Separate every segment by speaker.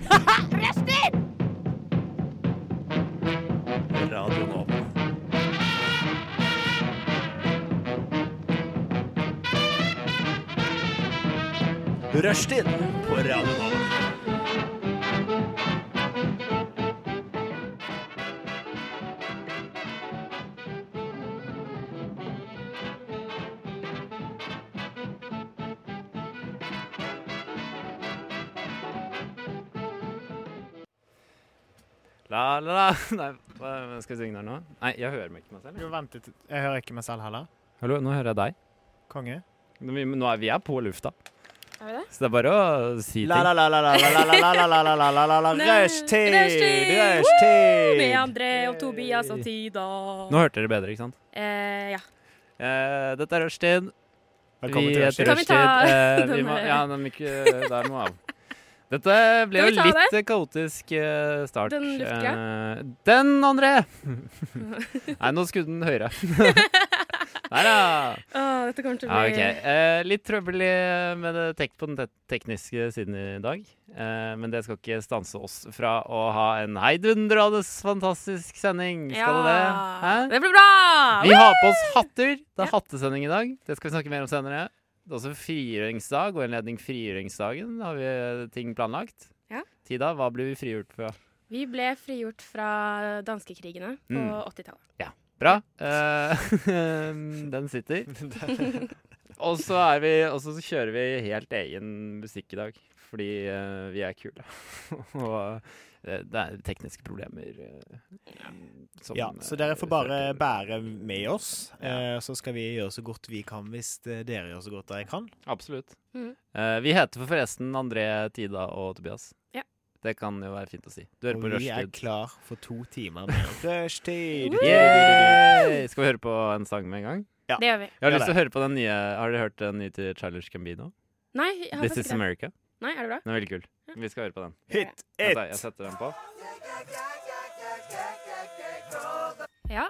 Speaker 1: Rushtid!
Speaker 2: Radio Nova. Rushtid på Radio Nova.
Speaker 3: La, la, la. Nei, hva hva skal jeg synge der nå? Nei, jeg hører meg ikke meg selv.
Speaker 4: Jo, vent litt. Jeg hører ikke meg selv heller.
Speaker 3: Hallo, nå hører jeg deg.
Speaker 4: Konge.
Speaker 3: Nå, vi, nå er vi er på lufta,
Speaker 1: Er vi det?
Speaker 3: så det er bare å si ting.
Speaker 4: La la la la la la la la la la la la la la
Speaker 1: Nei,
Speaker 4: Rushtid!
Speaker 1: rushtid!
Speaker 4: Rushtid!
Speaker 1: Med André og Tobias og Tida.
Speaker 3: Nå hørte dere bedre, ikke sant?
Speaker 1: Eh, ja.
Speaker 3: Eh, dette er rushtid.
Speaker 4: Velkommen
Speaker 3: Vi
Speaker 4: til
Speaker 3: heter
Speaker 4: Rushtid.
Speaker 1: Kan
Speaker 3: Rushtid.
Speaker 1: vi ta
Speaker 3: Eh, vi
Speaker 1: den
Speaker 3: må,
Speaker 1: der?
Speaker 3: ja, den mikro, der må av. Dette ble
Speaker 1: Kan
Speaker 3: jo
Speaker 1: vi ta
Speaker 3: litt kaotisk eh, start.
Speaker 1: Den luftgreia?
Speaker 3: Eh, den, André! Nei, nå skulle den høyere. Der, ja.
Speaker 1: Åh, dette kommer til å
Speaker 3: Ja,
Speaker 1: bli
Speaker 3: ok. Eh, litt trøbbel i- med det tek på den te tekniske siden i dag. Eh, men det skal ikke stanse oss fra å ha en heidundrende fantastisk sending. Skal det det? Hæ?
Speaker 1: Det blir bra!
Speaker 3: Vi har på oss hatter. Det er
Speaker 1: Ja.
Speaker 3: hattesending i dag. Det skal vi snakke mer om senere. Det er også frigjøringsdag, og i anledning frigjøringsdagen har vi eh, ting planlagt.
Speaker 1: Ja.
Speaker 3: Tida, hva blir vi frigjort fra?
Speaker 1: Vi ble frigjort fra danskekrigene på
Speaker 3: Mm.
Speaker 1: 80-tallet.
Speaker 3: Bra. Eh, den sitter. Og så, er vi, og så kjører vi helt egen musikk i dag, fordi eh, vi er kule. og eh, det er tekniske problemer. eh, som, eh,
Speaker 4: Ja, så dere får bare bære med oss, eh, så skal vi gjøre så godt vi kan hvis eh, dere gjør så godt dere kan.
Speaker 3: Absolutt.
Speaker 1: Mhm.
Speaker 3: Eh, vi heter for forresten André, Tida og Tobias.
Speaker 1: Ja.
Speaker 3: Det kan jo være fint å si. Du hører
Speaker 4: Og
Speaker 3: på
Speaker 4: vi er
Speaker 3: Rushtid.
Speaker 4: klar for to timer med Rushtid!
Speaker 3: Yay! Skal vi høre på en sang med en gang?
Speaker 4: Ja.
Speaker 1: Det gjør vi.
Speaker 3: Jeg har
Speaker 4: Ja,
Speaker 3: lyst
Speaker 4: det.
Speaker 3: til å høre på den nye Har dere hørt den nye til Charles Gambino?
Speaker 1: Nei, jeg har
Speaker 3: This
Speaker 1: faktisk
Speaker 3: Is
Speaker 1: ikke det.
Speaker 3: America.
Speaker 1: Nei, er det bra?
Speaker 3: Den er veldig kul. Vi skal høre på den.
Speaker 4: Hit
Speaker 3: Vent da, Jeg
Speaker 4: it!
Speaker 3: setter den på.
Speaker 1: Ja.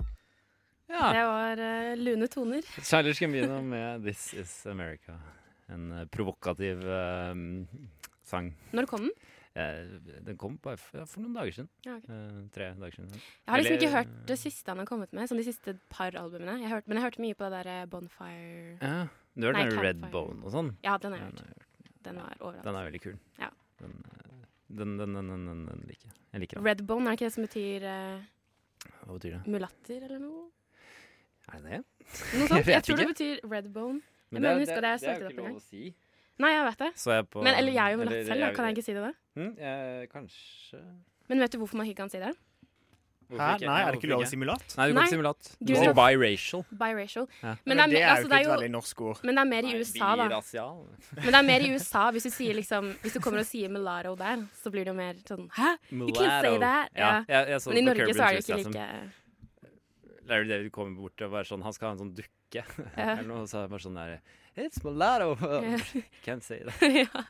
Speaker 3: Ja.
Speaker 1: Det var eh, lune toner.
Speaker 3: Charles Gambino med 'This Is America'. En eh, provokativ eh, sang.
Speaker 1: Når kom den?
Speaker 3: Eh, den kom bare for, for noen dager siden.
Speaker 1: Ja, ok.
Speaker 3: Eh, tre dager siden.
Speaker 1: Jeg har liksom
Speaker 3: Eller-
Speaker 1: ikke hørt det siste han har kommet med, sånn de siste par albumene. Jeg har hørt, men jeg hørte mye på det der eh, Bonfire
Speaker 3: Ja. Du har
Speaker 1: Nei,
Speaker 3: hørt den
Speaker 1: Campfire.
Speaker 3: Red Bone og sånn?
Speaker 1: Ja, den har jeg
Speaker 3: Den
Speaker 1: hørt.
Speaker 3: er,
Speaker 1: Den var overalt.
Speaker 3: den er veldig kul.
Speaker 1: Ja.
Speaker 3: Den, eh, den, den, den, den, den, den liker jeg. Jeg liker den.
Speaker 1: Redbone, er det ikke det som betyr eh,
Speaker 3: Hva betyr det?
Speaker 1: mulatter eller noe?
Speaker 3: Er det det?
Speaker 1: Noe
Speaker 3: Jeg vet
Speaker 1: sånt. Jeg tror det
Speaker 3: ikke.
Speaker 1: betyr redbone.
Speaker 3: Men
Speaker 1: mener,
Speaker 3: det-
Speaker 1: husker
Speaker 3: det-
Speaker 1: det jeg
Speaker 3: det er
Speaker 1: søkte
Speaker 3: jo
Speaker 1: opp en
Speaker 3: ikke
Speaker 1: gang.
Speaker 3: lov å si.
Speaker 1: Nei, jeg vet det.
Speaker 3: Så jeg på
Speaker 1: Men, eller jeg er jo mulatt
Speaker 3: eller
Speaker 1: selv, da. Kan jeg ikke si det? da?
Speaker 3: Hm, jeg- Kanskje
Speaker 1: Men vet du hvorfor man ikke kan si det?
Speaker 4: Hæ? Nei, er det ikke lov å
Speaker 3: si
Speaker 4: simulat?
Speaker 3: Nei, du kan
Speaker 1: Nei.
Speaker 3: ikke si mulat. Du
Speaker 1: Grunnen
Speaker 3: sier
Speaker 1: til-
Speaker 3: biracial.
Speaker 1: Biracial.
Speaker 3: Ja.
Speaker 1: Men, det er,
Speaker 4: jo
Speaker 1: altså,
Speaker 4: ikke
Speaker 1: det er
Speaker 4: et
Speaker 1: jo
Speaker 4: veldig norsk ord.
Speaker 1: men det er mer i USA, da.
Speaker 3: Birasial.
Speaker 1: Men det er mer i USA. Hvis du, sier, liksom, hvis du kommer og sier mulatto der, så blir det jo mer sånn Hæ? You can't
Speaker 3: Mulatto.
Speaker 1: say that.
Speaker 3: Ja,
Speaker 1: Ja.
Speaker 3: jeg, jeg så
Speaker 1: Men i
Speaker 3: på Curb
Speaker 1: Norge så er det ikke
Speaker 3: Enthusiasm.
Speaker 1: like
Speaker 3: Larry David kommer bort og bare sånn Han skal ha en sånn dukke
Speaker 1: Ja.
Speaker 3: eller noe, så er det bare sånn der It's mulatto. Can't say that.
Speaker 1: ja.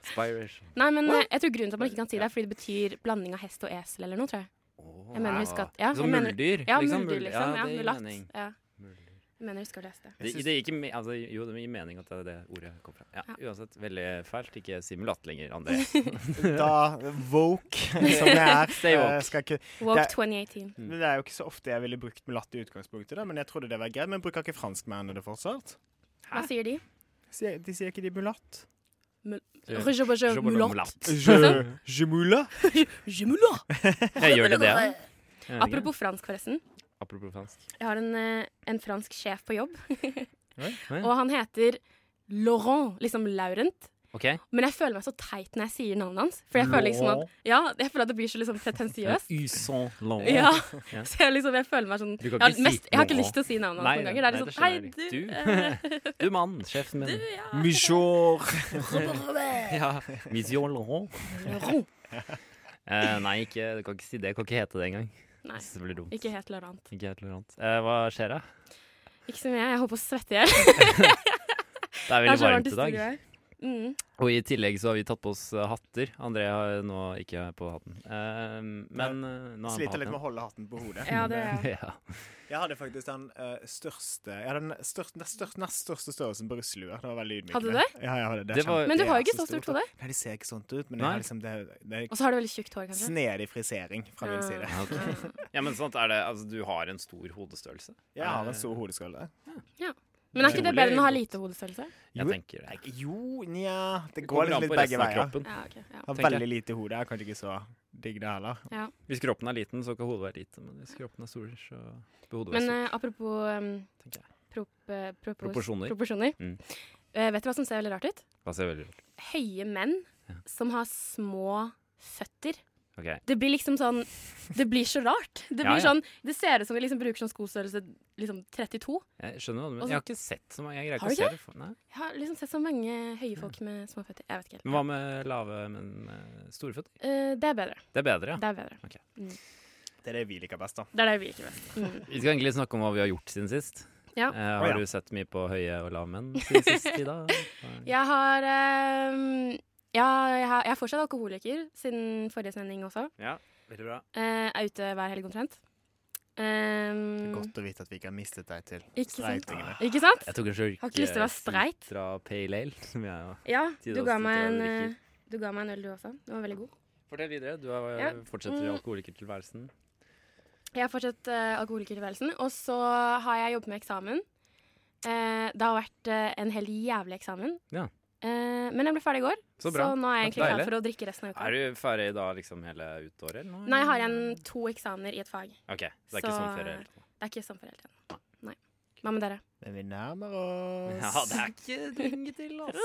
Speaker 3: Spiration.
Speaker 1: Nei, men eh, jeg tror grunnen til at man ikke kan si det, er fordi det betyr blanding av hest og esel eller noe, tror jeg.
Speaker 3: Åh,
Speaker 1: Jeg mener, husk at- ja, jeg
Speaker 3: Som
Speaker 1: mener-
Speaker 3: muldyr.
Speaker 1: Ja, muldyr,
Speaker 3: mul-
Speaker 1: liksom. Ja,
Speaker 3: det gir
Speaker 1: mulatt.
Speaker 3: mening.
Speaker 1: Ja.
Speaker 3: Muldyr.
Speaker 1: Jeg mener jeg husker å lese det.
Speaker 3: Det, det, gir ikke, me- altså, jo, det gir mening at det er det ordet kom fra. Ja, Uansett, veldig fælt. Ikke si mulatt lenger, André.
Speaker 4: Da Woke, som det er,
Speaker 3: Stay woke.
Speaker 4: eh, skal ikke
Speaker 1: Woke
Speaker 4: Det-
Speaker 1: 2018.
Speaker 4: Men Det er jo ikke så ofte jeg ville brukt mulatt i utgangspunktet, da, men jeg trodde det var greit. Men bruker ikke franskmennene det fortsatt?
Speaker 1: Hva sier de?
Speaker 4: Sier- De sier ikke de mulatt.
Speaker 3: Ja.
Speaker 1: Rouge og rouge, mulatt.
Speaker 4: Je, je moula.
Speaker 1: Je moulat.
Speaker 3: Jeg gjør det, det. ja? Jeg vet ikke.
Speaker 1: Apropos fransk, forresten.
Speaker 3: Apropos fransk.
Speaker 1: Jeg har en, eh, en fransk sjef på jobb,
Speaker 3: Oi, oi.
Speaker 1: og han heter Laurent, liksom Laurent.
Speaker 3: OK.
Speaker 1: Men jeg føler meg så teit når jeg sier navnet hans. For jeg føler liksom at Ja, jeg føler at det blir så liksom pretensiøst.
Speaker 3: Uson long.
Speaker 1: Ja,
Speaker 3: Ja.
Speaker 1: så jeg liksom, jeg føler meg sånn
Speaker 3: Du kan
Speaker 1: jeg har,
Speaker 3: ikke si
Speaker 1: mest, jeg har ikke
Speaker 3: Laurent.
Speaker 1: lyst til å si navnet hans
Speaker 3: Nei,
Speaker 1: noen ganger. Det er
Speaker 3: nei,
Speaker 1: liksom Hei,
Speaker 3: det skjønner jeg.
Speaker 1: du,
Speaker 3: Du.
Speaker 1: eh,
Speaker 3: Du mann, sjefen min.
Speaker 4: Mijour.
Speaker 3: Ja. Monsieur Laurent.
Speaker 1: Laurent.
Speaker 3: Eh, nei, ikke, du kan ikke si det. Du kan ikke hete det engang.
Speaker 1: Nei,
Speaker 3: Det blir dumt.
Speaker 1: ikke helt Laurent.
Speaker 3: Ikke helt tolerant. Eh, hva skjer da?
Speaker 1: Ikke så mye. Jeg holder på å svette i hjel.
Speaker 3: Det er
Speaker 1: Det er
Speaker 3: veldig
Speaker 1: så varmt
Speaker 3: varmt
Speaker 1: i
Speaker 3: i dag.
Speaker 1: studio her. Mm.
Speaker 3: Og i tillegg så har vi tatt på oss eh, hatter. André har nå ikke på hatten. Eh, men eh, nå har han på
Speaker 4: Sliter litt
Speaker 3: hatten.
Speaker 4: med å holde hatten på hodet.
Speaker 1: Ja, det er
Speaker 3: ja.
Speaker 4: Jeg hadde faktisk den eh, største Jeg hadde den størst, nest, størst, nest største størrelsen på russelue. Det var veldig ydmykende.
Speaker 1: Hadde du det?
Speaker 4: Ja, jeg hadde det.
Speaker 3: Det var-
Speaker 1: Men du har
Speaker 4: Det
Speaker 1: jo
Speaker 4: er
Speaker 1: ikke så stort hode.
Speaker 4: Nei, det ser ikke sånt ut, men
Speaker 3: Nei.
Speaker 4: jeg har liksom det, det
Speaker 1: Og så har du veldig tjukt hår,
Speaker 4: er
Speaker 1: kanskje.
Speaker 4: snedig frisering fra min side.
Speaker 1: Ja.
Speaker 3: ja, men sånt er det. Altså, du har en stor hodestørrelse.
Speaker 4: Jeg har en stor hodeskalle.
Speaker 1: Men er ikke det bedre enn å ha
Speaker 3: Utrolig
Speaker 1: lite hodestørrelse?
Speaker 3: Jeg
Speaker 4: Jo.
Speaker 3: tenker det.
Speaker 4: Jo, nja Det går
Speaker 3: Kommer an
Speaker 4: liksom litt
Speaker 3: på
Speaker 4: begge
Speaker 3: resten av
Speaker 4: veier.
Speaker 3: kroppen.
Speaker 1: Ja, ok. Ja.
Speaker 4: Har
Speaker 3: tenker jeg.
Speaker 4: veldig lite hode, er kanskje ikke så digg det heller.
Speaker 3: Hvis kroppen er liten, så kan hodet være lite. Men hvis kroppen er stor, så bør hodet være
Speaker 1: Men
Speaker 3: stort.
Speaker 1: eh, apropos em,
Speaker 3: tenker jeg.
Speaker 1: prop, eh, propos-
Speaker 3: Proporsjoner.
Speaker 1: proporsjoner.
Speaker 3: Mm.
Speaker 1: Eh, vet du hva som ser veldig rart ut?
Speaker 3: Hva ser veldig rart
Speaker 1: Høye menn som har små føtter.
Speaker 3: Ok,
Speaker 1: Det blir liksom sånn Det blir så rart. Det,
Speaker 3: Ja,
Speaker 1: blir
Speaker 3: ja.
Speaker 1: Sånn, det ser ut som de liksom bruker sånn skostørrelse liksom 32.
Speaker 3: Jeg skjønner hva du
Speaker 1: Og så-
Speaker 3: mener. Jeg har ikke sett så mange. Jeg greier
Speaker 1: Altså- Har
Speaker 3: ikke å
Speaker 1: du
Speaker 3: se det. for- Nei.
Speaker 1: Jeg har liksom sett så mange høye folk med små føtter. Jeg vet ikke.
Speaker 3: Men hva med lave, men eh, store føtter?
Speaker 1: Eh, det er bedre.
Speaker 3: Det er bedre, ja.
Speaker 1: Det er bedre.
Speaker 4: Det er det vi liker best, da.
Speaker 1: Det er det vi liker best. Mm.
Speaker 3: Vi skal egentlig snakke om hva vi har gjort siden sist.
Speaker 1: Ja.
Speaker 3: Eh,
Speaker 4: Å,
Speaker 3: har
Speaker 4: ja.
Speaker 3: du sett mye på høye og lave menn siden sist, Ida?
Speaker 1: Jeg har em, ja, jeg, har, jeg er fortsatt alkoholiker siden forrige sending også.
Speaker 3: Veldig bra.
Speaker 1: Eh, er ute hver helg omtrent. Em,
Speaker 3: Mm.
Speaker 4: Godt å vite at vi ikke har mistet deg til
Speaker 1: ikke sant?
Speaker 4: streitingene.
Speaker 1: Ikke sant?
Speaker 3: Jeg tok en slurk
Speaker 1: Har ikke lyst til å være
Speaker 3: eh,
Speaker 1: streit.
Speaker 3: Sitra Pale Ale. Som jeg, har.
Speaker 1: Ja,
Speaker 3: Tide
Speaker 1: du
Speaker 3: å
Speaker 1: ga,
Speaker 3: slutte
Speaker 1: meg
Speaker 3: å
Speaker 1: en,
Speaker 3: drikke.
Speaker 1: eh, du ga meg en øl, du også. Den var veldig god.
Speaker 3: Fortell videre. Du har, eh,
Speaker 1: Ja.
Speaker 3: fortsetter i
Speaker 1: Mm.
Speaker 3: alkoholikertilværelsen.
Speaker 1: Jeg har fortsatt uh, alkoholikertilværelsen, og så har jeg jobbet med eksamen. Eh, det har vært eh, en helt jævlig eksamen.
Speaker 3: Ja.
Speaker 1: Eh, men jeg ble ferdig i går,
Speaker 3: Så bra.
Speaker 1: nå er jeg egentlig
Speaker 3: Deilig.
Speaker 1: klar for å drikke resten av uka.
Speaker 3: Er du ferdig da liksom hele ut året, eller noe?
Speaker 1: Nei, jeg har igjen to eksamener i et fag.
Speaker 3: Ok, så det er ikke
Speaker 1: Så-
Speaker 3: sånn ferie helt.
Speaker 1: Det er ikke sånn for hele tiden. Nei. Hva med dere?
Speaker 4: Men vi nærmer oss.
Speaker 3: Ja, det er ikke lenge til, ass.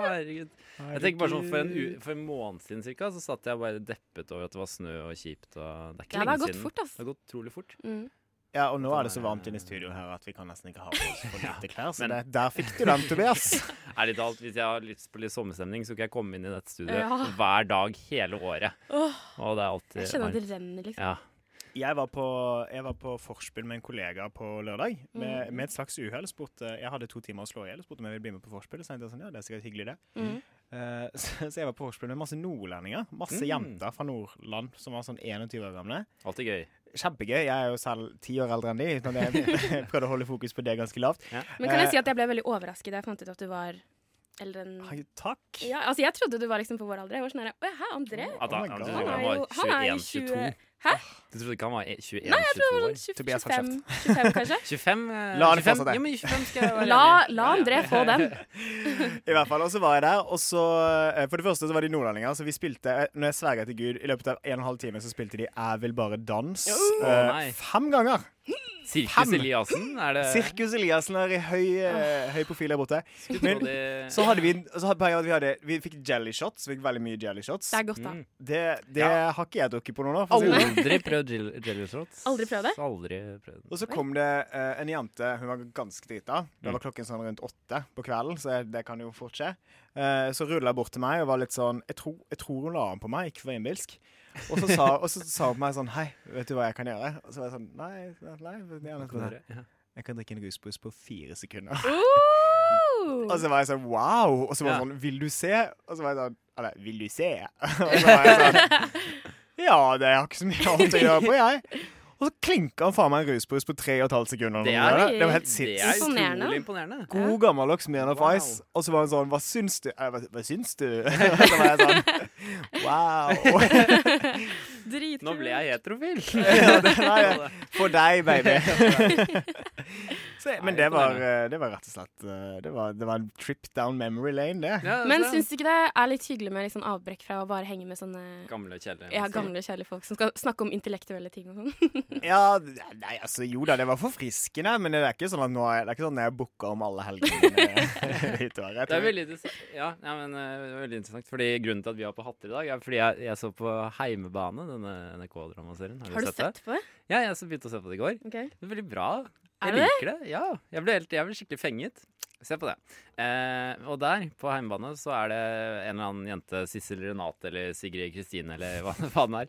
Speaker 3: Herregud. Jeg tenker bare sånn, For en, u for en måned siden cirka, så satt jeg bare deppet over at det var snø og kjipt. og Det er ikke
Speaker 1: Ja, det
Speaker 3: lenge
Speaker 1: har gått
Speaker 3: siden.
Speaker 1: fort, ass.
Speaker 3: Det har gått utrolig fort.
Speaker 1: Mm.
Speaker 4: Ja, og nå er det så varmt inne i studio her at vi kan nesten ikke ha på oss for lite klær. Så det, der fikk du den, Tobias.
Speaker 3: Ærlig talt, Hvis jeg har lyst på litt sommerstemning, så kan jeg komme inn i dette studioet
Speaker 1: Ja.
Speaker 3: hver dag hele året. Og det er alltid
Speaker 1: Jeg kjenner
Speaker 3: varmt.
Speaker 1: at det renner, liksom.
Speaker 3: Ja.
Speaker 4: Jeg var på, jeg var på forspill med en kollega på lørdag. Med, med et slags uhell. spurte- Jeg hadde to timer å slå i hjel og spurte om jeg ville bli med på forspill. Og så tenkte jeg sånn, ja, det er sikkert hyggelig, det.
Speaker 1: Mm.
Speaker 4: Eh, så, så jeg var på forspill med masse nordlendinger. Masse
Speaker 3: Mm.
Speaker 4: jenter fra Nordland som var sånn 21 år gamle.
Speaker 3: Alltid gøy.
Speaker 4: Kjempegøy. Jeg er jo selv ti år eldre enn de, men jeg, jeg prøvde å holde fokus på det ganske lavt.
Speaker 1: Men kan
Speaker 4: Eh,
Speaker 1: jeg si at jeg ble veldig overrasket da jeg fant ut at du var eldre enn
Speaker 4: Hei, Takk.
Speaker 1: ja, altså Jeg trodde du var liksom på vår alder. Jeg var sånn her, Å, hæ, André?
Speaker 3: At
Speaker 4: Oh
Speaker 3: han,
Speaker 4: my God.
Speaker 3: du, trodde han
Speaker 1: Han er
Speaker 3: var
Speaker 1: jo- han er jo
Speaker 3: 21, 22.
Speaker 1: Hæ?
Speaker 3: Du trodde ikke han var 21-22 år?
Speaker 1: Sånn
Speaker 4: Tobias har
Speaker 1: 25, 25 kanskje?
Speaker 3: 25? eh,
Speaker 4: La det
Speaker 3: 25
Speaker 4: fortsette.
Speaker 3: Ja, men 25 skal jeg være
Speaker 1: La,
Speaker 3: enig i.
Speaker 1: la
Speaker 3: Ja, ja.
Speaker 1: André få den.
Speaker 4: I hvert fall, og så var jeg der, og så eh, For det første så var de nordlendinger, så vi spilte eh, Når jeg sverger til Gud, i løpet av en og en halv time så spilte de Jeg vil bare dans eh,
Speaker 3: nei.
Speaker 4: fem ganger.
Speaker 3: Sirkus
Speaker 4: Fem.
Speaker 3: Eliassen, er det
Speaker 4: Sirkus Eliassen er i høy, eh, høy profil der borte.
Speaker 3: Skulle tro
Speaker 4: Men
Speaker 3: det-
Speaker 4: så hadde vi så hadde, bare at vi, hadde, vi fikk jelly shots, vi fikk veldig mye jelly shots.
Speaker 1: Det er godt, da.
Speaker 3: Mm.
Speaker 4: Det, det
Speaker 3: Ja.
Speaker 4: har ikke jeg drukket på noen år. for å si det sånn.
Speaker 3: Aldri prøvd jell- jelly shots.
Speaker 1: Aldri prøvd det?
Speaker 3: Aldri prøvd det.
Speaker 4: Og så kom det eh, en jente, hun var ganske drita.
Speaker 3: Mm.
Speaker 4: Da var klokken sånn rundt åtte på kvelden, så jeg, det kan jo fort skje. Eh, så rulla hun bort til meg og var litt sånn Jeg, tror- jeg tror hun la an på meg, ikke for innbilsk. Og så sa, og så sa hun på meg sånn Hei, vet du hva jeg kan gjøre? Og så var jeg sånn Nei, nei, nei jeg, gjerne sånn,
Speaker 3: Ja.
Speaker 4: jeg kan drikke en rusbrus på fire sekunder.
Speaker 3: Altså,
Speaker 1: Oh!
Speaker 4: Og så var jeg sånn wow! Og så
Speaker 3: Mm.
Speaker 4: var
Speaker 3: Ja.
Speaker 4: hun sånn Vil du se? Og så var jeg sånn Eller, vil du se? Og så var jeg sånn Ja, det har ikke så mye annet å gjøre på, jeg. Og så klinka han faen meg en rusbrus på tre og et halvt sekund. eller
Speaker 3: Det
Speaker 4: noe
Speaker 3: er-
Speaker 4: sånt. det var helt
Speaker 3: Det
Speaker 4: sinnssykt.
Speaker 3: er
Speaker 1: Imponerende.
Speaker 3: utrolig imponerende.
Speaker 4: God gammeldags Man of
Speaker 3: Wow.
Speaker 4: Ice. Og så var han sånn Hva syns du? Eh, Hva, hva syns du? Og så var jeg sånn Wow.
Speaker 1: Dritkult.
Speaker 3: Nå ble jeg heterofil.
Speaker 4: Ja, det var det. For deg, baby. Så, men det var, eh, det var rett og slett eh, Det var, det var en trip down memory lane, det.
Speaker 3: Ja,
Speaker 1: Men
Speaker 3: så-
Speaker 1: syns du ikke det er litt hyggelig med litt sånn avbrekk fra å bare henge med sånne
Speaker 3: Gamle kjeller.
Speaker 1: ja, gamle, kjære folk som skal snakke om intellektuelle ting og sånn?
Speaker 4: Ja, nei, altså Jo da, det var forfriskende, men det er ikke sånn at nå er, det er ikke sånn at jeg booker om alle helgene utover.
Speaker 3: Det er veldig, interessant. ja, ja, men, eh, det var veldig interessant. Fordi Grunnen til at vi har på hatter i dag, er fordi jeg, jeg så på Heimebane, denne NRK-dramaserien. Har,
Speaker 1: Har du
Speaker 3: det?
Speaker 1: sett på det?
Speaker 3: Ja, jeg så begynte å se på det i går.
Speaker 1: Ok.
Speaker 3: Det er veldig bra.
Speaker 1: Er
Speaker 3: Jeg
Speaker 1: det
Speaker 3: liker det. Ja, jeg ble, helt, jeg ble skikkelig fenget. Se på det. Eh, og der, på heimebane, så er det en eller annen jente, Sissel Renate eller Sigrid Kristine eller hva det faen er,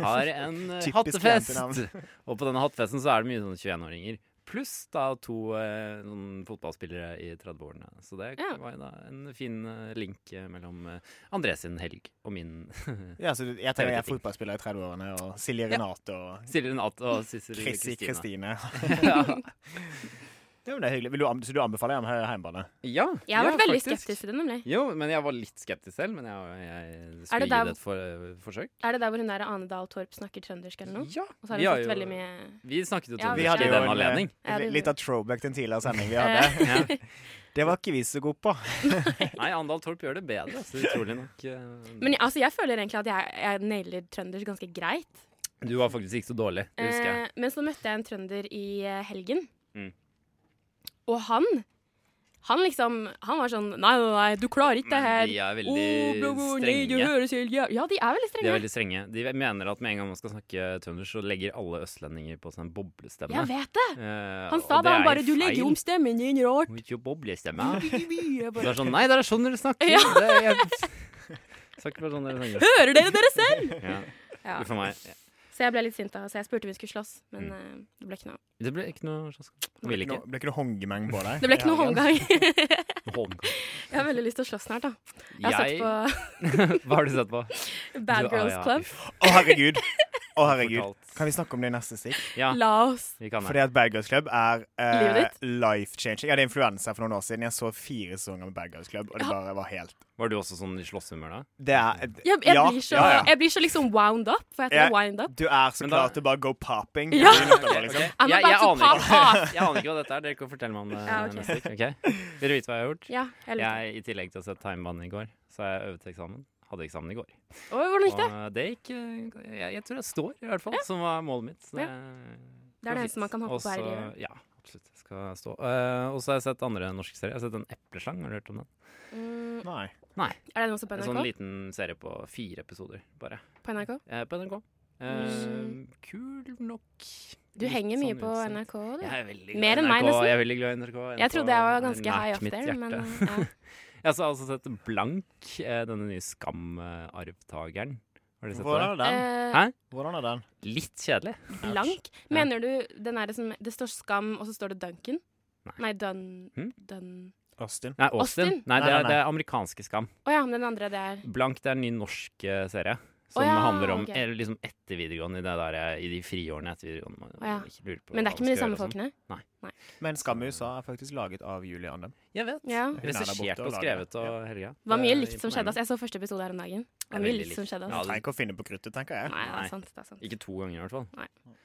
Speaker 3: har en eh,
Speaker 4: Typisk
Speaker 3: hattefest.
Speaker 4: jentenavn.
Speaker 3: Og på denne hattefesten så er det mye sånn 21-åringer. Pluss da to eh, noen fotballspillere i 30-årene. Så det
Speaker 1: Ja.
Speaker 3: var jo da en fin eh, link eh, mellom eh, André sin helg og min.
Speaker 4: Ja, så du- jeg tenker jeg er
Speaker 3: Ting.
Speaker 4: fotballspiller i 30-årene, og Silje
Speaker 3: Ja.
Speaker 4: Renate og
Speaker 3: Silje Renate og Sissel
Speaker 4: Chrissy
Speaker 3: Kristine.
Speaker 4: Kristine.
Speaker 3: ja.
Speaker 4: Ja, men det er hyggelig. Vil du, an- så du anbefaler ham hjemmebane?
Speaker 3: ja.
Speaker 1: Jeg har
Speaker 3: ja,
Speaker 1: vært veldig
Speaker 3: faktisk.
Speaker 1: skeptisk til det, nemlig.
Speaker 3: Jo, men jeg var litt skeptisk selv. Men jeg, jeg
Speaker 1: Er
Speaker 3: skulle
Speaker 1: det
Speaker 3: gi
Speaker 1: der-
Speaker 3: det et for, eh, forsøk.
Speaker 1: Er det der hvor hun der Ane Dahl Torp snakker trøndersk eller noe?
Speaker 3: Ja,
Speaker 1: Og så har
Speaker 3: vi
Speaker 1: hun
Speaker 3: har
Speaker 1: fått
Speaker 3: jo-
Speaker 1: veldig mye
Speaker 3: Vi snakket jo til
Speaker 1: Ja, vi
Speaker 3: ja,
Speaker 1: hadde
Speaker 3: i
Speaker 1: jo
Speaker 3: den
Speaker 1: en, eh,
Speaker 3: anledning.
Speaker 1: Ja, det-
Speaker 4: eh, litt av throwback til en tidligere sending vi hadde.
Speaker 3: Ja.
Speaker 4: Det var ikke vi så gode på.
Speaker 3: Nei, Andal Torp gjør det bedre, altså, utrolig nok. eh,
Speaker 1: Men jeg- altså, jeg føler egentlig at jeg, jeg nailer trøndersk ganske greit.
Speaker 3: Du var faktisk ikke så dårlig, det husker jeg.
Speaker 1: Eh, men så møtte jeg en trønder i eh, helgen.
Speaker 3: Mm.
Speaker 1: Og han Han liksom Han var sånn Nei, nei, nei, du klarer ikke Eh, det her.
Speaker 3: Men de er veldig
Speaker 1: Å, bro, bro, nei, du
Speaker 3: strenge.
Speaker 1: høres helt jæv- Ja, de er veldig
Speaker 3: De
Speaker 1: strenge.
Speaker 3: er veldig strenge. De mener at med en gang man skal snakke trønder, så legger alle østlendinger på seg en boblestemme.
Speaker 1: Jeg vet det.
Speaker 3: Eh,
Speaker 1: Han
Speaker 3: og
Speaker 1: sa
Speaker 3: det
Speaker 1: da han
Speaker 3: er
Speaker 1: bare Du legger
Speaker 3: feil.
Speaker 1: jo om stemmen din rart.
Speaker 3: Må Ikke boblestemme.
Speaker 1: Jeg
Speaker 3: Så det
Speaker 1: bare,
Speaker 3: er sånn Nei, det er sånn dere snakker.
Speaker 1: Ja.
Speaker 3: Det er, jeg snakker bare sånn dere snakker.
Speaker 1: Hører dere dere selv?
Speaker 3: Ja. Mm.
Speaker 1: Ja.
Speaker 3: Uff a meg.
Speaker 1: Så jeg ble litt sint da, så jeg spurte om vi skulle slåss, men eh, det ble ikke noe av.
Speaker 3: Det ble ikke noe slags Han ville
Speaker 4: Nå
Speaker 3: ikke.
Speaker 4: ble ikke det hongemeng på deg?
Speaker 1: Det ble ikke noe omgang. jeg
Speaker 3: Holmgang.
Speaker 1: har veldig lyst til å slåss snart, da. Jeg har
Speaker 3: Jeg
Speaker 1: sett
Speaker 3: Hva har du sett på?
Speaker 1: på Bad
Speaker 3: Du- ah,
Speaker 1: Girls
Speaker 3: ja.
Speaker 1: Club.
Speaker 4: Å, herregud. Å, herregud.
Speaker 3: Fortalt.
Speaker 4: Kan vi snakke om det i neste stikk?
Speaker 3: Ja,
Speaker 1: La oss.
Speaker 3: vi kan
Speaker 4: Fordi
Speaker 3: det.
Speaker 4: at Bad Girls Club er eh,
Speaker 1: Livet ditt?
Speaker 4: life-changing. Jeg hadde influensa for noen år siden. Jeg så fire sesonger med Bad Girls Club, og det bare var helt
Speaker 3: Var du også sånn i slåsshumør da?
Speaker 4: Det er et-
Speaker 1: Jeg, jeg,
Speaker 4: ja,
Speaker 1: blir så,
Speaker 4: ja, ja.
Speaker 1: jeg blir så liksom wound up. For jeg
Speaker 4: Ja.
Speaker 1: heter det wind up.
Speaker 4: Du er så
Speaker 3: Men da-
Speaker 4: klar til å bare go popping.
Speaker 1: Ja.
Speaker 4: i natta,
Speaker 3: Ok,
Speaker 4: liksom.
Speaker 3: ok.
Speaker 1: I'm
Speaker 3: Jeg, jeg,
Speaker 1: about to
Speaker 3: aner
Speaker 1: pop
Speaker 3: ikke,
Speaker 1: off.
Speaker 3: jeg aner ikke hva dette er. Dere kan fortelle meg om det
Speaker 1: Ja, ok.
Speaker 3: neste uke. ok? Vil du vite hva jeg har gjort?
Speaker 1: Ja, jeg lurer.
Speaker 3: Jeg, I tillegg til å sette timebanen i går, så har jeg øvd til eksamen. Hadde eksamen i går.
Speaker 1: Oi, hvordan gikk det?
Speaker 3: Og det gikk eh, jeg, jeg tror jeg står, i hvert fall, som var målet mitt. Så
Speaker 1: Ja. Det er
Speaker 3: var
Speaker 1: det
Speaker 3: fint.
Speaker 1: eneste man kan håpe på her i
Speaker 3: Også-
Speaker 1: livet.
Speaker 3: Ja, absolutt. Jeg skal stå. Eh, og så har jeg sett andre norske serier. Jeg har sett en epleslang, har du hørt om den?
Speaker 1: Mm,
Speaker 4: Nei.
Speaker 3: Nei.
Speaker 1: er det noe som på
Speaker 3: En
Speaker 1: NRK?
Speaker 3: sånn liten serie på fire episoder, bare.
Speaker 1: På NRK?
Speaker 3: Eh, på NRK. Eh, kul nok.
Speaker 1: Du
Speaker 3: Litt
Speaker 1: henger mye
Speaker 3: sånn
Speaker 1: på
Speaker 3: utseende.
Speaker 1: NRK, du.
Speaker 3: Jeg er veldig glad
Speaker 1: Mer
Speaker 3: i
Speaker 1: enn meg,
Speaker 3: NRK.
Speaker 1: nesten.
Speaker 3: Jeg er veldig glad i NRK. NRK
Speaker 1: Jeg trodde jeg var ganske
Speaker 3: er
Speaker 1: high
Speaker 3: nært
Speaker 1: up
Speaker 3: mitt
Speaker 1: there,
Speaker 3: hjerte.
Speaker 1: men eh, ja.
Speaker 3: Jeg har altså sett Blank, eh, denne nye Skam-arvtakeren. Har du sett på det?
Speaker 4: Hvordan er den?
Speaker 1: Eh,
Speaker 3: Hæ?
Speaker 4: Hvordan er den?
Speaker 3: Litt kjedelig.
Speaker 1: Blank? Mener du den er det som Det står Skam, og så står det Duncan?
Speaker 3: Nei.
Speaker 1: Nei, Dun...
Speaker 3: Hm?
Speaker 1: Dun...
Speaker 4: Austin.
Speaker 3: Nei, Austin.
Speaker 1: Austin?
Speaker 3: Nei, det
Speaker 4: Nei,
Speaker 3: er,
Speaker 4: nei,
Speaker 3: det er amerikanske Skam.
Speaker 1: Å ja, men den andre, det er
Speaker 3: Blank det er en ny norsk eh, serie. Som
Speaker 1: Å ja,
Speaker 3: handler om
Speaker 1: ok.
Speaker 3: eller liksom etter videregående, i, det der, eh, i de friårene etter videregående. Man,
Speaker 1: Å ja.
Speaker 3: man ikke lurer på
Speaker 1: Men
Speaker 3: hva
Speaker 1: det er ikke
Speaker 3: man
Speaker 1: med de
Speaker 3: skal
Speaker 1: samme
Speaker 3: gjøre og sånn.
Speaker 1: folkene?
Speaker 4: Men Skam i USA er faktisk laget av Julie Andem.
Speaker 3: Jeg vet.
Speaker 1: Ja.
Speaker 4: Hun er der
Speaker 3: Regissert
Speaker 4: borte
Speaker 3: og
Speaker 4: og lager.
Speaker 3: skrevet og Helga.
Speaker 1: Det var mye
Speaker 3: Det er
Speaker 1: likt som skjedde.
Speaker 3: imponerende.
Speaker 1: Altså. Jeg så første episode her om dagen. Det
Speaker 3: Det er
Speaker 1: var mye
Speaker 3: veldig
Speaker 1: likt som skjedde.
Speaker 3: Ja,
Speaker 1: Altså.
Speaker 3: det-
Speaker 4: Trenger ikke å finne på kruttet, tenker jeg.
Speaker 1: Nei, det
Speaker 3: nei.
Speaker 1: er sant. Det er sant.
Speaker 3: Ikke to ganger, i hvert fall.
Speaker 1: Nei.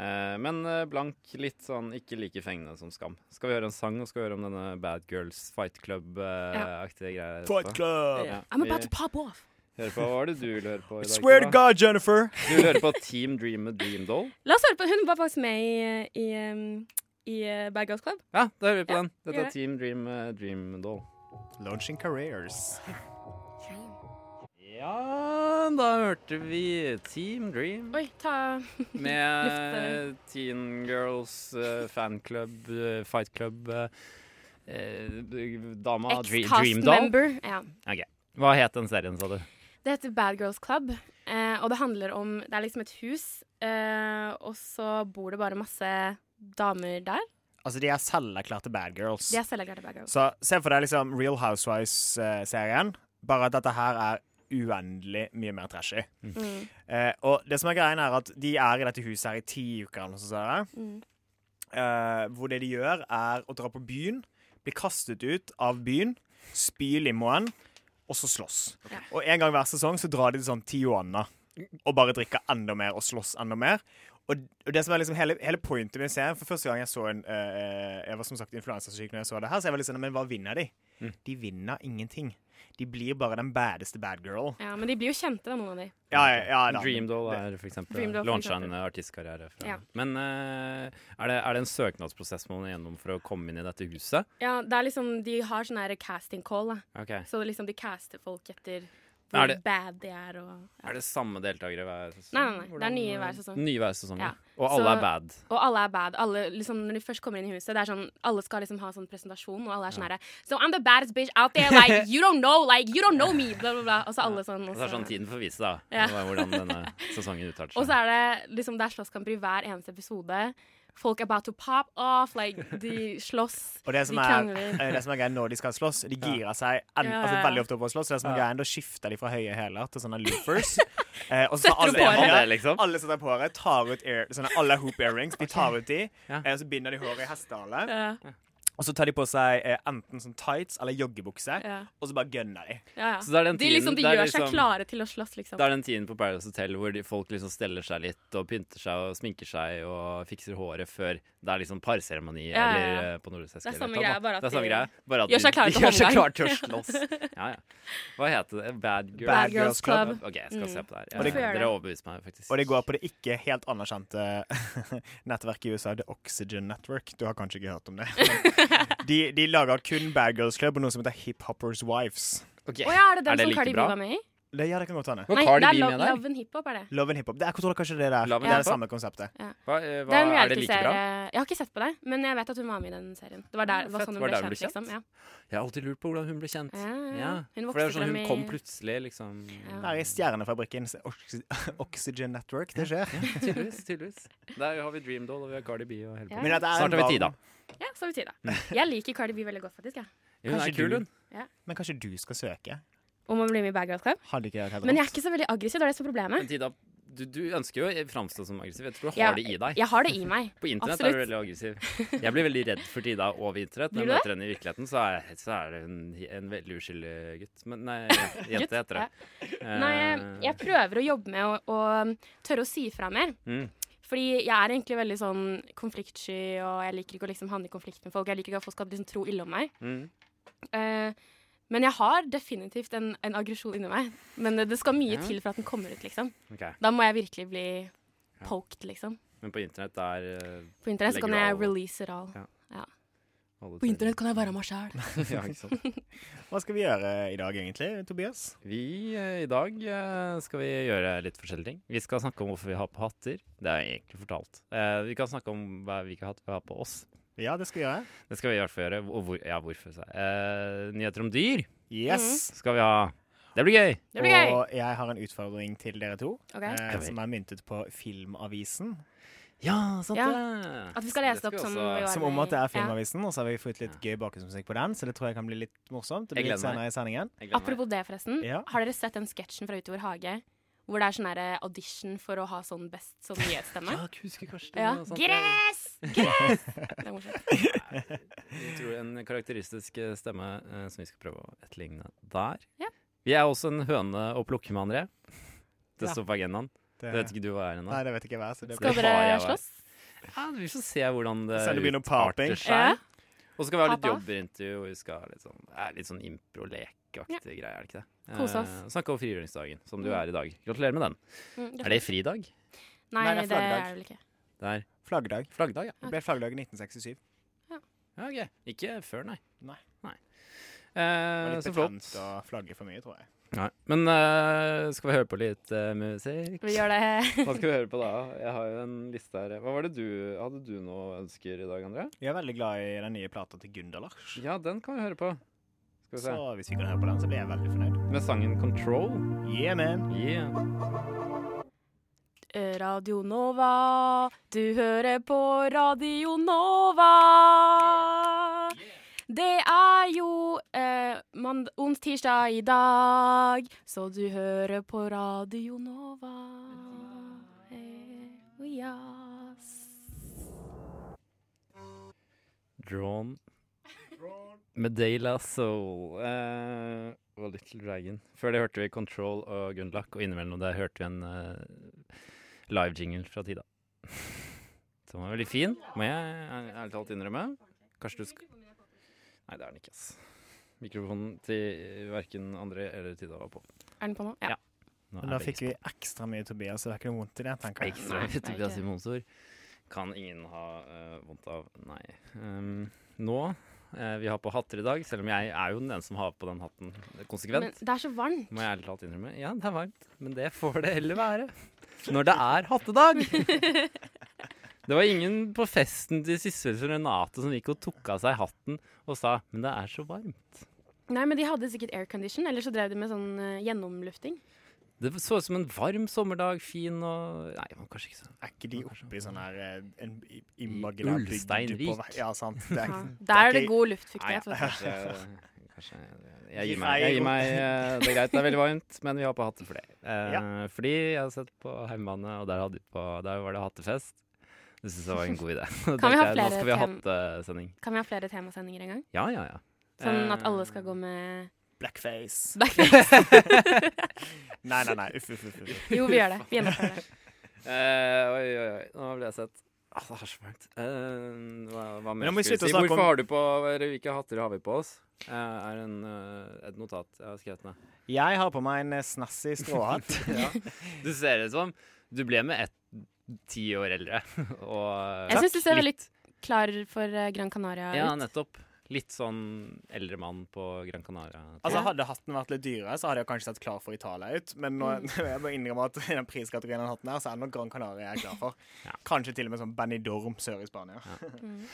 Speaker 3: Eh, men eh, blank, litt sånn ikke like fengende som Skam. Skal vi høre en sang, og skal vi høre om denne Bad Girls Fight Club-aktige greier?
Speaker 4: Fight
Speaker 3: etterpå?
Speaker 4: Club!
Speaker 3: Ja.
Speaker 1: I'm about
Speaker 3: Vi
Speaker 1: to pop off!
Speaker 3: hører på, Hva er det du vil høre på i dag?
Speaker 4: Swear to
Speaker 3: Tora?
Speaker 4: God, Jennifer!
Speaker 3: Du vil høre på Team Dream med Dream Doll?
Speaker 1: La oss høre på. Hun var faktisk med i, i, um, i uh, Bad Girls Club.
Speaker 3: Ja, da hører vi på
Speaker 1: Ja,
Speaker 3: den. Dette
Speaker 1: gjør
Speaker 3: er
Speaker 1: det.
Speaker 3: Team Dream med Dream Doll.
Speaker 4: Launching careers.
Speaker 3: Ja, da hørte vi Team Dream
Speaker 1: Oi, ta
Speaker 3: med
Speaker 1: Luft,
Speaker 3: Teen Girls eh, fanclub, eh, fight club eh, eh, Dama Dre- Dream
Speaker 1: Ex-cast
Speaker 3: Doll.
Speaker 1: member. Ja.
Speaker 3: Hva het den serien, sa du?
Speaker 1: Det heter Bad Girls Club, eh, og det handler om Det er liksom et hus, eh, og så bor det bare masse damer der.
Speaker 4: Altså, de er selverklærte bad girls.
Speaker 1: De er selverklærte bad girls.
Speaker 4: Så se for deg liksom Real Housewives-serien, bare at dette her er uendelig mye mer trashy.
Speaker 1: Mm.
Speaker 4: Eh, og det som er greien er at de er i dette huset her i ti uker, eller noe sånt. sånn.
Speaker 1: Mm.
Speaker 4: eh, hvor det de gjør, er å dra på byen, bli kastet ut av byen, spy i limoen, og så slåss.
Speaker 1: Ja.
Speaker 4: Og en gang hver sesong så drar de til sånn Tijuana og bare drikker enda mer og slåss enda mer. Og, og det som er liksom hele, hele pointet med serien For første gang jeg så en eh, Jeg var som sagt influensasyk når jeg så det her, så jeg var litt sånn Men hva vinner de? De vinner ingenting. De blir bare den badeste bad girl.
Speaker 1: Ja, men de blir jo kjente, da, noen av de.
Speaker 4: Ja, ja, ja, da.
Speaker 3: Dream Doll er for eksempel
Speaker 1: Dream Doll, for
Speaker 3: launcha en
Speaker 1: eksempel.
Speaker 3: eh, artistkarriere. Fra.
Speaker 1: Ja.
Speaker 3: Men eh, er, det, er det en søknadsprosess man må gjennom for å komme inn i dette huset?
Speaker 1: Ja, det er liksom, De har sånn her casting call, da.
Speaker 3: Ok.
Speaker 1: Så liksom de caster folk etter
Speaker 3: Er
Speaker 1: hvor
Speaker 3: det-
Speaker 1: bad de er og ja.
Speaker 3: Er det samme deltakere hver sesong?
Speaker 1: Nei, nei, nei. Det er
Speaker 3: Hvordan,
Speaker 1: nye hver
Speaker 3: eh,
Speaker 1: sesong.
Speaker 3: Nye hver sesong, ja.
Speaker 1: Ja.
Speaker 3: Og alle
Speaker 1: Så-
Speaker 3: er bad.
Speaker 1: Og alle er bad. Alle, liksom, når de først kommer inn i huset, det er sånn, alle skal liksom ha sånn presentasjon, og alle er sånn herre So I'm the baddest bitch out there, like you don't know, like you don't know me, bla, bla, bla. Og så alle sånn.
Speaker 3: Og så er det sånn tiden får vise, da.
Speaker 1: Ja.
Speaker 3: hva- Hvordan denne sesongen utarter
Speaker 1: Og så er det liksom, det er slåsskamper i hver eneste episode. folk about to pop off, like, de slåss,
Speaker 4: Og det som
Speaker 1: de
Speaker 4: er,
Speaker 1: krangler.
Speaker 4: eh, det som er greia når de skal slåss, de girer seg en,
Speaker 1: Ja, ja,
Speaker 4: altså,
Speaker 1: ja.
Speaker 4: veldig ofte opp å slåss. Så det som er
Speaker 3: Ja.
Speaker 4: greia, da skifter de fra høye hæler til sånne loafers. Eh, og så tar
Speaker 1: Setter
Speaker 4: alle,
Speaker 1: opp håret.
Speaker 4: ja,
Speaker 3: Det, liksom.
Speaker 4: alle setter på håret, tar ut ear, sånne, alle hoop earrings. De tar ut de,
Speaker 3: Ja.
Speaker 4: eh, og så binder de håret i hestehale.
Speaker 1: Ja,
Speaker 4: Og så tar de på seg eh, enten sånn tights eller joggebukse,
Speaker 1: ja,
Speaker 4: og så bare gunner de.
Speaker 1: ja,
Speaker 3: Så det er
Speaker 1: ja.
Speaker 3: den
Speaker 1: De,
Speaker 3: tiden-
Speaker 1: liksom, de
Speaker 3: det er
Speaker 1: gjør
Speaker 3: liksom-
Speaker 1: seg klare til å slåss, liksom.
Speaker 3: Det er den tiden på Paradise Hotel hvor de, folk liksom steller seg litt og pynter seg og sminker seg og fikser håret før det er liksom parseremoni
Speaker 1: Ja, ja, ja.
Speaker 3: eller eh, på Nordlys
Speaker 1: Det er samme greie, bare at
Speaker 3: det er samme
Speaker 1: de
Speaker 3: greie, bare at
Speaker 1: gjør seg klare
Speaker 3: de,
Speaker 1: til
Speaker 3: de gjør seg
Speaker 1: håndgang.
Speaker 3: klare til å slåss. Ja, ja. Hva heter det? Bad Girl?
Speaker 4: Bad Girls Club.
Speaker 3: Ok, jeg skal
Speaker 1: Mm.
Speaker 3: se på det her.
Speaker 4: Og det-
Speaker 3: Eh, Dere overbeviste meg faktisk.
Speaker 4: Og det går på det ikke helt anerkjente nettverket i USA, The Oxygen Network. Du har kanskje ikke hørt om det. Men De, de lager kun Bad Girls Club og noe som heter Hip Hoppers Wives.
Speaker 3: Ok.
Speaker 1: Å ja, er det den
Speaker 3: Er det
Speaker 1: som
Speaker 3: like
Speaker 1: Cardi B
Speaker 3: bra?
Speaker 1: var med i?
Speaker 4: Det, ja, det kan godt hende.
Speaker 3: Var
Speaker 1: Nei,
Speaker 3: Cardi
Speaker 1: det er
Speaker 3: B
Speaker 1: Lo-
Speaker 3: med der?
Speaker 1: Love and Hiphop, er det?
Speaker 4: Love and hiphop. Det, jeg tror kanskje det er der.
Speaker 3: Love
Speaker 4: Det
Speaker 3: and
Speaker 4: er det
Speaker 3: hiphop?
Speaker 4: samme konseptet.
Speaker 3: Hva, eh,
Speaker 1: Det
Speaker 3: hva,
Speaker 1: er en
Speaker 3: er det like bra?
Speaker 1: realityserie. Jeg har ikke sett på det, men jeg vet at hun var med i den serien. Det var der,
Speaker 3: Ja,
Speaker 1: var
Speaker 3: fett.
Speaker 1: sånn hun
Speaker 3: Var
Speaker 1: ble
Speaker 3: der hun
Speaker 1: kjent,
Speaker 3: ble
Speaker 1: liksom. Ja.
Speaker 3: Jeg har alltid lurt på hvordan hun ble kjent.
Speaker 1: Ja, ja. Hun
Speaker 3: For det
Speaker 1: vokste
Speaker 3: er sånn
Speaker 1: frem
Speaker 3: hun
Speaker 1: i-
Speaker 3: kom plutselig, liksom.
Speaker 1: Ja.
Speaker 4: Der i Stjernefabrikken. se Oxy Oxygen Network. Det skjer.
Speaker 3: Tydeligvis. tydeligvis. Der har vi Dream Doll, og vi har Cardi B og hele
Speaker 1: Ja.
Speaker 4: Men dette er
Speaker 3: Snart
Speaker 4: en
Speaker 3: har vi
Speaker 4: verden-
Speaker 3: Tida.
Speaker 1: ja, så betyr det. Jeg liker Cardi B veldig godt, faktisk. Ja.
Speaker 3: Hun
Speaker 4: Kanskje
Speaker 3: er kul, hun.
Speaker 4: du- Men kanskje du skal søke?
Speaker 1: Om å bli med i Bad Girls Club.
Speaker 4: Hadde ikke jeg helt
Speaker 1: Men jeg er
Speaker 4: rått.
Speaker 1: ikke så veldig aggressiv, det er det som er
Speaker 3: Men
Speaker 1: problemet.
Speaker 3: Tida, du, du ønsker jo å framstå som aggressiv. Jeg tror du
Speaker 1: Ja,
Speaker 3: har det i deg.
Speaker 1: Jeg har det i meg.
Speaker 3: På internett er du
Speaker 1: absolutt.
Speaker 3: veldig aggressiv. Jeg blir veldig redd for Tida over internett. Når
Speaker 1: Blir
Speaker 3: jeg
Speaker 1: du det?
Speaker 3: møter henne i virkeligheten, så er, så er det en, en veldig uskyldig gutt. Men nei, jente
Speaker 1: Gutt,
Speaker 3: jente heter det. Eh,
Speaker 1: Nei, jeg prøver å jobbe med å, å tørre å si fra mer.
Speaker 3: Mm.
Speaker 1: Fordi jeg er egentlig veldig sånn konfliktsky, og jeg liker ikke å liksom havne i konflikt med folk. Jeg liker ikke at folk skal liksom tro ille om meg.
Speaker 3: Mm.
Speaker 1: Eh, men jeg har definitivt en, en aggresjon inni meg. Men det, det skal mye
Speaker 3: Ja.
Speaker 1: til for at den kommer ut, liksom.
Speaker 3: ok.
Speaker 1: Da må jeg virkelig bli poked, liksom.
Speaker 3: Men på internett er eh,
Speaker 1: På internett så kan
Speaker 3: Legger
Speaker 1: jeg
Speaker 3: all-
Speaker 1: release it all.
Speaker 3: alle
Speaker 1: På internett kan jeg være meg sjæl.
Speaker 3: ja, ikke sant.
Speaker 4: Hva skal vi gjøre i dag egentlig, Tobias?
Speaker 3: Vi eh, i dag eh, skal vi gjøre litt forskjellige ting. Vi skal snakke om hvorfor vi har på hatter. Det er egentlig fortalt. Eh, vi kan snakke om hva vi ikke har hatt, vi har på oss.
Speaker 4: Ja, det skal vi gjøre.
Speaker 3: Det skal vi i hvert fall gjøre. Og hvor, ja, hvorfor. sa jeg. Eh, nyheter om dyr
Speaker 4: Yes.
Speaker 3: skal vi ha. Det blir gøy!
Speaker 1: Mm, Det blir gøy!
Speaker 4: Og jeg har en utfordring til dere to,
Speaker 1: Ok.
Speaker 4: eh,
Speaker 3: Ok.
Speaker 4: som er myntet på Filmavisen.
Speaker 3: Ja, sant
Speaker 1: Ja.
Speaker 3: det.
Speaker 1: At vi skal lese det opp som vi var
Speaker 4: Som om at det er
Speaker 1: i- ja.
Speaker 4: Filmavisen, og så har vi fått litt gøy bakgrunnsmusikk på den, så det tror jeg kan bli litt morsomt. Det
Speaker 3: Jeg
Speaker 4: blir litt
Speaker 3: gleder
Speaker 4: senere i sendingen.
Speaker 1: Apropos det, forresten.
Speaker 4: Ja.
Speaker 1: Har dere sett den sketsjen fra Utover hage? Hvor det er sånn derre audition for å ha sånn best sånn nyhetsstemme?
Speaker 3: Ja, husker Karsten.
Speaker 1: Ja.
Speaker 3: og sånt.
Speaker 1: Gress! Gress! Sånn Det er morsomt.
Speaker 3: Jeg tror en karakteristisk eh, stemme eh, som vi skal prøve å etterligne der.
Speaker 1: Ja.
Speaker 3: Vi er også en høne å plukke med, André. Det
Speaker 4: Ja.
Speaker 3: står på agendaen.
Speaker 4: Det,
Speaker 3: Det vet ikke du hva er ennå.
Speaker 4: Nei, det vet ikke jeg hva er, så det
Speaker 1: Skal
Speaker 4: blir
Speaker 3: Det har
Speaker 1: dere
Speaker 3: jeg vært.
Speaker 1: slåss?
Speaker 3: Ja, vi får se hvordan det
Speaker 4: Så det blir noe
Speaker 3: utarter
Speaker 4: paping.
Speaker 1: Ja.
Speaker 3: seg. Og så skal vi ha litt
Speaker 1: Papa.
Speaker 3: jobberintervju, og vi skal ha litt sånn, det er litt sånn impro-lekaktig greie, er det ikke det?
Speaker 1: Kose oss.
Speaker 3: Eh, snakke om frigjøringsdagen, som du er i dag. Gratulerer med den.
Speaker 1: Mm,
Speaker 3: Er det fridag?
Speaker 4: Nei, det
Speaker 1: Nei,
Speaker 4: er
Speaker 1: det er det
Speaker 4: flaggdag.
Speaker 1: vel ikke.
Speaker 3: Det er
Speaker 4: flaggdag.
Speaker 3: flaggdag, ja.
Speaker 4: Det ble flaggdag i 1967.
Speaker 3: Ja, ok. Ikke før, nei.
Speaker 4: Nei. Det
Speaker 3: Eh,
Speaker 4: var litt
Speaker 3: så flott.
Speaker 4: betent å flagge for mye, tror jeg.
Speaker 3: Nei. Men eh, skal vi høre på litt eh, musikk?
Speaker 1: Vi gjør det.
Speaker 3: Hva skal vi høre på da? Jeg har jo en liste her. Hva var det du Hadde du noe ønsker i dag, André?
Speaker 4: Vi er veldig glad i den nye plata til Gunda Lars.
Speaker 3: Ja, den kan vi høre på. Skal vi
Speaker 4: Så
Speaker 3: se.
Speaker 4: hvis vi kan høre på den, så blir jeg veldig fornøyd.
Speaker 3: Med sangen 'Control'.
Speaker 4: Yeah, man.
Speaker 3: Yeah.
Speaker 1: Radio Nova, du hører på Radio Nova. Det er jo eh, mand- ons- tirsdag i dag, så du hører på Radio Nova. Eh, yes.
Speaker 3: Drawn med Dayla Soul eh, og Little Dragon. Før det hørte vi Control og Gunlock, og innimellom der hørte vi en eh, live jingle fra Tida. Som var veldig fin, må jeg æ- ærlig talt innrømme. Kanskje du skal Nei, det er den ikke, ass. Mikrofonen til verken André eller Tida var på.
Speaker 1: Er den på nå?
Speaker 3: Ja.
Speaker 1: Ja.
Speaker 3: Nå
Speaker 4: Men da fikk vi ekstra mye Tobias, så det er ikke noe vondt i det, tenker jeg.
Speaker 3: Ekstra
Speaker 1: Nei, det er
Speaker 3: Tobias
Speaker 1: ikke det.
Speaker 3: Simonsord kan ingen ha eh, vondt av. Nei. Ehm, nå eh, Vi har på hatter i dag, selv om jeg er jo den eneste som har på den hatten
Speaker 1: Men
Speaker 3: konsekvent.
Speaker 1: det er så varmt.
Speaker 3: må jeg ærlig talt innrømme. Ja, det er varmt, men det får det heller være. Når det er hattedag! Det var ingen på festen til Sissel Renate som gikk og tok av seg hatten og sa 'men det er så varmt'.
Speaker 1: Nei, men de hadde sikkert aircondition, eller så drev de med sånn eh, gjennomlufting.
Speaker 3: Det så ut som en varm sommerdag, fin og Nei, det var kanskje ikke sånn.
Speaker 4: Er ikke de oppe i sånn her eh, en i-
Speaker 3: I
Speaker 4: imaginær bygd
Speaker 3: Ulsteinvik.
Speaker 4: på vei- Ja, sant. Det er,
Speaker 1: Ja.
Speaker 4: det
Speaker 1: Der er det
Speaker 4: ikke-
Speaker 1: god
Speaker 3: Nei,
Speaker 1: luftfuktighet. vet du.
Speaker 3: kanskje,
Speaker 1: sånn.
Speaker 3: kanskje jeg,
Speaker 4: Gi
Speaker 3: gir meg, jeg
Speaker 4: meg-
Speaker 3: gir meg eh, Det er greit, det er veldig varmt, men vi har på hatter for det. Eh,
Speaker 4: Ja.
Speaker 3: Fordi jeg har sett på hjemmebane, og der, hadde vi på, der var det hattefest. Det syns jeg var en god idé. Da
Speaker 1: Kan vi ha
Speaker 3: tenkte jeg, Nå skal vi ha
Speaker 1: flere
Speaker 3: hattesending.
Speaker 1: Kan vi ha flere temasendinger en gang?
Speaker 3: Ja, ja, ja.
Speaker 1: Sånn
Speaker 3: Eh,
Speaker 1: at alle skal gå med
Speaker 4: Blackface.
Speaker 1: blackface.
Speaker 4: Nei, nei, nei. Uff, uff, uff. uff.
Speaker 1: Jo, vi gjør det. Vi gjennomfører det.
Speaker 3: eh, oi, oi, oi. Nå ble jeg sett. Ah, det er så varmt. Eh, hva, hva
Speaker 4: nå
Speaker 3: mer
Speaker 4: må vi
Speaker 3: skal
Speaker 4: slutte å
Speaker 3: vi si?
Speaker 4: snakke om-
Speaker 3: Hvorfor har du på eller Hvilke hatter har vi på oss? Eh, er en, eh, et notat jeg har skrevet ned.
Speaker 4: Jeg har på meg en eh, snassy stråhatt.
Speaker 3: Du ser ut som du ble med ett ti år eldre. Og
Speaker 1: Jeg syns du ser veldig klar for eh, Gran Canaria
Speaker 3: Ja,
Speaker 1: ut.
Speaker 3: nettopp. Litt sånn eldre mann på Gran Canaria.
Speaker 4: Altså Hadde hatten vært litt dyrere, så hadde jeg kanskje sett klar for Italia ut. Men nå,
Speaker 3: Mm.
Speaker 4: jeg må innrømme at i den priskategorien den hatten her, så er det nok Gran Canaria jeg er klar for.
Speaker 3: Ja.
Speaker 4: Kanskje til og med sånn Benidorm sør i Spania.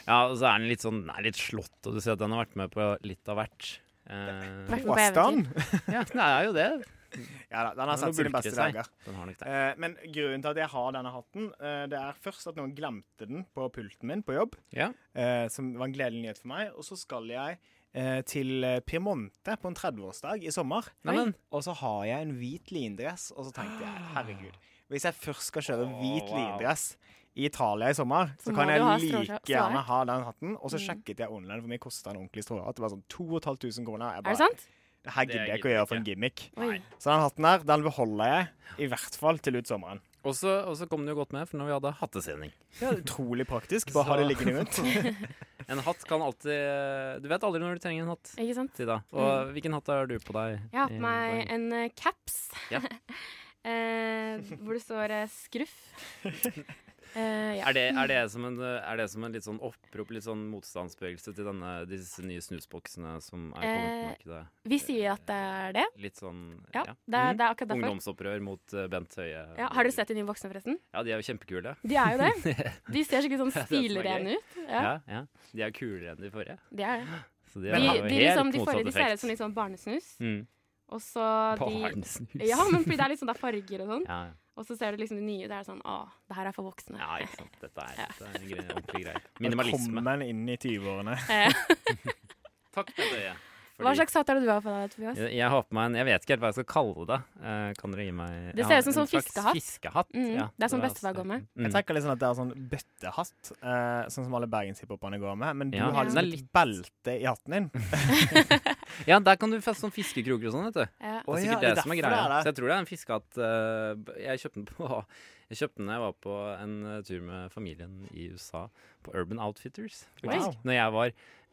Speaker 3: Ja, og så er den litt sånn den er litt slått, og du ser at den har vært med på litt av hvert. Eh,
Speaker 1: Vært med på eventyr.
Speaker 4: Påstand?
Speaker 3: ja, den er jo det.
Speaker 4: Ja da, den
Speaker 3: Nå
Speaker 4: har sett sine
Speaker 3: bulker det
Speaker 4: beste
Speaker 3: seg.
Speaker 4: dager.
Speaker 3: Den har nok det.
Speaker 4: Eh, men grunnen til at jeg har denne hatten, eh, det er først at noen glemte den på pulten min på jobb,
Speaker 3: Ja.
Speaker 4: eh, som var en gledelig nyhet for meg. Og så skal jeg eh, til eh, Piemonte på en 30-årsdag i sommer.
Speaker 3: Neimen,
Speaker 4: Og så har jeg en hvit lindress, og så tenkte jeg herregud, hvis jeg først skal kjøre
Speaker 3: Åh,
Speaker 4: hvit
Speaker 3: wow.
Speaker 4: lindress i Italia i sommer, så,
Speaker 1: Så må
Speaker 4: kan
Speaker 1: du ha
Speaker 4: jeg
Speaker 1: stråsja-
Speaker 4: like
Speaker 1: stråhatt.
Speaker 4: gjerne ha den hatten. Og så
Speaker 1: Mm.
Speaker 4: sjekket jeg online hvor mye kosta en ordentlig stråhatt. Det var sånn 2500 kroner. Jeg
Speaker 1: Er det
Speaker 4: bare,
Speaker 1: sant?
Speaker 4: det her
Speaker 3: Det
Speaker 4: gidder jeg
Speaker 3: gidder
Speaker 4: ikke å
Speaker 3: jeg
Speaker 4: gjøre for en gimmick.
Speaker 1: Oi.
Speaker 4: Så den hatten her, den beholder jeg i hvert fall til ut sommeren.
Speaker 3: og så og så kom den jo godt med, for når vi hadde hattesending.
Speaker 4: Ja, utrolig praktisk. Bare ha
Speaker 3: Så-
Speaker 4: det liggende rundt.
Speaker 3: En hatt kan alltid Du vet aldri når du trenger en hatt.
Speaker 1: Ikke sant?
Speaker 3: Sida. Og hvilken hatt har du på deg?
Speaker 1: Mm. Jeg har
Speaker 3: i
Speaker 1: på meg
Speaker 3: dag?
Speaker 1: en eh, caps
Speaker 3: Ja.
Speaker 1: eh, hvor det står eh, 'skruff'. Eh, ja.
Speaker 3: Er det, er, det som en, er det som en litt sånn opprop, litt sånn motstandsbevegelse til denne, disse nye snusboksene som er kommet på markedet?
Speaker 1: Vi sier at det er det.
Speaker 3: Litt sånn
Speaker 1: Eh, Ja,
Speaker 3: ja.
Speaker 1: det er,
Speaker 3: Mhm.
Speaker 1: det er akkurat derfor.
Speaker 3: Ungdomsopprør mot eh, Bent Høie.
Speaker 1: Ja, har dere sett de nye voksne, forresten?
Speaker 3: Ja, de er jo kjempekule.
Speaker 1: De er jo det. De ser skikkelig sånn
Speaker 3: Det er det som er
Speaker 1: stilrene ut.
Speaker 3: Ja.
Speaker 1: Ja,
Speaker 3: Ja, De er jo kulere enn de forrige.
Speaker 1: de er det.
Speaker 3: Så de
Speaker 1: De,
Speaker 3: har jo
Speaker 1: de,
Speaker 3: helt
Speaker 1: liksom, de,
Speaker 3: motsatt
Speaker 1: forrige, de ser ut
Speaker 3: effekt.
Speaker 1: som litt sånn barnesnus.
Speaker 3: mm.
Speaker 1: Og så de
Speaker 3: Barnesnus.
Speaker 1: Ja, men fordi det er litt sånn, det er farger og sånn.
Speaker 3: ja,
Speaker 1: Og så ser du liksom de nye. Det er sånn Å, det her er for voksne.
Speaker 3: ja, ikke sant. Dette er, dette er en gre- ordentlig greie. Minimalisme.
Speaker 4: Velkommen inn i 20-årene.
Speaker 1: Eh,
Speaker 3: Takk, Bent Høie.
Speaker 1: Hva
Speaker 3: Fordi-
Speaker 1: slags hatt er det du har på deg, Tobias?
Speaker 3: Jeg, jeg har på meg en Jeg vet ikke helt hva jeg skal kalle det. Eh, kan dere gi meg
Speaker 1: Det
Speaker 3: jeg
Speaker 1: ser
Speaker 3: har
Speaker 1: ut som
Speaker 3: en
Speaker 1: sånn
Speaker 3: slags
Speaker 1: fiskehatt.
Speaker 3: fiskehatt.
Speaker 1: Mm,
Speaker 3: ja.
Speaker 1: det er sånn
Speaker 3: også-
Speaker 1: bestefar går med.
Speaker 3: Mm.
Speaker 4: Jeg tenker litt sånn at det er sånn bøttehatt, eh, sånn som alle bergenshiphoperne går med. Men du
Speaker 3: Ja.
Speaker 4: har
Speaker 1: Ja.
Speaker 4: liksom
Speaker 3: Den er
Speaker 4: et belte i hatten din.
Speaker 3: Ja, der kan du feste sånn fiskekroker og sånn, vet du.
Speaker 1: Ja.
Speaker 3: Det er
Speaker 4: Å ja,
Speaker 3: sikkert
Speaker 4: det er
Speaker 3: det som er
Speaker 4: derfor det
Speaker 3: greia.
Speaker 4: er det.
Speaker 3: Så jeg tror det er en fiskehatt eh, b- Jeg kjøpte den på Jeg kjøpte den da jeg var på en eh, tur med familien i USA, på Urban Outfitters.
Speaker 4: Wow.
Speaker 3: Faktisk. Når jeg var eh,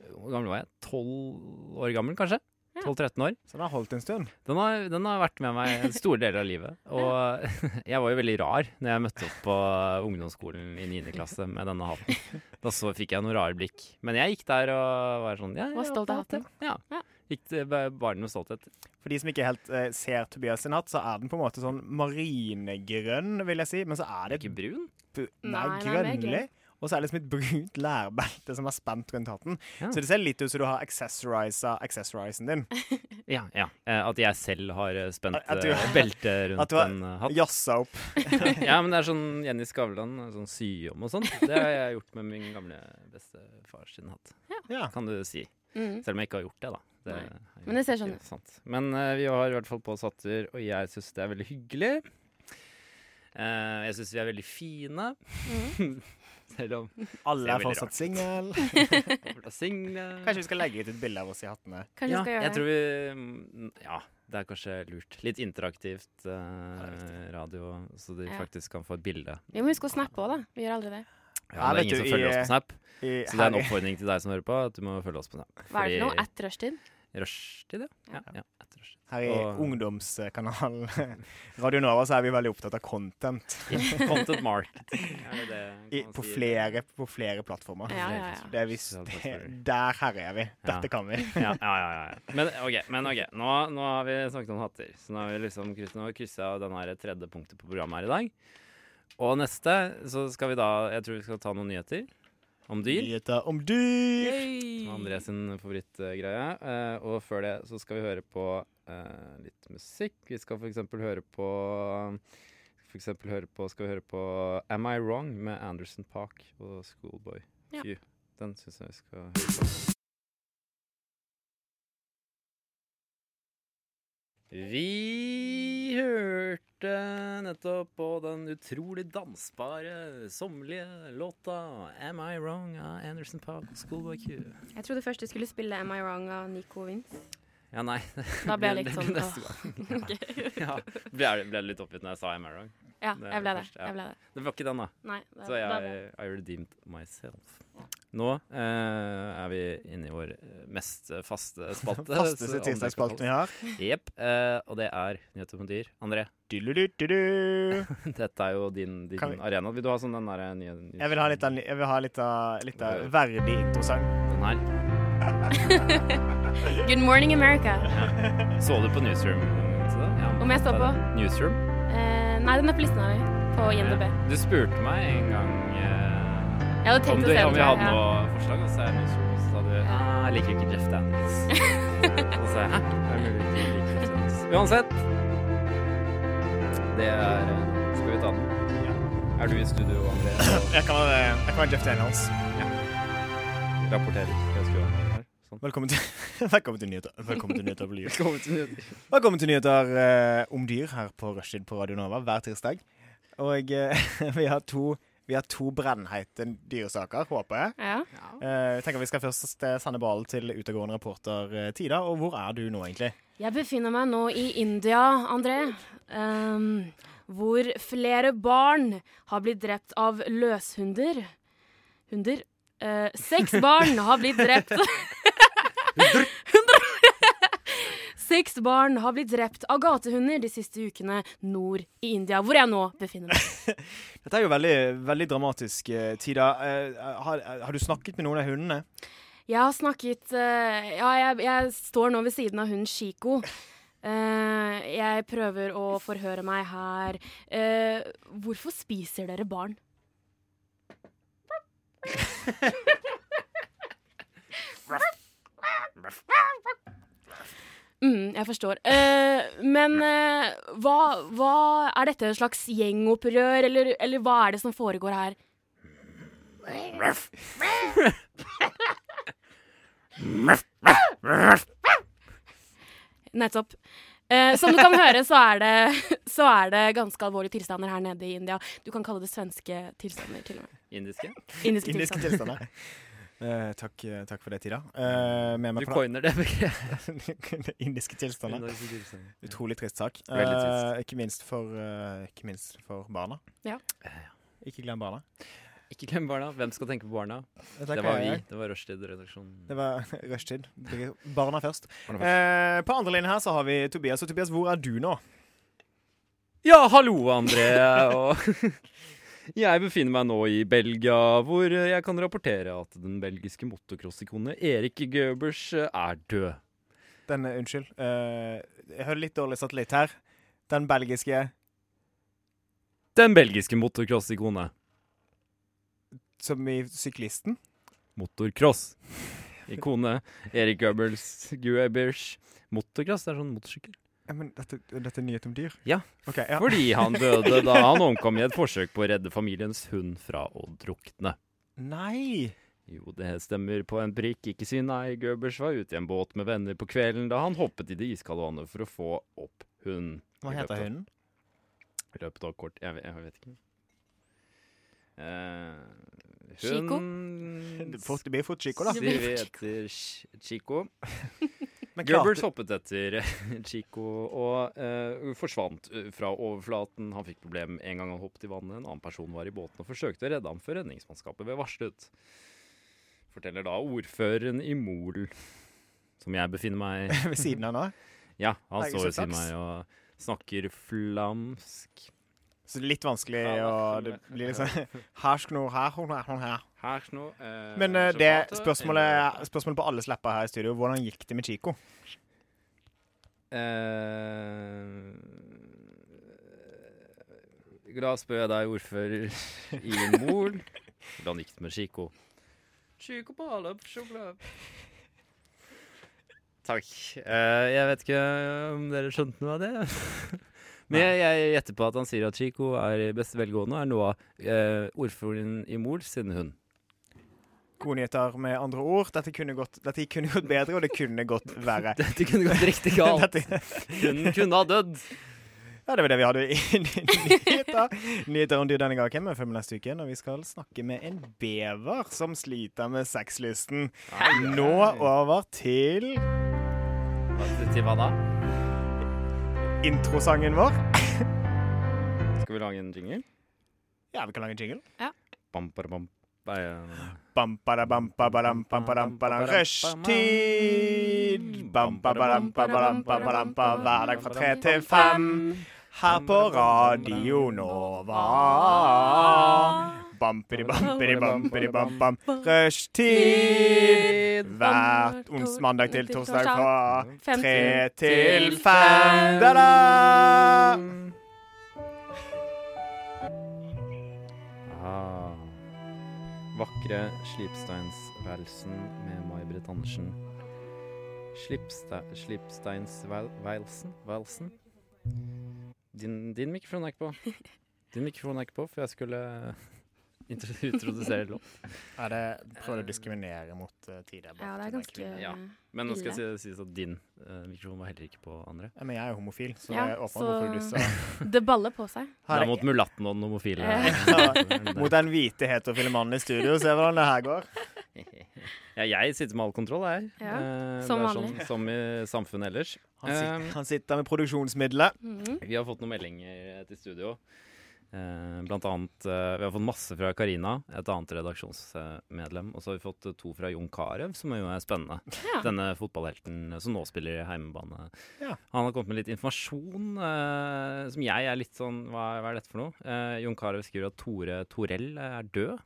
Speaker 3: Hvor gammel var jeg? 12 år gammel, kanskje?
Speaker 1: Ja.
Speaker 3: 12-13 år.
Speaker 4: Så den har holdt en stund.
Speaker 3: Den har, den har vært med meg store deler av livet. Og jeg var jo veldig rar når jeg møtte opp på ungdomsskolen i 9. klasse med denne hatten. Da så fikk jeg noen rare blikk. Men jeg gikk der og var sånn ja, jeg
Speaker 1: Var stolt av
Speaker 3: har hatt det.
Speaker 1: Ja.
Speaker 3: Ja. Gikk til barnet med stolthet.
Speaker 4: For de som ikke helt eh, ser Tobias sin hatt, så er den på en måte sånn marinegrønn, vil jeg si. Men så er det
Speaker 3: Ikke brun?
Speaker 4: bu- Nei,
Speaker 1: Nei, nei, det er
Speaker 4: grønnlig. Og så er det liksom et brunt lærbelte som er spent rundt hatten.
Speaker 3: Ja.
Speaker 4: Så det ser litt ut som du har accessorisa accessorisen din.
Speaker 3: Ja, ja. Eh, At jeg selv har eh, spent
Speaker 4: At du-
Speaker 3: eh, belte
Speaker 4: at
Speaker 3: rundt
Speaker 4: du har-
Speaker 3: en eh, hatt.
Speaker 4: Jazza opp.
Speaker 3: Ja, men det er sånn Jenny Skavlan, sånn sy om og sånn. Det har jeg gjort med min gamle bestefar sin hatt,
Speaker 4: Ja.
Speaker 3: kan du si.
Speaker 1: Mm.
Speaker 3: Selv om jeg ikke har gjort det, da. Det
Speaker 1: Nei.
Speaker 3: er jo
Speaker 1: Men det ser
Speaker 3: ikke
Speaker 1: sånn ut.
Speaker 3: Sant. Men eh, vi har i hvert fall på oss hatter, og jeg syns det er veldig hyggelig. Eh, jeg syns vi er veldig fine,
Speaker 1: Mm.
Speaker 3: selv om
Speaker 4: Alle
Speaker 3: Ser
Speaker 4: er
Speaker 3: veldig
Speaker 4: fortsatt single.
Speaker 3: vi er single.
Speaker 4: Kanskje vi skal legge ut et bilde av oss i hattene.
Speaker 1: Kanskje
Speaker 3: ja,
Speaker 1: vi skal gjøre
Speaker 3: jeg
Speaker 1: det.
Speaker 3: tror vi mm, Ja, det er kanskje lurt. Litt interaktivt eh, radio, så de
Speaker 1: Ja.
Speaker 3: faktisk kan få et bilde.
Speaker 1: Vi må huske å snappe òg, da. Vi gjør aldri det.
Speaker 3: Ja, det er
Speaker 4: vet
Speaker 3: ingen
Speaker 4: du,
Speaker 3: som
Speaker 4: i-
Speaker 3: følger oss på Snap,
Speaker 4: I-
Speaker 3: så det er en
Speaker 4: her i-
Speaker 3: oppfordring til deg som hører på, at du må følge oss på Snap.
Speaker 1: Hva er det for noe?
Speaker 3: Fordi-
Speaker 1: At rushtid?
Speaker 3: Rushtid, ja. ja, ja etter rushtid.
Speaker 4: Her i
Speaker 3: Og-
Speaker 4: ungdomskanalen Radio Nova så er vi veldig opptatt av content
Speaker 3: Ja, Content market. Er det det
Speaker 4: i,
Speaker 3: man
Speaker 4: på,
Speaker 3: sier?
Speaker 4: flere, på flere plattformer.
Speaker 1: Ja, ja, ja.
Speaker 4: Det er visst det, Der herjer vi. Dette kan vi.
Speaker 3: Ja, ja, ja, ja. Men ok, men ok. Nå, nå har vi snakket om hatter. Så nå har vi liksom kryss- nå har vi kryssa den her tredje punktet på programmet her i dag. Og neste så skal vi da Jeg tror vi skal ta noen nyheter. Og om dyr.
Speaker 4: Nyheter om dyr.
Speaker 1: Yay.
Speaker 3: André sin favorittgreie. Eh, og før det så skal vi høre på eh, litt musikk. Vi skal for eksempel høre på For eksempel høre på, skal vi høre på Am I Wrong med Anderson Park og Schoolboy
Speaker 1: Ja.
Speaker 3: Q. Den syns jeg vi skal høre på. Vi hørte nettopp på den utrolig dansbare, sommerlige låta 'Am I Wrong' av Anderson Park og Schoolboy Q.
Speaker 1: Jeg trodde først du skulle spille Am I Wrong av Nico Vince.
Speaker 3: Ja, nei.
Speaker 1: Da ble
Speaker 3: det
Speaker 1: jeg litt
Speaker 3: blir
Speaker 1: sånn
Speaker 3: neste gang. Ja. Ja. Ble, jeg- ble jeg litt oppgitt når jeg sa I'm wrong?
Speaker 1: Ja,
Speaker 3: Det er
Speaker 1: jeg ble det.
Speaker 3: først, ja.
Speaker 1: Jeg ble det.
Speaker 3: Det var ikke den, da.
Speaker 1: Nei, det,
Speaker 3: Så
Speaker 1: da-
Speaker 3: jeg I redeemed myself. Nå eh, er vi inne i vår eh, mest faste spalte.
Speaker 4: Fasteste tirsdagsspalten vi har.
Speaker 3: Jepp. Eh, og det er nyheter om dyr. André,
Speaker 4: Du-du-du-du-du.
Speaker 3: dette er jo din, din
Speaker 4: Kan vi-
Speaker 3: arena. Vil du ha sånn den derre nye
Speaker 4: Jeg vil ha litt av, jeg vil ha litt av, litt av verdig introsang.
Speaker 3: Den her.
Speaker 1: Good morning, America.
Speaker 3: Så du på Newsroom? Så det? Ja,
Speaker 1: Om jeg så
Speaker 3: det er
Speaker 1: på?
Speaker 3: det. Newsroom?
Speaker 1: Eh, nei, den er på listen her på INDB.
Speaker 3: Du spurte meg en gang eh,
Speaker 1: Jeg hadde
Speaker 3: Om,
Speaker 1: tenkt
Speaker 3: du,
Speaker 1: å se
Speaker 3: om vi hadde
Speaker 1: ja.
Speaker 3: noe forslag, og så er det noe som sa du «Ah, Jeg liker ikke Jeff Daniels. og så er jeg, hæ? Det er mulig du ikke liker Jeff Daniels. Uansett. Det er eh, Skal vi ta den? Er du i studio, André, og
Speaker 4: Jeg kan være, jeg kan være Jeff Daniels.
Speaker 3: rapporterer? Jeg skulle ha den her. Sånn.
Speaker 4: Velkommen til, velkommen til nyheter. Velkommen til nyheter, på liv.
Speaker 3: Velkommen til nyheter.
Speaker 4: Velkommen til nyheter eh, om dyr her på Rushtid på Radio Nova hver tirsdag. Og eh, vi har to, vi har to brennheite dyresaker, håper jeg.
Speaker 1: Ja.
Speaker 4: Eh, jeg tenker Vi skal først eh, sende ballen til utegående reporter eh, Tida. Og hvor er du nå, egentlig?
Speaker 1: Jeg befinner meg nå i India, André. ehm, hvor flere barn har blitt drept av løshunder. Hunder. Eh, seks barn har blitt drept Hundre. Seks barn har blitt drept av gatehunder de siste ukene nord i India, hvor jeg nå befinner meg.
Speaker 4: Dette er jo veldig, veldig dramatisk, eh, Tida. Eh, har, har du snakket med noen av hundene?
Speaker 1: Jeg har snakket eh, Ja, jeg, jeg står nå ved siden av hunden Chico. Eh, jeg prøver å forhøre meg her. Eh, hvorfor spiser dere barn? Mm, jeg forstår. Eh, men eh, hva, hva Er dette en slags gjengopprør, eller, eller hva er det som foregår her? Nettopp. Eh, som du kan høre, så er, det, så er det ganske alvorlige tilstander her nede i India. Du kan kalle det svenske tilstander, til og med.
Speaker 3: Indiske?
Speaker 1: Indiske
Speaker 4: Indiske
Speaker 1: tilstander.
Speaker 4: tilstander. Eh, takk, eh, takk for det, Tida. Eh, med
Speaker 3: Du
Speaker 4: meg på
Speaker 3: coiner det begrepet.
Speaker 4: Indiske tilstander.
Speaker 3: Indiske tilstander.
Speaker 4: Utrolig trist sak.
Speaker 3: Veldig trist.
Speaker 4: Eh, ikke, minst for, eh, ikke minst for barna.
Speaker 1: Ja.
Speaker 4: Ikke glem barna.
Speaker 3: Ikke glem barna. Hvem skal tenke på barna?
Speaker 4: Det
Speaker 3: Det
Speaker 4: tenker
Speaker 3: var vi.
Speaker 4: jeg.
Speaker 3: Det var Rushtid-redaksjonen.
Speaker 4: Det var rushtid. Barna først.
Speaker 3: Barna
Speaker 4: Eh, på andre linje her så har vi Tobias. Og Tobias, hvor er du nå?
Speaker 3: Ja, hallo, André. Og jeg befinner meg nå i Belgia, hvor jeg kan rapportere at den belgiske motocross-ikonet Erik Goebers er død.
Speaker 4: Den, eh, unnskyld. Eh, jeg hører litt dårlig satellitt her. Den belgiske
Speaker 3: Den belgiske motocross-ikonet.
Speaker 4: som i syklisten.
Speaker 3: Motorcross. Ikone Erik Goebers. Goebers. Motocross det er sånn motorsykkel.
Speaker 4: Ja, men dette, dette er nyhet om dyr?
Speaker 3: Ja.
Speaker 4: Ok, ja.
Speaker 3: Fordi han døde da han omkom i et forsøk på å redde familiens hund fra å drukne.
Speaker 4: Nei!
Speaker 3: Jo, det stemmer på en prikk. Ikke si nei. Goebers var ute i en båt med venner på kvelden da han hoppet i det iskalde vannet for å få opp hunden.
Speaker 4: Hva
Speaker 3: I løpet
Speaker 4: heter
Speaker 3: av-
Speaker 4: hunden?
Speaker 3: I løpet av kort Jeg, vet- jeg vet ikke. Eh,
Speaker 1: Chico?
Speaker 3: hun
Speaker 4: Fort, det blir fort Chico, da.
Speaker 1: Ja.
Speaker 3: Sier vi etter Ch- Chico.
Speaker 4: Men
Speaker 3: Goebbels
Speaker 4: klart,
Speaker 3: hoppet etter eh, Chico og eh, forsvant eh, fra overflaten. Han fikk problem en gang han hoppet i vannet. En annen person var i båten og forsøkte å redde ham før redningsmannskapet ble varslet. Forteller da ordføreren i Mol, som jeg befinner meg i.
Speaker 4: ved siden av nå.
Speaker 3: Ja, han
Speaker 4: Nei,
Speaker 3: står ved
Speaker 4: så
Speaker 3: siden av meg og snakker flamsk.
Speaker 4: Så det er litt vanskelig,
Speaker 3: Ja,
Speaker 4: og
Speaker 3: det
Speaker 4: det
Speaker 3: er
Speaker 4: blir liksom Her sknor, her, hun her, hun her.
Speaker 3: Her nå eh,
Speaker 4: Men eh, det
Speaker 3: resultatet-
Speaker 4: spørsmålet, spørsmålet på alles lepper her i studio, hvordan gikk det med Chico?
Speaker 3: Eh, Da spør jeg deg, ordfører i Mol, hvordan gikk det med Chico? Kyk på alle sjokolade. Takk. Eh, jeg vet ikke om dere skjønte noe av det. Men jeg, jeg gjetter på at han sier at Chico er i beste velgående og er noe av eh, ordføreren i Mol sin hund.
Speaker 4: Gode nyheter med andre ord. Dette kunne gått, dette kunne gått bedre, og det kunne gått verre.
Speaker 3: Dette kunne gått riktig galt.
Speaker 4: Dette,
Speaker 3: Hun kunne ha dødd.
Speaker 4: ja, det var det vi hadde i nyheter. Nyheter om dyr denne gangen, men følg med neste uke når vi skal snakke med en bever som sliter med sexlysten. Nå over til
Speaker 3: Til hva da?
Speaker 4: introsangen vår.
Speaker 3: Skal vi lage en jingle?
Speaker 4: Ja, vi kan lage en jingle.
Speaker 3: Bam, bam, bam. Nei, eh,
Speaker 4: Bam, bada, bam, ba, badam, bam, badam, badam. Rushtid! Bam, ba, badam, ba, badam, ba, badam, ba. Hver dag fra tre til fem. Her på Radio Nova. Bampidi-bampidi-bam-bam. Rushtid hver ons- mandag til torsdag fra
Speaker 1: Fem
Speaker 4: tre til fem. Da-da!
Speaker 3: Ah. Vakre Slipsteinsvelsen med May-Britt Andersen. Slipste, Slipsteinsvelsen? Velsen? Din, din mikrofon er ikke på. Din mikrofon er ikke på, for jeg skulle intro- introdusere låt.
Speaker 4: Ja, det prøver å diskriminere mot tider.
Speaker 1: Ja, det er ganske
Speaker 3: Ja. Men nå skal det si- sies at din eh, mikrofon var heller ikke på, Andre.
Speaker 4: Men jeg er jo homofil, så
Speaker 1: Ja,
Speaker 4: jeg åpner
Speaker 1: så-
Speaker 4: for du sa.
Speaker 1: Det baller på seg.
Speaker 3: Det er mot mulatten og den homofile.
Speaker 4: Mot den hvite heterofile mannen i studio, se hvordan det her går.
Speaker 3: Ja, jeg sitter med all kontroll her.
Speaker 1: Ja,
Speaker 3: Eh,
Speaker 1: som
Speaker 3: det er
Speaker 1: vanlig.
Speaker 3: Sånn, som i samfunnet ellers.
Speaker 4: Han, sit,
Speaker 3: Eh,
Speaker 4: han sitter med produksjonsmiddelet.
Speaker 1: Mhm.
Speaker 3: vi har fått noen meldinger til studio. Eh, blant annet eh, Vi har fått masse fra Karina, et annet redaksjonsmedlem. Og så har vi fått eh, to fra Jon Carew, som jo er spennende.
Speaker 1: Ja.
Speaker 3: Denne fotballhelten eh, som nå spiller i heimebane.
Speaker 4: Ja.
Speaker 3: Han har kommet med litt informasjon eh, som jeg er litt sånn Hva, hva er dette for noe? Eh, Jon Carew skriver at Tore Torell eh, er død.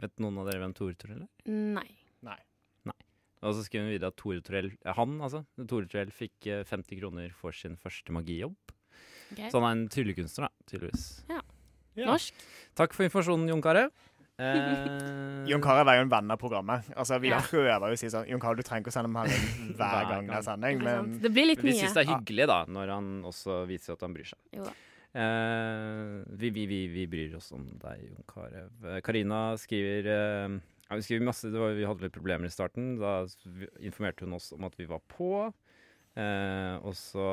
Speaker 3: Vet noen av dere hvem Tore Torell er?
Speaker 1: Nei.
Speaker 3: Og så skrev hun videre at Tore Torell, eh, han altså, Tore Torell fikk eh, 50 kroner for sin første magijobb.
Speaker 1: Ok.
Speaker 3: Så han er en tryllekunstner, da, tydeligvis.
Speaker 4: Ja.
Speaker 1: Norsk.
Speaker 3: Takk for informasjonen, Jon Carew. Eh,
Speaker 4: Jon Carew er jo en venn av programmet. Altså, Vi
Speaker 1: Ja.
Speaker 4: prøver jo å si sånn Jon Carew, du trenger ikke å sende melding hver gang det er sending,
Speaker 1: Ikke
Speaker 4: men
Speaker 1: sant? Det blir litt
Speaker 3: vi syns
Speaker 1: mye.
Speaker 3: det er hyggelig, da, når han også viser at han bryr seg.
Speaker 1: Jo da.
Speaker 3: Eh, vi, vi, vi, vi bryr oss om deg, Jon Carew. Eh, Karina skriver eh, ja, Hun skriver masse, det var, Vi hadde litt problemer i starten. Da s- vi- informerte hun oss om at vi var på. Eh, og så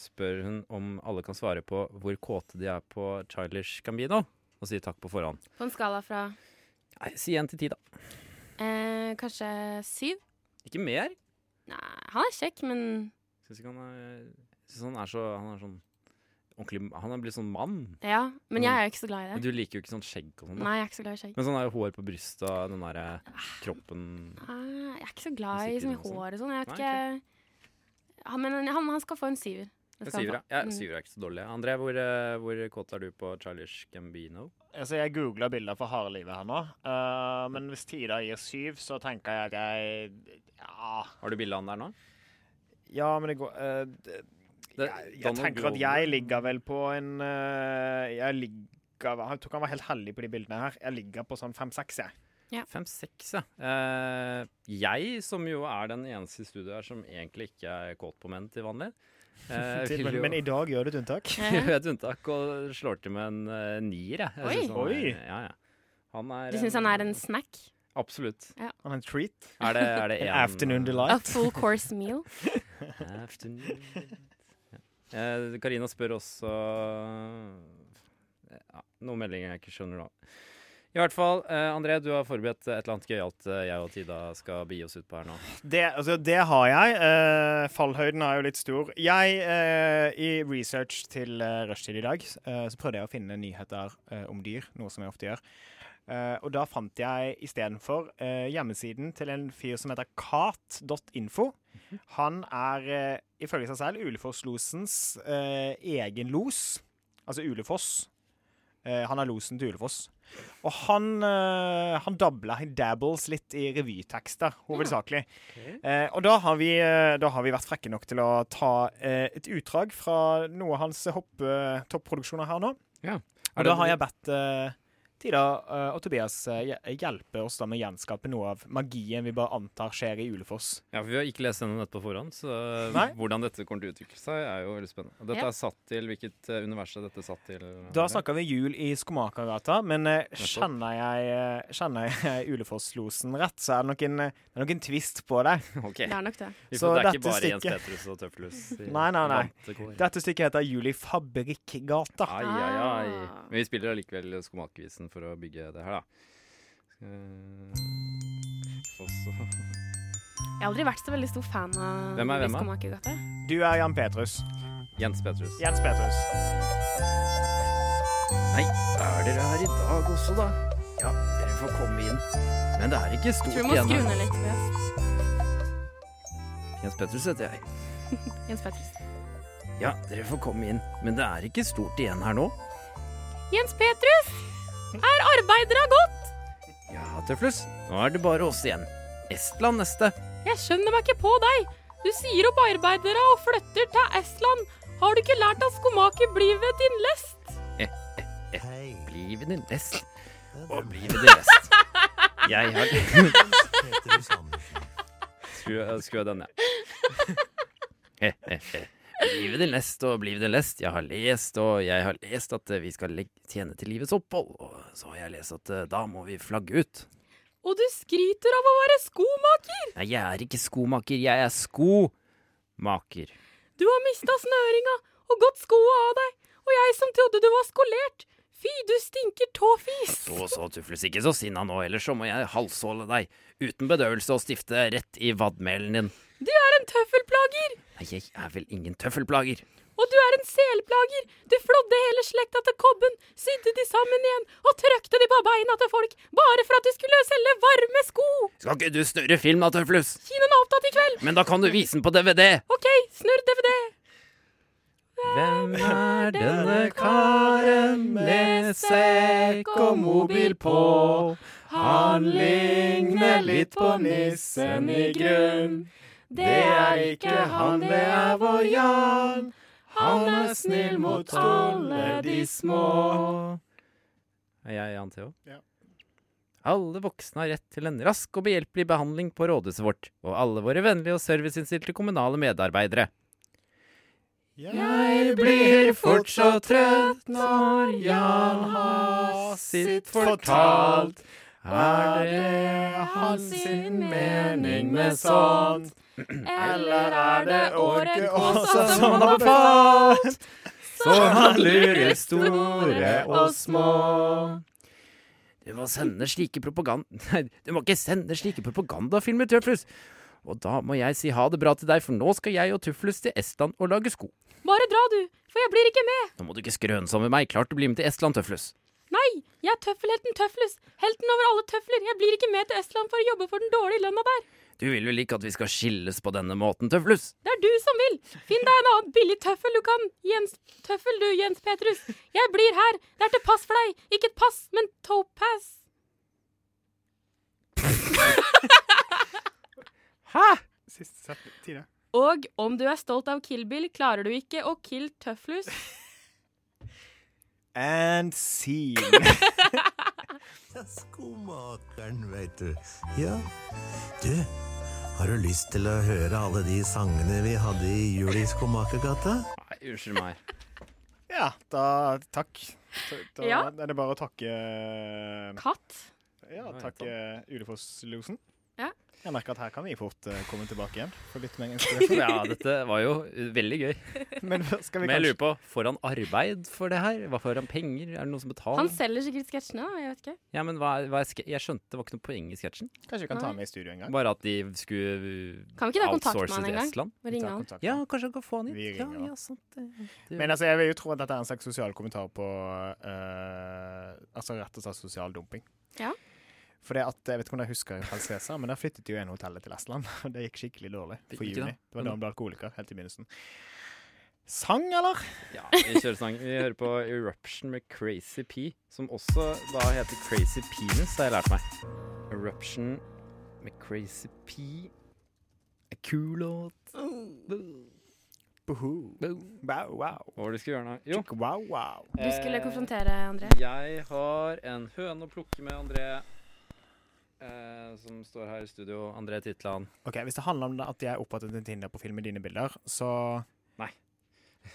Speaker 3: spør hun om alle kan svare på hvor kåte de er på Childish Gambino. Og sier takk på forhånd.
Speaker 1: På en skala fra
Speaker 3: Nei, Si én til ti, da.
Speaker 1: eh, kanskje syv.
Speaker 3: Ikke mer.
Speaker 1: Nei, han er kjekk, men
Speaker 3: Syns ikke han er, synes han er så Han er sånn ordentlig Han er blitt sånn mann.
Speaker 1: ja. Men jeg er jo ikke så glad i
Speaker 3: Men
Speaker 1: det.
Speaker 3: du liker jo ikke sånn skjegg og sånn. da.
Speaker 1: Nei, jeg er ikke så glad i skjegg.
Speaker 3: Men sånn er jo hår på brystet og den derre kroppen
Speaker 1: Nei, Ah, Jeg er ikke så glad i
Speaker 3: Musikken
Speaker 1: sånn,
Speaker 3: og sånn.
Speaker 1: hår og sånn. Jeg vet
Speaker 3: Nei,
Speaker 1: ikke han, Men han, han skal få en syver. Det
Speaker 3: En
Speaker 1: skal han
Speaker 3: syver,
Speaker 1: få.
Speaker 3: ja.
Speaker 1: Mm.
Speaker 3: ja syver er ikke så dårlig. André, hvor, eh, hvor kåt er du på Charlish Gambino?
Speaker 4: altså, Jeg googla bilder fra hardlivet her nå, eh, men hvis Tida gir syv, så tenker jeg at jeg Ja,
Speaker 3: Har du bilde av han der nå?
Speaker 4: ja men det går eh, det-
Speaker 3: Det-
Speaker 4: jeg, jeg
Speaker 3: Donald
Speaker 4: tenker at
Speaker 3: Glover.
Speaker 4: jeg ligger vel på en eh, Jeg ligger Jeg tror ikke han var helt heldig på de bildene her. Jeg ligger på sånn fem-seks, jeg.
Speaker 3: Fem-seks, ja. Eh, jeg, som jo er den eneste i studio her som egentlig ikke er kåt på menn til vanlig, eh,
Speaker 4: Til-
Speaker 3: vil jo
Speaker 4: Men i dag gjør du et unntak.
Speaker 3: gjøre et unntak og slår til med en eh, nier, jeg. jeg synes han
Speaker 4: Oi.
Speaker 3: er-
Speaker 4: Oi.
Speaker 3: Ja, ja. Han er
Speaker 1: Du syns han er en snack?
Speaker 3: Absolutt.
Speaker 4: Han er en treat.
Speaker 3: Er det, er det
Speaker 4: An
Speaker 3: en
Speaker 4: afternoon delight.
Speaker 1: A full course meal?
Speaker 3: Afternoon. Eh, Karina spør også ja, Noen meldinger jeg ikke skjønner nå. I hvert fall, eh, André, du har forberedt et eller annet gøyalt eh, jeg og Tida skal begi oss ut på her nå.
Speaker 4: Det, altså, det har jeg. Eh, fallhøyden er jo litt stor. Jeg, eh, I research til eh, rushtid i dag, eh, så prøvde jeg å finne nyheter eh, om dyr, noe som jeg ofte gjør. Eh, og da fant jeg istedenfor eh, hjemmesiden til en fyr som heter kat.info. Han er eh, ifølge seg selv Uleforslosens eh, egen los, altså Ulefoss. Eh, han er losen til Ulefoss. Og han, eh, han dabler, han dabbles litt i revytekster, hovedsakelig. Eh, og da har, vi, eh, da har vi vært frekke nok til å ta eh, et utdrag fra noe av hans hopp, eh, topproduksjoner eh, her nå.
Speaker 3: Ja.
Speaker 4: Og da har jeg bedt eh, Tida eh, og Tobias eh, hj- hjelper oss da med å gjenskape noe av magien vi bare antar skjer i Ulefoss.
Speaker 3: Ja, for Vi har ikke lest gjennom dette på forhånd, så
Speaker 4: Nei.
Speaker 3: hvordan dette kommer til å utvikle seg, er jo veldig spennende. Og Dette
Speaker 1: Ja.
Speaker 3: er satt til hvilket eh, univers er dette satt til?
Speaker 4: Da
Speaker 3: Are?
Speaker 4: snakker vi jul i Skomakergata, men eh, kjenner jeg, eh, kjenner jeg Ulefoss-losen rett, så er det nok en, eh, det er nok en twist på det.
Speaker 3: Ok.
Speaker 1: Det er nok det.
Speaker 3: Vi får,
Speaker 4: så
Speaker 3: det er ikke
Speaker 4: dette
Speaker 3: bare Jens
Speaker 4: stykket-
Speaker 3: Petrus og Tøffelhus. i-
Speaker 4: Nei, nei, nei.
Speaker 3: i Vantekår.
Speaker 4: Dette stykket heter Jul i Fabrikkgata.
Speaker 3: Ai, ai, ai.
Speaker 1: Ah.
Speaker 3: Men vi spiller allikevel Skomakervisen for å bygge det her, da. Eh, og så-
Speaker 1: Jeg har aldri vært så veldig stor fan av
Speaker 3: Hvem er hvem, da?
Speaker 1: Skomakergata.
Speaker 4: Du er Jan Petrus.
Speaker 3: Jens Petrus.
Speaker 4: Jens Petrus.
Speaker 3: Nei, er dere her i dag også, da? Ja, dere får komme inn. Men det er ikke stort
Speaker 1: Tror vi må
Speaker 3: igjen
Speaker 1: skru
Speaker 3: her.
Speaker 1: ned litt. Tobias.
Speaker 3: Jens Petrus heter jeg.
Speaker 1: Jens Petrus.
Speaker 3: Ja, dere får komme inn. Men det er ikke stort igjen her nå.
Speaker 1: Jens Petrus! Er arbeidere godt?
Speaker 3: Ja, Tøflus. Nå er det bare oss igjen. Estland neste.
Speaker 1: Jeg skjønner meg ikke på deg. Du sier opp arbeidere og flytter til Estland. Har du ikke lært at skomaker blir ved din lest?
Speaker 3: Bli ved din lest. Og bli ved din lest. Jeg har Skru, eh, skru av den, ja. Eh, eh, eh. Bli ved din lest og bli ved din lest. Jeg har lest og jeg har lest at eh, vi skal legge, tjene til livets opphold. Og så har jeg lest at eh, da må vi flagge ut.
Speaker 1: Og du skryter av å være skomaker.
Speaker 3: Nei, jeg er ikke skomaker, jeg er skomaker.
Speaker 1: Du har mista snøringa og gått skoa av deg. Og jeg som trodde du var skolert. Fy, du stinker tåfis.
Speaker 3: Så så, Tufles, ikke så sinna nå, ellers så må jeg halshåle deg uten bedøvelse og stifte rett i vadmelen din.
Speaker 1: Du er en tøffelplager.
Speaker 3: Nei, jeg er vel ingen tøffelplager.
Speaker 1: Og du er en selplager. Du flådde hele slekta til kobben, sydde de sammen igjen og trøkte de på beina til folk bare for at du skulle selge varme sko.
Speaker 3: Skal ikke du snurre film da, Tøflus?
Speaker 1: Kinoen er opptatt i kveld.
Speaker 3: Men da kan du vise den på DVD!
Speaker 1: OK, snurr DVD.
Speaker 3: Hvem er denne karen med sekk og mobil på? Han ligner litt på nissen i grunn.
Speaker 1: Det er ikke han, det er vår Jan. Han er snill mot alle de små.
Speaker 3: Er jeg Jan Theo?
Speaker 4: Ja.
Speaker 3: Alle voksne har rett til en rask og behjelpelig behandling på rådhuset vårt, og alle våre vennlige og serviceinnstilte kommunale medarbeidere. Jeg blir fort så trøtt når Jan har sitt fortalt. Er det hans sin mening med sånt?
Speaker 1: Eller er det året også
Speaker 4: også
Speaker 1: som har
Speaker 4: befalt?
Speaker 3: Så han lurer store og små. Du må sende slike propaganda... Nei, du må ikke sende slike propagandafilmer, Tøflus. Og da må jeg si ha det bra til deg, for nå skal jeg og Tøflus til Estland og lage sko.
Speaker 1: Bare dra, du, for jeg blir ikke med.
Speaker 3: Nå må du ikke skrøne sånn med meg. Klart du blir med til Estland, Tøflus.
Speaker 1: Nei, jeg er tøffelhelten Tøflus. Helten over alle tøfler. Jeg blir ikke med til Estland for å jobbe for den dårlige lønna der.
Speaker 3: Du vil vel ikke at vi skal skilles på denne måten, Tøflus?
Speaker 1: Det er du som vil. Finn deg en annen billig tøffel du kan. Jens Tøffel, du, Jens Petrus. Jeg blir her. Det er til pass for deg. Ikke et pass, men topaz.
Speaker 4: Siste tida.
Speaker 1: Og om du er stolt av Kill Bill, klarer du ikke å kill Tøfflus.
Speaker 4: And scene.
Speaker 5: Ja, skomakeren, veit du. Ja. Du, har du lyst til å høre alle de sangene vi hadde i jul i Skomakergata?
Speaker 3: Nei, unnskyld meg.
Speaker 4: Ja, da takk. Da, da
Speaker 1: Ja.
Speaker 4: er det bare å takke Ja,
Speaker 1: Katt.
Speaker 4: takke Ulefoss-losen.
Speaker 1: Ja.
Speaker 4: Jeg merker at her kan vi fort eh, komme tilbake igjen. For litt mer inspirasjon.
Speaker 3: Ja, dette var jo uh, veldig gøy. Men
Speaker 4: Men skal vi
Speaker 3: jeg
Speaker 4: kanskje
Speaker 3: lurer på, får han arbeid for det her? Hva får han penger? Er det noen som betaler?
Speaker 1: Han selger sikkert sketsjene, da. Jeg vet ikke.
Speaker 3: Ja, men hva, er- hva er ske jeg skjønte det var ikke noe poeng i sketsjen.
Speaker 4: Kanskje vi kan ta med i studio en gang?
Speaker 3: Bare at de skulle uh,
Speaker 1: Kan vi ikke ta kontakt med
Speaker 3: outsource
Speaker 1: han en
Speaker 3: til
Speaker 1: gang?
Speaker 3: Estland.
Speaker 1: Må ringe han.
Speaker 4: kontakt.
Speaker 3: Ja, kanskje han kan få han hit.
Speaker 4: Vi
Speaker 3: Ja,
Speaker 4: ringer han.
Speaker 3: ja, sant. eh. det. Det-
Speaker 4: Men altså, jeg vil jo tro at dette er en slags sosial kommentar på eh, Altså rett og slett sosial dumping.
Speaker 1: Ja.
Speaker 4: For det at, Jeg vet ikke om dere husker Hells Cæsar, men der flyttet jo en hotellet til Estland. Og det gikk skikkelig dårlig for
Speaker 3: Ikke da.
Speaker 4: juni.
Speaker 3: Mm.
Speaker 4: Det var da han ble alkoholiker, helt i begynnelsen. Sang, eller?
Speaker 3: ja, vi kjører sang. Vi hører på Eruption med Crazy P, som også da heter Crazy Penis, har jeg lært meg. Eruption med Crazy P. En Kul låt.
Speaker 4: Boho. Wow, wow.
Speaker 3: Hva var det du skulle gjøre nå? Jo.
Speaker 4: Chick, wow, wow.
Speaker 1: Du skulle
Speaker 3: eh,
Speaker 1: konfrontere André.
Speaker 3: Jeg har en høne å plukke med André, eh, som står her i studio. André Titland.
Speaker 4: Ok, Hvis det handler om det at jeg opprettet en Tinder-profil med dine bilder, så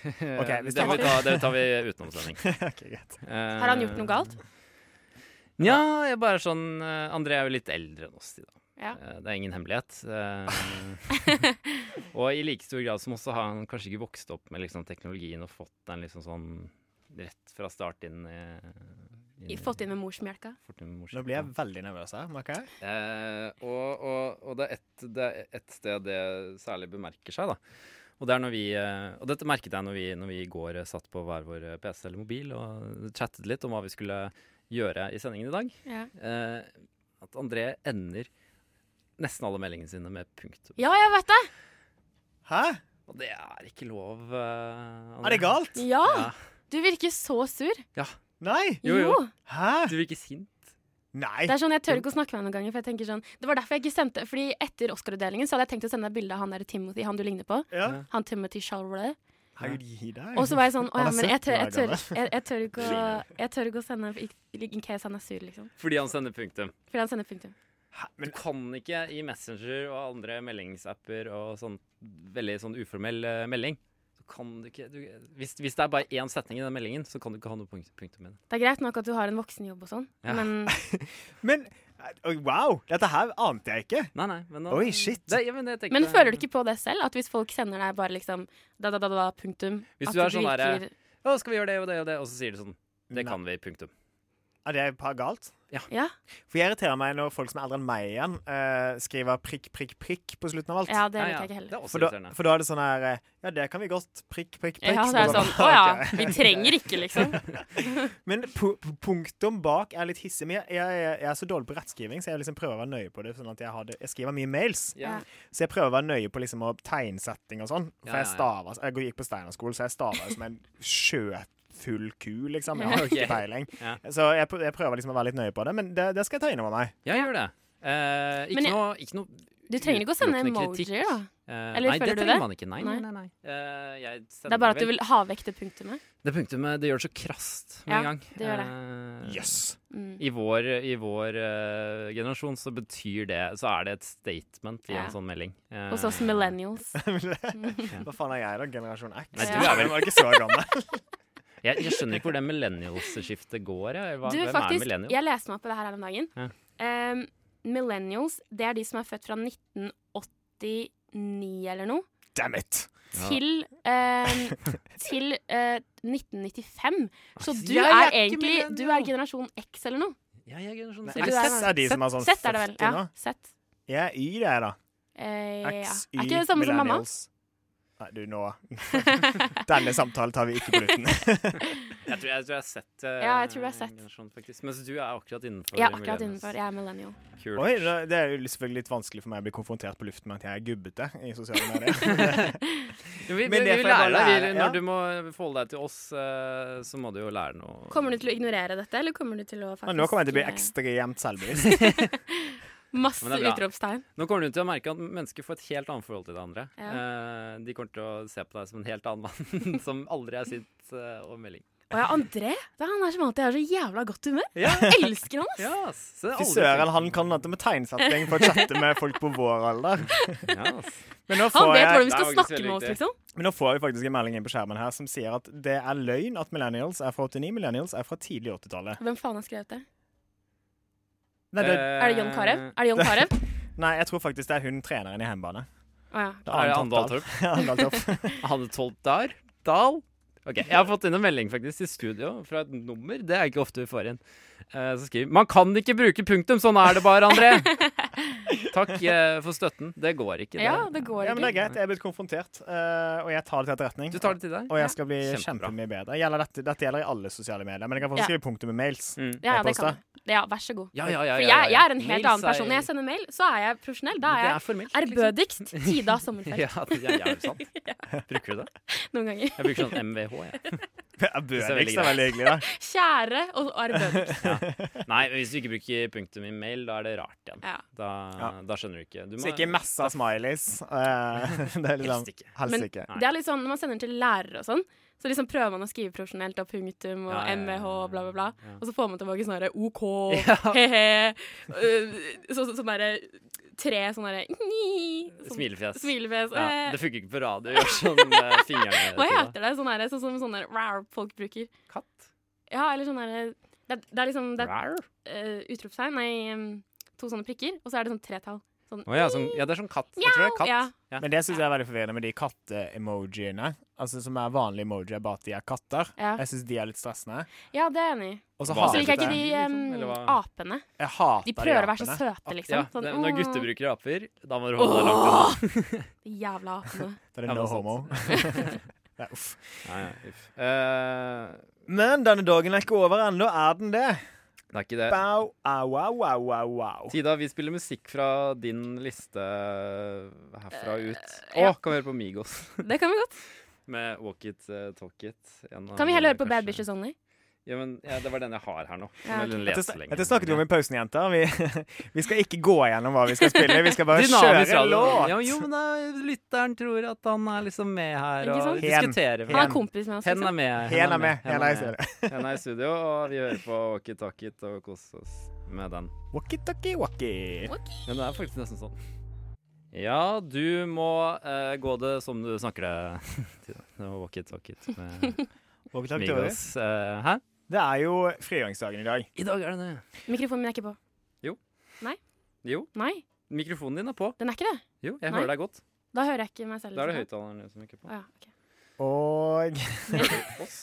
Speaker 3: Eh,
Speaker 4: hvis
Speaker 3: det,
Speaker 4: det-
Speaker 3: må vi ta, det tar vi utenom sending. Eh,
Speaker 4: Ok, greit.
Speaker 1: Har han gjort noe galt?
Speaker 3: Nja, jeg er bare sånn eh, André er jo litt eldre enn oss. Da.
Speaker 1: Ja.
Speaker 3: Eh, Det er ingen hemmelighet. Eh, og i like stor grad som oss, så har han kanskje ikke vokst opp med liksom, teknologien og fått den liksom sånn rett fra start inn i
Speaker 1: I- Fått inn med morsmelka.
Speaker 3: fort inn i morskapet.
Speaker 4: Nå blir jeg veldig nervøs her, merker jeg.
Speaker 3: Eh, og, og, og det er ett et sted det særlig bemerker seg, da. Og, det er når vi, eh, og dette merket jeg når vi, når vi i går eh, satt på hver vår eh, PC eller mobil og chattet litt om hva vi skulle gjøre i sendingen i dag.
Speaker 1: Ja.
Speaker 3: Eh, at André ender nesten alle meldingene sine med punktum.
Speaker 1: ja, jeg vet det!
Speaker 4: Hæ?
Speaker 3: Og det er ikke lov. eh, André.
Speaker 4: Er det galt?
Speaker 1: Ja!
Speaker 3: Ja.
Speaker 1: Du virker så sur.
Speaker 4: Nei!
Speaker 3: Jo, jo.
Speaker 4: Hæ?
Speaker 3: Du virker sint.
Speaker 4: Nei!
Speaker 1: Det er sånn, Jeg tør ikke å snakke med deg noen ganger. For jeg tenker sånn, det var derfor jeg ikke sendte Fordi etter Oscar-utdelingen Så hadde jeg tenkt å sende deg bilde av han der Timothy, han du ligner på.
Speaker 4: Ja.
Speaker 1: Han Timothy Charlotte.
Speaker 4: Herregud, gi deg.
Speaker 1: Og så var jeg sånn Å ja,
Speaker 4: Han er
Speaker 1: men jeg tør,
Speaker 4: 70
Speaker 1: jeg,
Speaker 4: år
Speaker 1: tør, ikke- jeg, jeg, tør ikke å, jeg tør ikke å sende i- In case han er sur, liksom.
Speaker 3: Fordi han sender punktum.
Speaker 1: Fordi han sender punktum.
Speaker 3: Du kan ikke i Messenger og andre meldingsapper og sånn veldig sånn uformell eh, melding så kan du ikke, du, hvis, hvis det er bare én setning i den meldingen, så kan du ikke ha noe punkt, punktum i den.
Speaker 1: Det er greit nok at du har en voksenjobb og sånn,
Speaker 3: Ja.
Speaker 1: men
Speaker 4: Men oi, wow, dette her ante jeg ikke.
Speaker 3: Nei, nei, men,
Speaker 4: Oi, shit.
Speaker 3: Det, ja, men, jeg tenkte-
Speaker 1: Men føler du ikke på det selv? At hvis folk sender deg bare liksom da, da, da, da, punktum
Speaker 3: Hvis
Speaker 1: at
Speaker 3: du er sånn der,
Speaker 1: virker-
Speaker 3: Å, skal vi gjøre det og det og det? Og så sier du sånn Det
Speaker 4: Nei.
Speaker 3: kan vi, punktum.
Speaker 4: Er det par galt?
Speaker 1: Ja,
Speaker 4: For jeg irriterer meg når folk som er eldre enn meg igjen, eh, skriver prikk, prikk, prikk på slutten av alt.
Speaker 1: ja det
Speaker 3: Ja, ja,
Speaker 1: liker jeg ikke
Speaker 3: Det
Speaker 1: heller.
Speaker 3: er også
Speaker 4: For da,
Speaker 3: irriterende.
Speaker 4: for da er det sånn her eh, Ja, det kan vi godt. Prikk, prikk, prikk.
Speaker 1: Ja, så er det sånn Å
Speaker 4: bare,
Speaker 1: ja,
Speaker 4: ok.
Speaker 1: vi trenger ikke, liksom.
Speaker 4: Men pu- pu- punktum bak er litt hissig. Men jeg, jeg, jeg er så dårlig på rettskriving, så jeg liksom prøver å være nøye på det. Sånn at jeg, har det. jeg skriver mye mails,
Speaker 1: Ja.
Speaker 4: så jeg prøver å være nøye på liksom å tegnsetting og sånn.
Speaker 3: Ja,
Speaker 4: For
Speaker 3: ja,
Speaker 4: jeg staver Jeg gikk på Steinerskolen, så jeg staver som en sjøfull ku, liksom. Jeg har jo
Speaker 3: Ok.
Speaker 4: ikke peiling.
Speaker 3: Ja.
Speaker 4: Så jeg, pr- jeg prøver liksom å være litt nøye på det, men det, det skal jeg ta innover meg.
Speaker 3: Ja, gjør det. Eh, ikke,
Speaker 1: Men jeg-
Speaker 3: noe, ikke noe
Speaker 1: Du trenger ikke å sende
Speaker 3: utelukkende
Speaker 1: emojier,
Speaker 3: kritikk.
Speaker 1: da.
Speaker 3: Eh,
Speaker 1: Eller
Speaker 3: nei,
Speaker 1: føler
Speaker 3: det
Speaker 1: du
Speaker 3: trenger
Speaker 1: det?
Speaker 3: man ikke. Nei, nei,
Speaker 1: Nei.
Speaker 3: nei. nei. Eh, jeg
Speaker 1: Det er bare at du
Speaker 3: vel-
Speaker 1: vil ha vekk det punktumet.
Speaker 3: Det punktumet det gjør det så krast med
Speaker 1: Ja,
Speaker 3: en gang.
Speaker 1: det gjør
Speaker 3: Eh,
Speaker 4: Jøss. Yes.
Speaker 1: Mm.
Speaker 3: I vår, i vår eh, generasjon så betyr det Så er det et statement i
Speaker 1: Ja.
Speaker 3: en sånn melding. Eh,
Speaker 1: Hos oss millennials.
Speaker 4: Hva faen er jeg, da? Generasjon X?
Speaker 3: Nei,
Speaker 1: du er
Speaker 4: vel ikke så gammel.
Speaker 3: jeg, jeg skjønner ikke hvor det millennials-skiftet går. Jeg. Hva,
Speaker 1: Du,
Speaker 3: hvem er
Speaker 1: faktisk,
Speaker 3: millennial?
Speaker 1: jeg leste meg opp på det her her om dagen.
Speaker 3: Ja.
Speaker 1: Ehm, millennials, det er de som er født fra 1989 eller noe,
Speaker 4: Damn it!
Speaker 1: til, ehm, til eh, 1995. Så
Speaker 3: Altså,
Speaker 1: du
Speaker 3: jeg
Speaker 1: er
Speaker 3: er ikke
Speaker 1: egentlig Du er
Speaker 3: millennial.
Speaker 1: generasjon X eller noe.
Speaker 3: Ja, jeg er generasjon
Speaker 1: Nei,
Speaker 4: Nei,
Speaker 1: du
Speaker 3: Z.
Speaker 1: er
Speaker 4: Z er de som er sånn
Speaker 1: Sett er det vel.
Speaker 4: 40 nå.
Speaker 1: Ja, Sett.
Speaker 4: Jeg er Y, det, da.
Speaker 1: Eh, ja.
Speaker 4: X, Y,
Speaker 1: Er ikke det samme som mamma?
Speaker 4: millennials. Nei, du, nå Denne samtalen tar vi ikke på luten.
Speaker 3: Jeg tror jeg, tror jeg har sett eh,
Speaker 1: Ja, jeg tror du har sett.
Speaker 3: generasjon, faktisk. Mens du er akkurat innenfor.
Speaker 1: Jeg er akkurat
Speaker 3: millennials.
Speaker 1: innenfor. Jeg er millennial.
Speaker 3: Kult.
Speaker 4: Oi, da- Det er jo selvfølgelig litt vanskelig for meg å bli konfrontert på luften med at jeg er gubbete i sosiale medier.
Speaker 3: Vi, vi,
Speaker 4: Men det
Speaker 3: vi
Speaker 4: får jeg
Speaker 3: lærer
Speaker 4: bare
Speaker 3: deg. Vi,
Speaker 4: lære, ja.
Speaker 3: når du må forholde deg til oss, eh, så må du jo lære noe.
Speaker 1: Kommer du til å ignorere dette, eller kommer du til å faktisk
Speaker 4: Men nå kommer jeg til å bli
Speaker 1: eh,
Speaker 4: ekstremt selvbevisst.
Speaker 1: Masse
Speaker 3: Men det er bra.
Speaker 1: utropstegn.
Speaker 3: Nå kommer du til å merke at mennesker får et helt annet forhold til det andre.
Speaker 1: Ja.
Speaker 3: Eh, de kommer til å se på deg som en helt annen mann som aldri er sint eh, over melding.
Speaker 1: Å ja, André. Det er han der som alltid er så jævla godt humør.
Speaker 3: Ja.
Speaker 1: Jeg elsker han, ass.
Speaker 3: Ja, ass. Så det er
Speaker 4: Fy
Speaker 3: aldri
Speaker 4: søren,
Speaker 3: tenkt.
Speaker 4: han kan dette med tegnsetting for å chatte med folk på vår alder.
Speaker 3: Ja, ass.
Speaker 4: Men nå
Speaker 1: Han
Speaker 4: får,
Speaker 3: det
Speaker 4: jeg,
Speaker 1: vet hvordan vi
Speaker 3: er
Speaker 1: skal
Speaker 3: faktisk
Speaker 1: snakke
Speaker 3: veldig
Speaker 1: med oss,
Speaker 3: riktig.
Speaker 1: liksom.
Speaker 4: men nå får vi faktisk en melding inn på skjermen her som sier at det er løgn at millennials er fra 89, millennials er fra tidlig 80-tallet.
Speaker 1: Hvem faen har skrevet det?
Speaker 4: Nei,
Speaker 3: Eh.
Speaker 4: det-
Speaker 1: Er det John Carew? Er det John Carew?
Speaker 4: nei, jeg tror faktisk det er hun treneren i hjemmebane.
Speaker 1: Å
Speaker 4: Det
Speaker 1: ja.
Speaker 3: Er det
Speaker 4: Arne
Speaker 3: Andal
Speaker 4: Toppdal.
Speaker 3: Torp?
Speaker 4: Arendal Torp.
Speaker 3: Hanne Tolp der? Dahl? Ok, Jeg har fått inn en melding faktisk i studio fra et nummer. Det er ikke ofte vi får inn. Eh, så skriver Man kan ikke bruke punktum! Sånn er det bare, André! Takk eh, for støtten. Det går ikke, det.
Speaker 1: ja, det går
Speaker 4: Ja, men det er
Speaker 1: ikke.
Speaker 4: greit. Jeg er blitt konfrontert, eh, og jeg tar det til etterretning.
Speaker 3: Du tar det til deg?
Speaker 4: Og jeg skal bli
Speaker 3: Kjempebra.
Speaker 4: kjempemye bedre. Gjelder dette, dette gjelder i alle sosiale medier, men jeg kan få
Speaker 1: Ja.
Speaker 4: skrive punktum med mails.
Speaker 3: Mm.
Speaker 1: Ja, ja, det
Speaker 4: Jeg
Speaker 1: kan du. Ja, vær så god.
Speaker 3: Ja, ja, ja, ja,
Speaker 1: For
Speaker 3: ja,
Speaker 1: jeg, jeg
Speaker 3: ja.
Speaker 1: er en helt
Speaker 3: Mails
Speaker 1: annen person. Når jeg
Speaker 3: er-
Speaker 1: sender mail, så er jeg profesjonell. Da er
Speaker 3: Det
Speaker 1: jeg
Speaker 3: er liksom. formelt.
Speaker 1: ærbødigst Tida Sommerfelt
Speaker 3: Ja, det er jævlig sant. Bruker du det?
Speaker 1: noen ganger.
Speaker 3: Jeg bruker sånn MVH, jeg.
Speaker 4: Bøniks
Speaker 3: veldig
Speaker 4: er veldig hyggelig, da.
Speaker 1: Kjære og Arbønik.
Speaker 3: Nei, hvis du ikke bruker punktum i mail, da er det rart igjen.
Speaker 1: Ja.
Speaker 3: Da,
Speaker 4: Ja.
Speaker 3: da skjønner du ikke. Du
Speaker 4: Så ikke masse smileys. eh, det er liksom,
Speaker 3: Helst ikke.
Speaker 4: helst
Speaker 1: Men-
Speaker 4: ikke.
Speaker 3: Nei.
Speaker 1: Det er litt sånn når man sender til lærere og sånn, så liksom prøver man å skrive profesjonelt av punktum og
Speaker 3: Ja, ja, ja,
Speaker 1: MVH og bla, bla, bla.
Speaker 3: ja.
Speaker 1: Og så får man tilbake sånn derre OK, he-he, øh, så, så, sånn derre tre sånn derre ni, sånn-
Speaker 3: Smilefjes.
Speaker 1: Smilefjes.
Speaker 3: Ja,
Speaker 1: eh.
Speaker 3: det funker ikke på radio. Gjør sånn eh, fingrene
Speaker 1: Hva
Speaker 3: til, da.
Speaker 1: heter det? Sånn derre- sånn som sånn derre rar folk bruker.
Speaker 3: Katt?
Speaker 1: Ja, eller sånn derre det, er- det er liksom det er,
Speaker 3: Rar?
Speaker 1: eh, utropstegn, nei, em, to sånne prikker, og så er det sånn tretall. Sånn
Speaker 3: Å ja, sånn, ja, det er sånn katt. Jeg tror det er katt.
Speaker 1: Ja.
Speaker 3: Ja.
Speaker 4: Men det syns jeg er veldig forvirrende med de katte-emojiene. Altså Som er vanlige emojier, bare at de er katter.
Speaker 1: Ja.
Speaker 4: Jeg syns de er litt stressende.
Speaker 1: ja, det er jeg enig i.
Speaker 4: Og så
Speaker 3: Hva
Speaker 1: Så
Speaker 4: hater
Speaker 1: liker
Speaker 4: jeg
Speaker 1: jeg ikke
Speaker 4: det.
Speaker 1: de
Speaker 3: Liksom,
Speaker 1: em,
Speaker 3: eller hva?
Speaker 1: apene.
Speaker 4: Jeg hater
Speaker 1: De prøver å være så
Speaker 4: apene.
Speaker 1: søte, liksom.
Speaker 3: Ah, Ja,
Speaker 1: sånn,
Speaker 3: det, når
Speaker 1: «Åh,
Speaker 3: gutter bruker aper, da må du holde deg langt unna.
Speaker 1: de Jævla apene.
Speaker 4: Det
Speaker 3: Ja,
Speaker 4: er no
Speaker 3: men sant.
Speaker 4: homo. Nei, uff.
Speaker 3: Nei, nei, uff. Eh,
Speaker 4: Men denne dagen er ikke over ennå, er den det?
Speaker 3: det er ikke det.
Speaker 4: Bow, au, au, au, au, au.
Speaker 3: Tida, vi spiller musikk fra din liste eh, herfra og ut. Å,
Speaker 1: Eh, ja.
Speaker 3: kan vi høre på Migos
Speaker 1: Det kan vi godt.
Speaker 3: med Walk It, eh, Talk It. En av
Speaker 1: Kan vi heller høre på
Speaker 3: mine kanskje-
Speaker 1: Bad Bitches Only?
Speaker 3: Ja, men ja, Det var den jeg har her nå.
Speaker 1: Ja,
Speaker 3: Den
Speaker 1: ok.
Speaker 3: leser
Speaker 4: Dette sn-
Speaker 3: lenge.
Speaker 4: dette snakket vi om i pausen, jenter. Vi, vi skal ikke gå gjennom hva vi skal spille. Vi skal bare
Speaker 3: Dynamisk
Speaker 4: kjøre
Speaker 3: radio.
Speaker 4: låt.
Speaker 3: Ja, jo, men da, lytteren tror at han er liksom med her
Speaker 1: Ikke
Speaker 3: og
Speaker 1: sant?
Speaker 4: Hen.
Speaker 3: diskuterer.
Speaker 1: Han er
Speaker 4: Hen.
Speaker 1: kompis med oss.
Speaker 3: Hen er
Speaker 1: Liksom.
Speaker 3: med.
Speaker 4: Hen er med. Hen er i
Speaker 3: med. Hen er i studio, og vi hører på Walkie Talkie It og koser oss med den.
Speaker 4: Walkie-talkie-walkie.
Speaker 3: Men det er faktisk nesten sånn. Ja, du må eh, gå det som du snakker det. Tina. Det var Walkie Talkie It med Migos. Eh, hæ?
Speaker 4: Det er jo frigjøringsdagen i dag.
Speaker 3: I dag er det det.
Speaker 1: Mikrofonen min er ikke på.
Speaker 3: Jo,
Speaker 1: Nei,
Speaker 3: mikrofonen din er på.
Speaker 1: den er ikke det.
Speaker 3: Jo, jeg
Speaker 1: Nei.
Speaker 3: hører deg godt.
Speaker 1: Da hører jeg ikke meg selv.
Speaker 3: Da er det
Speaker 1: liksom.
Speaker 3: høyttaleren som ikke er på.
Speaker 1: Å, ja, ok.
Speaker 4: Og
Speaker 3: Oss?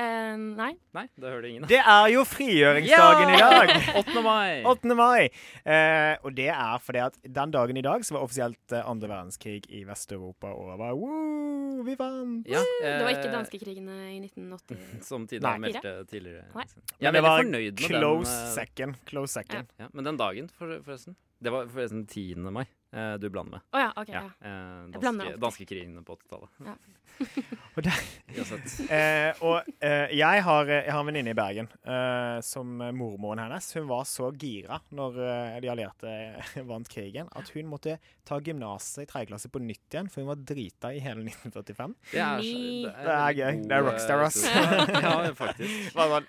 Speaker 1: Eh, nei.
Speaker 3: Nei, da hører det ingen.
Speaker 4: det er jo frigjøringsdagen i dag.
Speaker 3: 8. mai!
Speaker 4: 8. mai. Eh, og det er fordi at den dagen i dag så var offisielt eh, andre verdenskrig i Vest-Europa over. Woo, vi vant!
Speaker 3: Ja,
Speaker 1: Det var ikke
Speaker 3: eh,
Speaker 1: danskekrigene i 1980.
Speaker 3: Som Tina
Speaker 4: Nei.
Speaker 3: meldte tidligere. Liksom. Jeg
Speaker 1: Nei.
Speaker 3: er
Speaker 4: det
Speaker 3: veldig
Speaker 4: var
Speaker 3: fornøyd med
Speaker 4: Close
Speaker 3: den. eh,
Speaker 4: second. Close second.
Speaker 3: Ja, men den dagen, for, forresten. Det var forresten 10. mai eh, du blander med.
Speaker 1: Å ja, OK. Ja.
Speaker 3: eh,
Speaker 1: Jeg blander
Speaker 3: danske,
Speaker 1: alltid.
Speaker 3: Danskekrigene på 80-tallet.
Speaker 1: Ja.
Speaker 4: Og der-
Speaker 3: Uansett.
Speaker 4: Eh, og eh, jeg, har, jeg har en venninne i Bergen eh, som mormoren hennes Hun var så gira når eh, de allierte eh, vant krigen, at hun måtte ta gymnaset i tredje klasse på nytt igjen, for hun var drita i hele 1945.
Speaker 3: Det er,
Speaker 1: Ni.
Speaker 3: så-
Speaker 4: Det er gøy.
Speaker 3: god,
Speaker 4: Det er rockstar,
Speaker 3: eh,
Speaker 4: ass.
Speaker 3: historie. ja, faktisk.
Speaker 4: Bare sånn,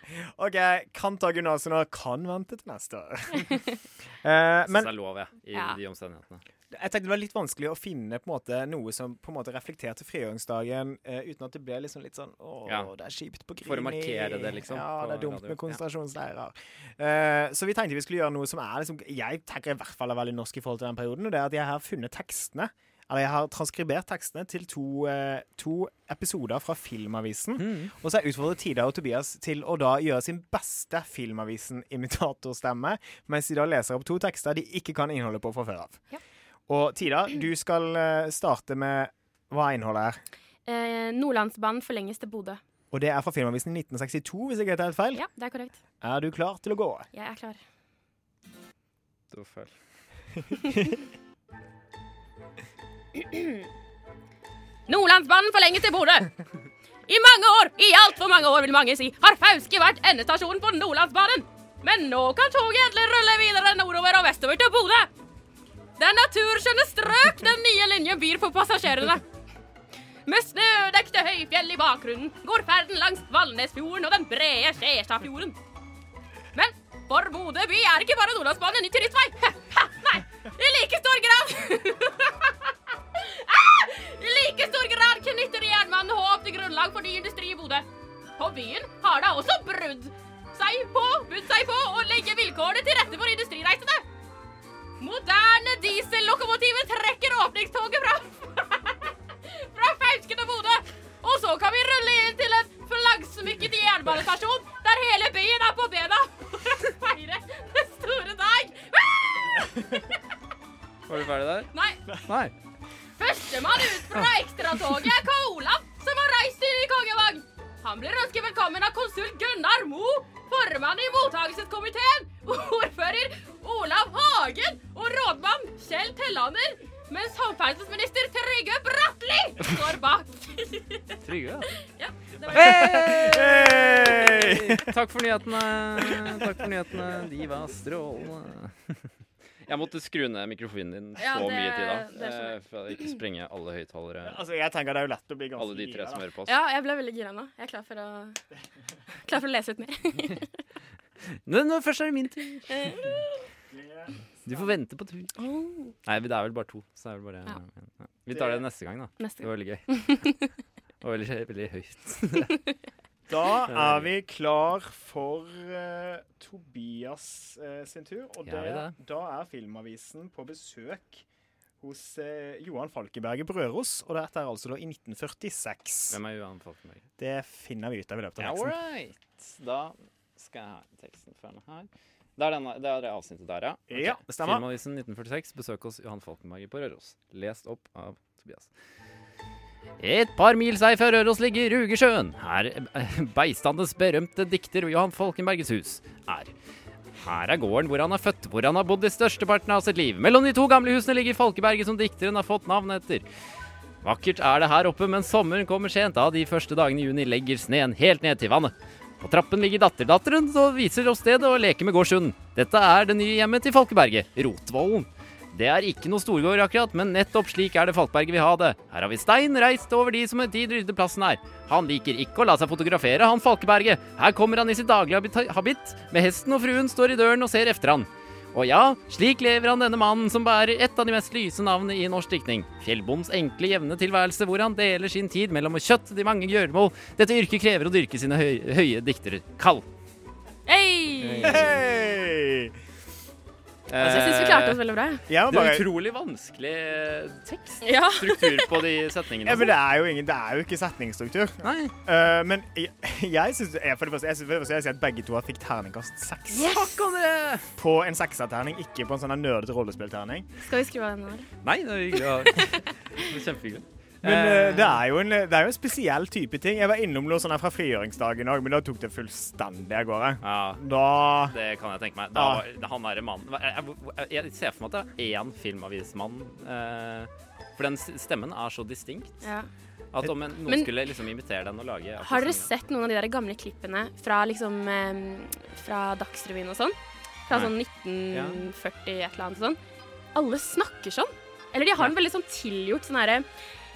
Speaker 4: OK, kan ta gymnaset nå, kan vente til neste år. eh,
Speaker 3: Men,
Speaker 4: men
Speaker 3: det er lov, jeg, i
Speaker 1: Ja.
Speaker 3: de omstendighetene.
Speaker 4: jeg tenkte det var litt vanskelig å finne på en måte noe som på en måte reflekterte frigjøringsdagen, eh, uten at det ble liksom litt sånn Å,
Speaker 3: Ja.
Speaker 4: det er kjipt på Grini.
Speaker 3: For å markere det, liksom,
Speaker 4: Ja,
Speaker 3: på
Speaker 4: det er dumt
Speaker 3: radio.
Speaker 4: med
Speaker 3: Ja.
Speaker 4: konsentrasjonsleirer. Eh, så vi tenkte vi skulle gjøre noe som er liksom Jeg tenker i hvert fall er veldig norsk i forhold til den perioden, og det er at jeg har funnet tekstene. Eller jeg har transkribert tekstene til to, eh, to episoder fra Filmavisen. Og så har jeg utfordret Tida og Tobias til å da gjøre sin beste Filmavisen-imitatorstemme, mens de da leser opp to tekster de ikke kan innholdet på fra før av.
Speaker 1: Ja.
Speaker 4: Og Tida, du skal eh, starte med hva er innholdet er.
Speaker 1: Eh, Nordlandsbanen forlenges til Bodø.
Speaker 4: Og det er fra Filmavisen 1962, hvis jeg ikke tar helt feil.
Speaker 1: Ja, det er korrekt.
Speaker 4: Er du klar til å gå?
Speaker 1: Jeg er klar.
Speaker 3: Du føler.
Speaker 1: Nordlandsbanen forlenges til Bodø! I mange år, i altfor mange år, vil mange si, har Fauske vært endestasjonen på Nordlandsbanen. Men nå kan toget endelig rulle videre nordover og vestover til Bodø. Det er naturskjønne strøk den nye linjen byr på passasjerene. Med snødekte høyfjell i bakgrunnen går ferden langs Valnesfjorden og den brede Skjestadfjorden. Men for Bodø by er ikke bare Nordlandsbanen en ny turistvei. Nei, i like stor grad I like stor grad knytter jernbanen håp til grunnlag for ny industri i Bodø. Og byen har da også brudd seg på, budt seg på å legge vilkårene til rette for industrireisende. Moderne diesellokomotiver trekker åpningstoget fra fra Fauske til Bodø. Og så kan vi rulle inn til en flaggsmykket jernbanestasjon der hele byen er på bena for å feire den store dag. Ah!
Speaker 3: Var du ferdig der?
Speaker 1: Nei,
Speaker 3: Nei.
Speaker 1: Førstemann ut fra ekstratoget er Karl Olav, som har reist inn i kongevogn. Han blir ønsket velkommen av konsul Gunnar Mo, formann i mottakelseskomiteen, ordfører Olav Hagen og rådmann Kjell Tellander, mens samferdselsminister Trygve Bratteli står bak.
Speaker 3: Trygve. altså.
Speaker 1: Ja.
Speaker 3: Hey! Takk for nyhetene. Takk for nyhetene. De var strålende. Jeg måtte skru ned mikrofonen din så
Speaker 1: Ja, det-
Speaker 3: mye til
Speaker 1: det
Speaker 3: da.
Speaker 1: skjønner
Speaker 3: eh, For å ikke sprenge alle høyttalere.
Speaker 4: Altså, jeg tenker det er jo lett å bli ganske
Speaker 3: Alle de tre
Speaker 4: gira,
Speaker 3: som
Speaker 4: da.
Speaker 3: hører på oss.
Speaker 1: Ja, jeg ble veldig gira nå. Jeg er klar for å, klar for å lese ut mer.
Speaker 3: Nå, nå først er det min tur. Du får vente på tur.
Speaker 1: Åh,
Speaker 3: Nei, det er vel bare to. Så er det bare,
Speaker 1: Ja.
Speaker 3: Oh. ja. Vi tar det neste gang, da.
Speaker 1: neste
Speaker 3: Det
Speaker 1: gang.
Speaker 3: var veldig gøy. Det var veldig, veldig høyt.
Speaker 4: Da er vi klar for eh, Tobias eh, sin tur. Og
Speaker 3: Ja,
Speaker 4: det,
Speaker 3: vi det.
Speaker 4: da er Filmavisen på besøk hos eh, Johan Falkeberg i Brøros. Og dette er altså da i 1946.
Speaker 3: Hvem er Johan Falkenberg?
Speaker 4: Det finner vi ut av i løpet av
Speaker 3: All
Speaker 4: teksten.
Speaker 3: right. Da skal jeg ha teksten fra den her. Det er, denne, det er det avsnittet der, ja. Ok.
Speaker 4: Ja, det stemmer.
Speaker 3: Filmavisen 1946. Besøk hos Johan Falkenberg på Røros. Lest opp av Tobias. Et par mil seg fra Røros ligger Rugesjøen. Her eh, beistandes berømte dikter Johan Falkenbergs hus er. Her er gården hvor han er født, hvor han har bodd i størsteparten av sitt liv. Mellom de to gamle husene ligger Falkeberget som dikteren har fått navn etter. Vakkert er det her oppe, men sommeren kommer sent, da de første dagene i juni legger sneen helt ned til vannet. På trappen ligger datterdatteren og viser oss stedet og leker med gårdshunden. Dette er det nye hjemmet til Falkeberget, Rotvollen. Det er ikke noe storgård akkurat, men nettopp slik er det Falkberget vil ha det. Her har vi stein reist over de som en tid ryddet plassen her. Han liker ikke å la seg fotografere, han Falkeberget. Her kommer han i sitt daglige habita- habit, med hesten og fruen står i døren og ser efter han. Og ja, slik lever han denne mannen som bærer et av de mest lyse navnene i norsk diktning. Fjellbondens enkle, jevne tilværelse hvor han deler sin tid mellom å kjøtte de mange gjøremål. Dette yrket krever å dyrke sine høy, høye diktere kall.
Speaker 1: Hei!
Speaker 4: Hei!
Speaker 1: Altså, jeg syns vi klarte oss veldig bra.
Speaker 4: Jeg må
Speaker 3: Det
Speaker 4: bare
Speaker 3: er Eh, utrolig vanskelig tekst.
Speaker 1: Ja.
Speaker 3: Struktur på de setningene.
Speaker 4: ja, men det, er jo ingen, det er jo ikke setningsstruktur.
Speaker 3: Nei.
Speaker 4: Eh, men jeg, jeg syns jeg- For det første, jeg, synes, for det første, jeg sier at begge to har fikk terningkast seks.
Speaker 3: Takk, André!
Speaker 4: På en sekserterning, ikke på en sånn her nerdete rollespillterning.
Speaker 1: Skal vi skrive av den nå? eller?
Speaker 3: Nei, det er hyggelig. å- Det er Kjempehyggelig.
Speaker 4: Men
Speaker 3: Eh,
Speaker 4: eh, det, er jo en, det er jo en spesiell type ting. Jeg var innom noe sånn her fra frigjøringsdagen òg, men da tok det fullstendig av gårde.
Speaker 3: ja.
Speaker 4: Da
Speaker 3: Det kan jeg tenke meg. Da,
Speaker 4: Ja.
Speaker 3: var- Han er en mann jeg, jeg, jeg ser for meg at det er én filmavismann. eh, for den s- stemmen er så distinkt
Speaker 1: Ja.
Speaker 3: at om en, noen
Speaker 1: Men-
Speaker 3: skulle liksom imitere den og lage akkurat
Speaker 1: Har dere
Speaker 3: sånn-
Speaker 1: sett noen av de der gamle klippene fra, liksom, em, fra Dagsrevyen og sånn? Fra sånn 1940 et eller annet sånn. Alle snakker sånn. Eller de har en veldig sånn tilgjort sånn herre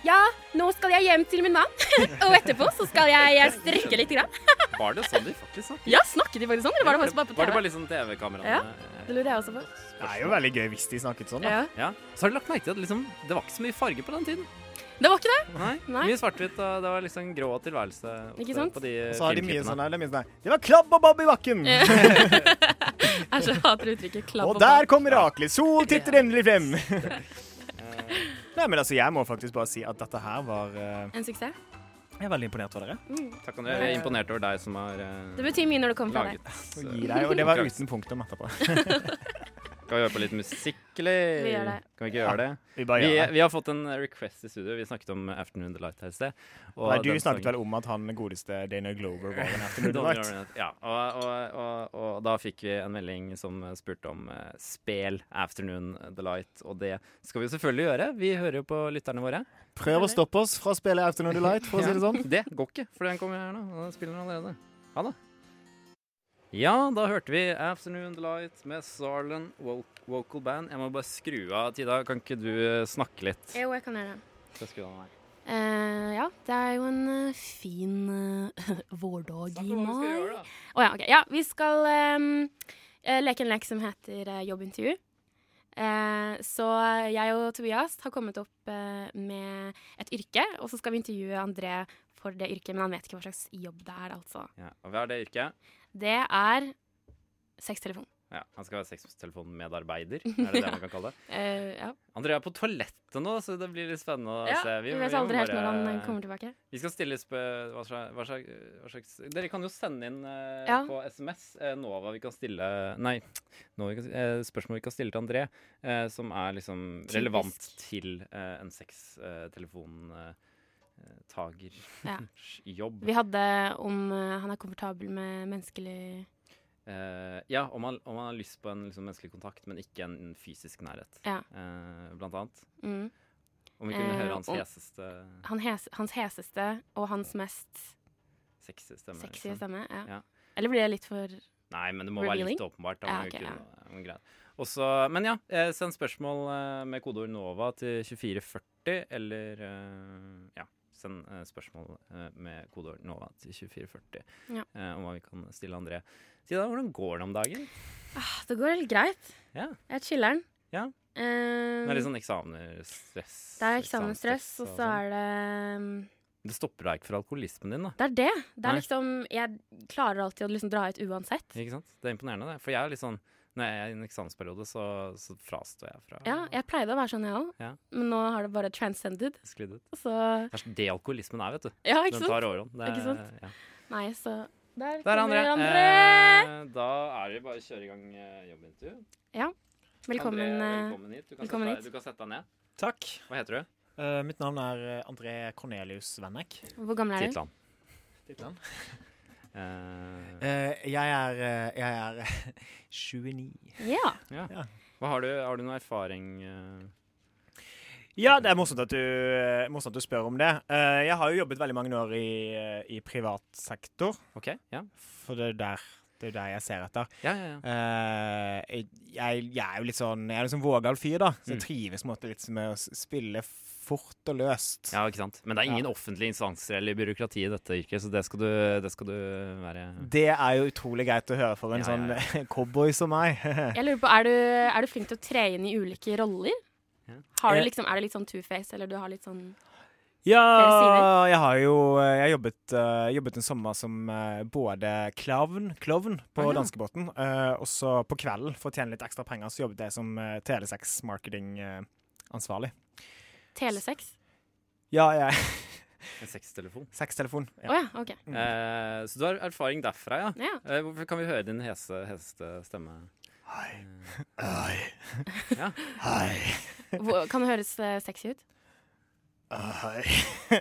Speaker 1: Ja, nå skal jeg hjem til min mann, og etterpå så skal jeg eh, strikke litt. Grann.
Speaker 3: Var det sånn de faktisk snakket?
Speaker 1: Ja, snakket de faktisk sånn, eller var det faktisk bare på
Speaker 3: Var det
Speaker 1: TV?
Speaker 3: bare litt sånn TV-kameraene? Eh,
Speaker 1: Ja, det lurer jeg også på.
Speaker 4: Det er jo veldig gøy hvis de snakket sånn, da.
Speaker 1: Ja.
Speaker 3: Ja. Så har du lagt merke til at liksom, det var ikke så mye farge på den tiden.
Speaker 1: Det var ikke det?
Speaker 3: Nei,
Speaker 1: Nei.
Speaker 3: Mye svart-hvitt, og det var liksom grå tilværelse ofte
Speaker 1: Ikke sant?
Speaker 3: på de
Speaker 4: Og så har de mye
Speaker 3: filmklippene.
Speaker 4: sånn her, det er mye sånn her Det var klabb og babb i bakken!
Speaker 1: Jeg så hater uttrykket klabb
Speaker 4: Og
Speaker 1: og
Speaker 4: der kom miraklet! Sol titter endelig frem! Eh, Nei, men altså, jeg må faktisk bare si at dette her var eh,
Speaker 1: En suksess.
Speaker 4: Jeg er veldig imponert over dere.
Speaker 3: Takk, André. Jeg er imponert over deg som har eh,
Speaker 1: Det betyr mye når det kommer fra deg.
Speaker 3: laget
Speaker 4: Og
Speaker 3: eh,
Speaker 4: gi deg, og det var
Speaker 3: konkurransen.
Speaker 4: uten punktum etterpå.
Speaker 3: Skal vi høre på litt musikk, eller?
Speaker 1: Vi gjør det.
Speaker 3: Kan vi ikke gjøre det?
Speaker 4: Vi bare
Speaker 3: Vi,
Speaker 4: gjør det.
Speaker 3: vi har fått en request i studio. Vi snakket om Afternoon Delight her i sted. og
Speaker 4: Nei, du
Speaker 3: den
Speaker 4: snakket
Speaker 3: sangen-
Speaker 4: vel om at han godeste Dana Glover var en
Speaker 3: Don't
Speaker 4: afternoon light.
Speaker 3: Worry Not- Ja, og, og, og, og da fikk vi en melding som spurte om eh, spel Afternoon Delight, og det skal vi jo selvfølgelig gjøre. Vi hører jo på lytterne våre.
Speaker 4: Prøv å stoppe oss fra å spille Afternoon Delight, for å si det sånn.
Speaker 3: Det går ikke, for den kommer her nå, og den spiller den allerede. Ha det. Ja, da hørte vi Afternoon Delight med Sarlen Wo- Vocal Band. Jeg må bare skru av, Tida. Kan ikke du eh, snakke litt?
Speaker 1: Jo, jeg kan gjøre det.
Speaker 3: Skal jeg skru av den her?
Speaker 1: Eh, ja, det er jo en eh, fin eh, vårdag i mai.
Speaker 3: gjøre, da.
Speaker 1: Å ja, ok. Ja, vi skal ehm, eh, leke en lek som heter eh, jobbintervju. Eh, så jeg og Tobias har kommet opp eh, med et yrke, og så skal vi intervjue André for det yrket, men han vet ikke hva slags jobb det er, altså.
Speaker 3: Ja, og hva er det yrket?
Speaker 1: Det er sextelefon.
Speaker 3: Ja, han skal være sextelefonmedarbeider, er det det man kan kalle det?
Speaker 1: Eh, ja.
Speaker 3: Andrea er på toalettet nå, så det blir litt spennende å
Speaker 1: ja,
Speaker 3: se.
Speaker 1: vi
Speaker 3: må-
Speaker 1: vet
Speaker 3: må
Speaker 1: aldri helt
Speaker 3: bare-
Speaker 1: når han eh, kommer tilbake.
Speaker 3: Vi skal stille sp hva slags, hva, slags, hva slags Dere kan jo sende inn eh,
Speaker 1: Ja.
Speaker 3: på SMS eh, Nova vi kan stille Nei, Nova vi kan, eh, spørsmål vi kan stille til André, eh, som er liksom relevant til eh, en sextelefontagerjobb. Eh, tager-
Speaker 1: Ja.
Speaker 3: jobb.
Speaker 1: Vi hadde om eh, han er komfortabel med menneskelig
Speaker 3: Eh, ja, om man, om man har lyst på en liksom, menneskelig kontakt, men ikke en fysisk nærhet,
Speaker 1: Ja.
Speaker 3: eh, blant annet.
Speaker 1: mm.
Speaker 3: Om vi kunne
Speaker 1: Eh,
Speaker 3: høre hans
Speaker 1: om-
Speaker 3: heseste
Speaker 1: han hes, hans heseste og hans mest
Speaker 3: Sexy stemme.
Speaker 1: Sexy
Speaker 3: liksom.
Speaker 1: stemme. Ja.
Speaker 3: Ja.
Speaker 1: Eller blir det litt for
Speaker 3: Nei, men det må være litt
Speaker 1: Revealing?
Speaker 3: åpenbart. Da,
Speaker 1: Ja,
Speaker 3: må jo
Speaker 1: ok,
Speaker 3: kunne
Speaker 1: ja.
Speaker 3: være noe greit. Og så- men ja, eh, send spørsmål eh, med kodeord NOVA til 2440, eller eh, ja, send eh, spørsmål eh, med kodeord NOVA til 2440
Speaker 1: Ja.
Speaker 3: eh, om hva vi kan stille André. Si da, hvordan går det om dagen?
Speaker 1: Ah, Det går helt greit.
Speaker 3: Ja.
Speaker 1: Jeg er chiller'n.
Speaker 3: Ja.
Speaker 1: Eh,
Speaker 3: Det er litt sånn eksamenstress.
Speaker 1: det er eksamensstress, og så
Speaker 3: sånn.
Speaker 1: er det um,
Speaker 3: Det stopper deg ikke for alkoholismen din, da.
Speaker 1: Det er det. Det er
Speaker 3: Nei.
Speaker 1: liksom Jeg klarer alltid å liksom dra ut uansett.
Speaker 3: Ikke sant? Det er imponerende, det. For jeg er litt sånn Når jeg er i en eksamensperiode, så, så frastår jeg fra
Speaker 1: Ja, jeg pleide å være sånn, jeg òg,
Speaker 3: Ja.
Speaker 1: men nå har det bare transcended.
Speaker 3: sklidd ut.
Speaker 1: Så
Speaker 3: Det er så det alkoholismen er, vet du.
Speaker 1: Ja,
Speaker 3: Den
Speaker 1: ikke sant?
Speaker 3: tar overhånd. Det,
Speaker 1: Ikke sant?
Speaker 3: Ja.
Speaker 1: Nei, så Der,
Speaker 3: Der er
Speaker 1: kommer
Speaker 3: André.
Speaker 1: André.
Speaker 3: Eh, da er det bare å kjøre i gang eh, jobbintervju.
Speaker 1: velkommen.
Speaker 3: André,
Speaker 1: eh,
Speaker 3: velkommen hit. Du kan,
Speaker 1: velkommen
Speaker 3: sette Deg,
Speaker 1: hit.
Speaker 3: du kan sette deg ned.
Speaker 4: Takk.
Speaker 3: Hva heter du?
Speaker 4: Eh, mitt navn er eh, André Cornelius Vennek.
Speaker 1: hvor gammel er du?
Speaker 3: Titland.
Speaker 4: Titland.
Speaker 3: Eh,
Speaker 4: Eh, jeg er, eh, jeg er 29.
Speaker 1: Ja.
Speaker 3: hva har du? Har du noe erfaring eh,
Speaker 4: Ja, det er morsomt at du, eh, morsomt at du spør om det. Eh, jeg har jo jobbet veldig mange år i, eh, i privat sektor,
Speaker 3: OK? Ja.
Speaker 4: for det er der, det er der jeg ser etter.
Speaker 3: Ja, ja, ja.
Speaker 4: Eh, jeg, jeg er jo litt sånn Jeg er litt sånn vågal fyr, da. Så jeg
Speaker 3: Mm.
Speaker 4: trives på en måte litt med å s- spille fort og løst.
Speaker 3: Ja, ikke sant. Men det er ingen
Speaker 4: Ja.
Speaker 3: offentlige instanser eller byråkrati i dette yrket, så det skal du, det skal du være
Speaker 4: Det er jo utrolig greit å høre for en
Speaker 3: Ja, ja, ja.
Speaker 4: sånn cowboy som meg.
Speaker 1: Jeg lurer på, er du, er du flink til å tre inn i ulike roller?
Speaker 3: Ja.
Speaker 1: Har du
Speaker 4: Eh,
Speaker 1: liksom, er du litt sånn two-face, eller du har litt sånn
Speaker 4: ja, jeg har jo jeg har jobbet, eh, jobbet en sommer som eh, både klovn klovn på
Speaker 3: Å, ja.
Speaker 4: danskebåten, eh, og så på kvelden, for å tjene litt ekstra penger, så jobbet jeg som eh, uh, Telesex marketing-ansvarlig.
Speaker 1: telesex?
Speaker 4: ja, jeg
Speaker 3: en sextelefon.
Speaker 4: Sextelefon.
Speaker 1: Å
Speaker 4: Ja.
Speaker 1: ja, OK.
Speaker 4: Mm.
Speaker 3: Eh, så du har erfaring derfra, ja.
Speaker 1: Ja.
Speaker 3: Eh, hvorfor kan vi høre din hese, heseste stemme?
Speaker 1: Hvor- Kan det høres eh, sexy ut?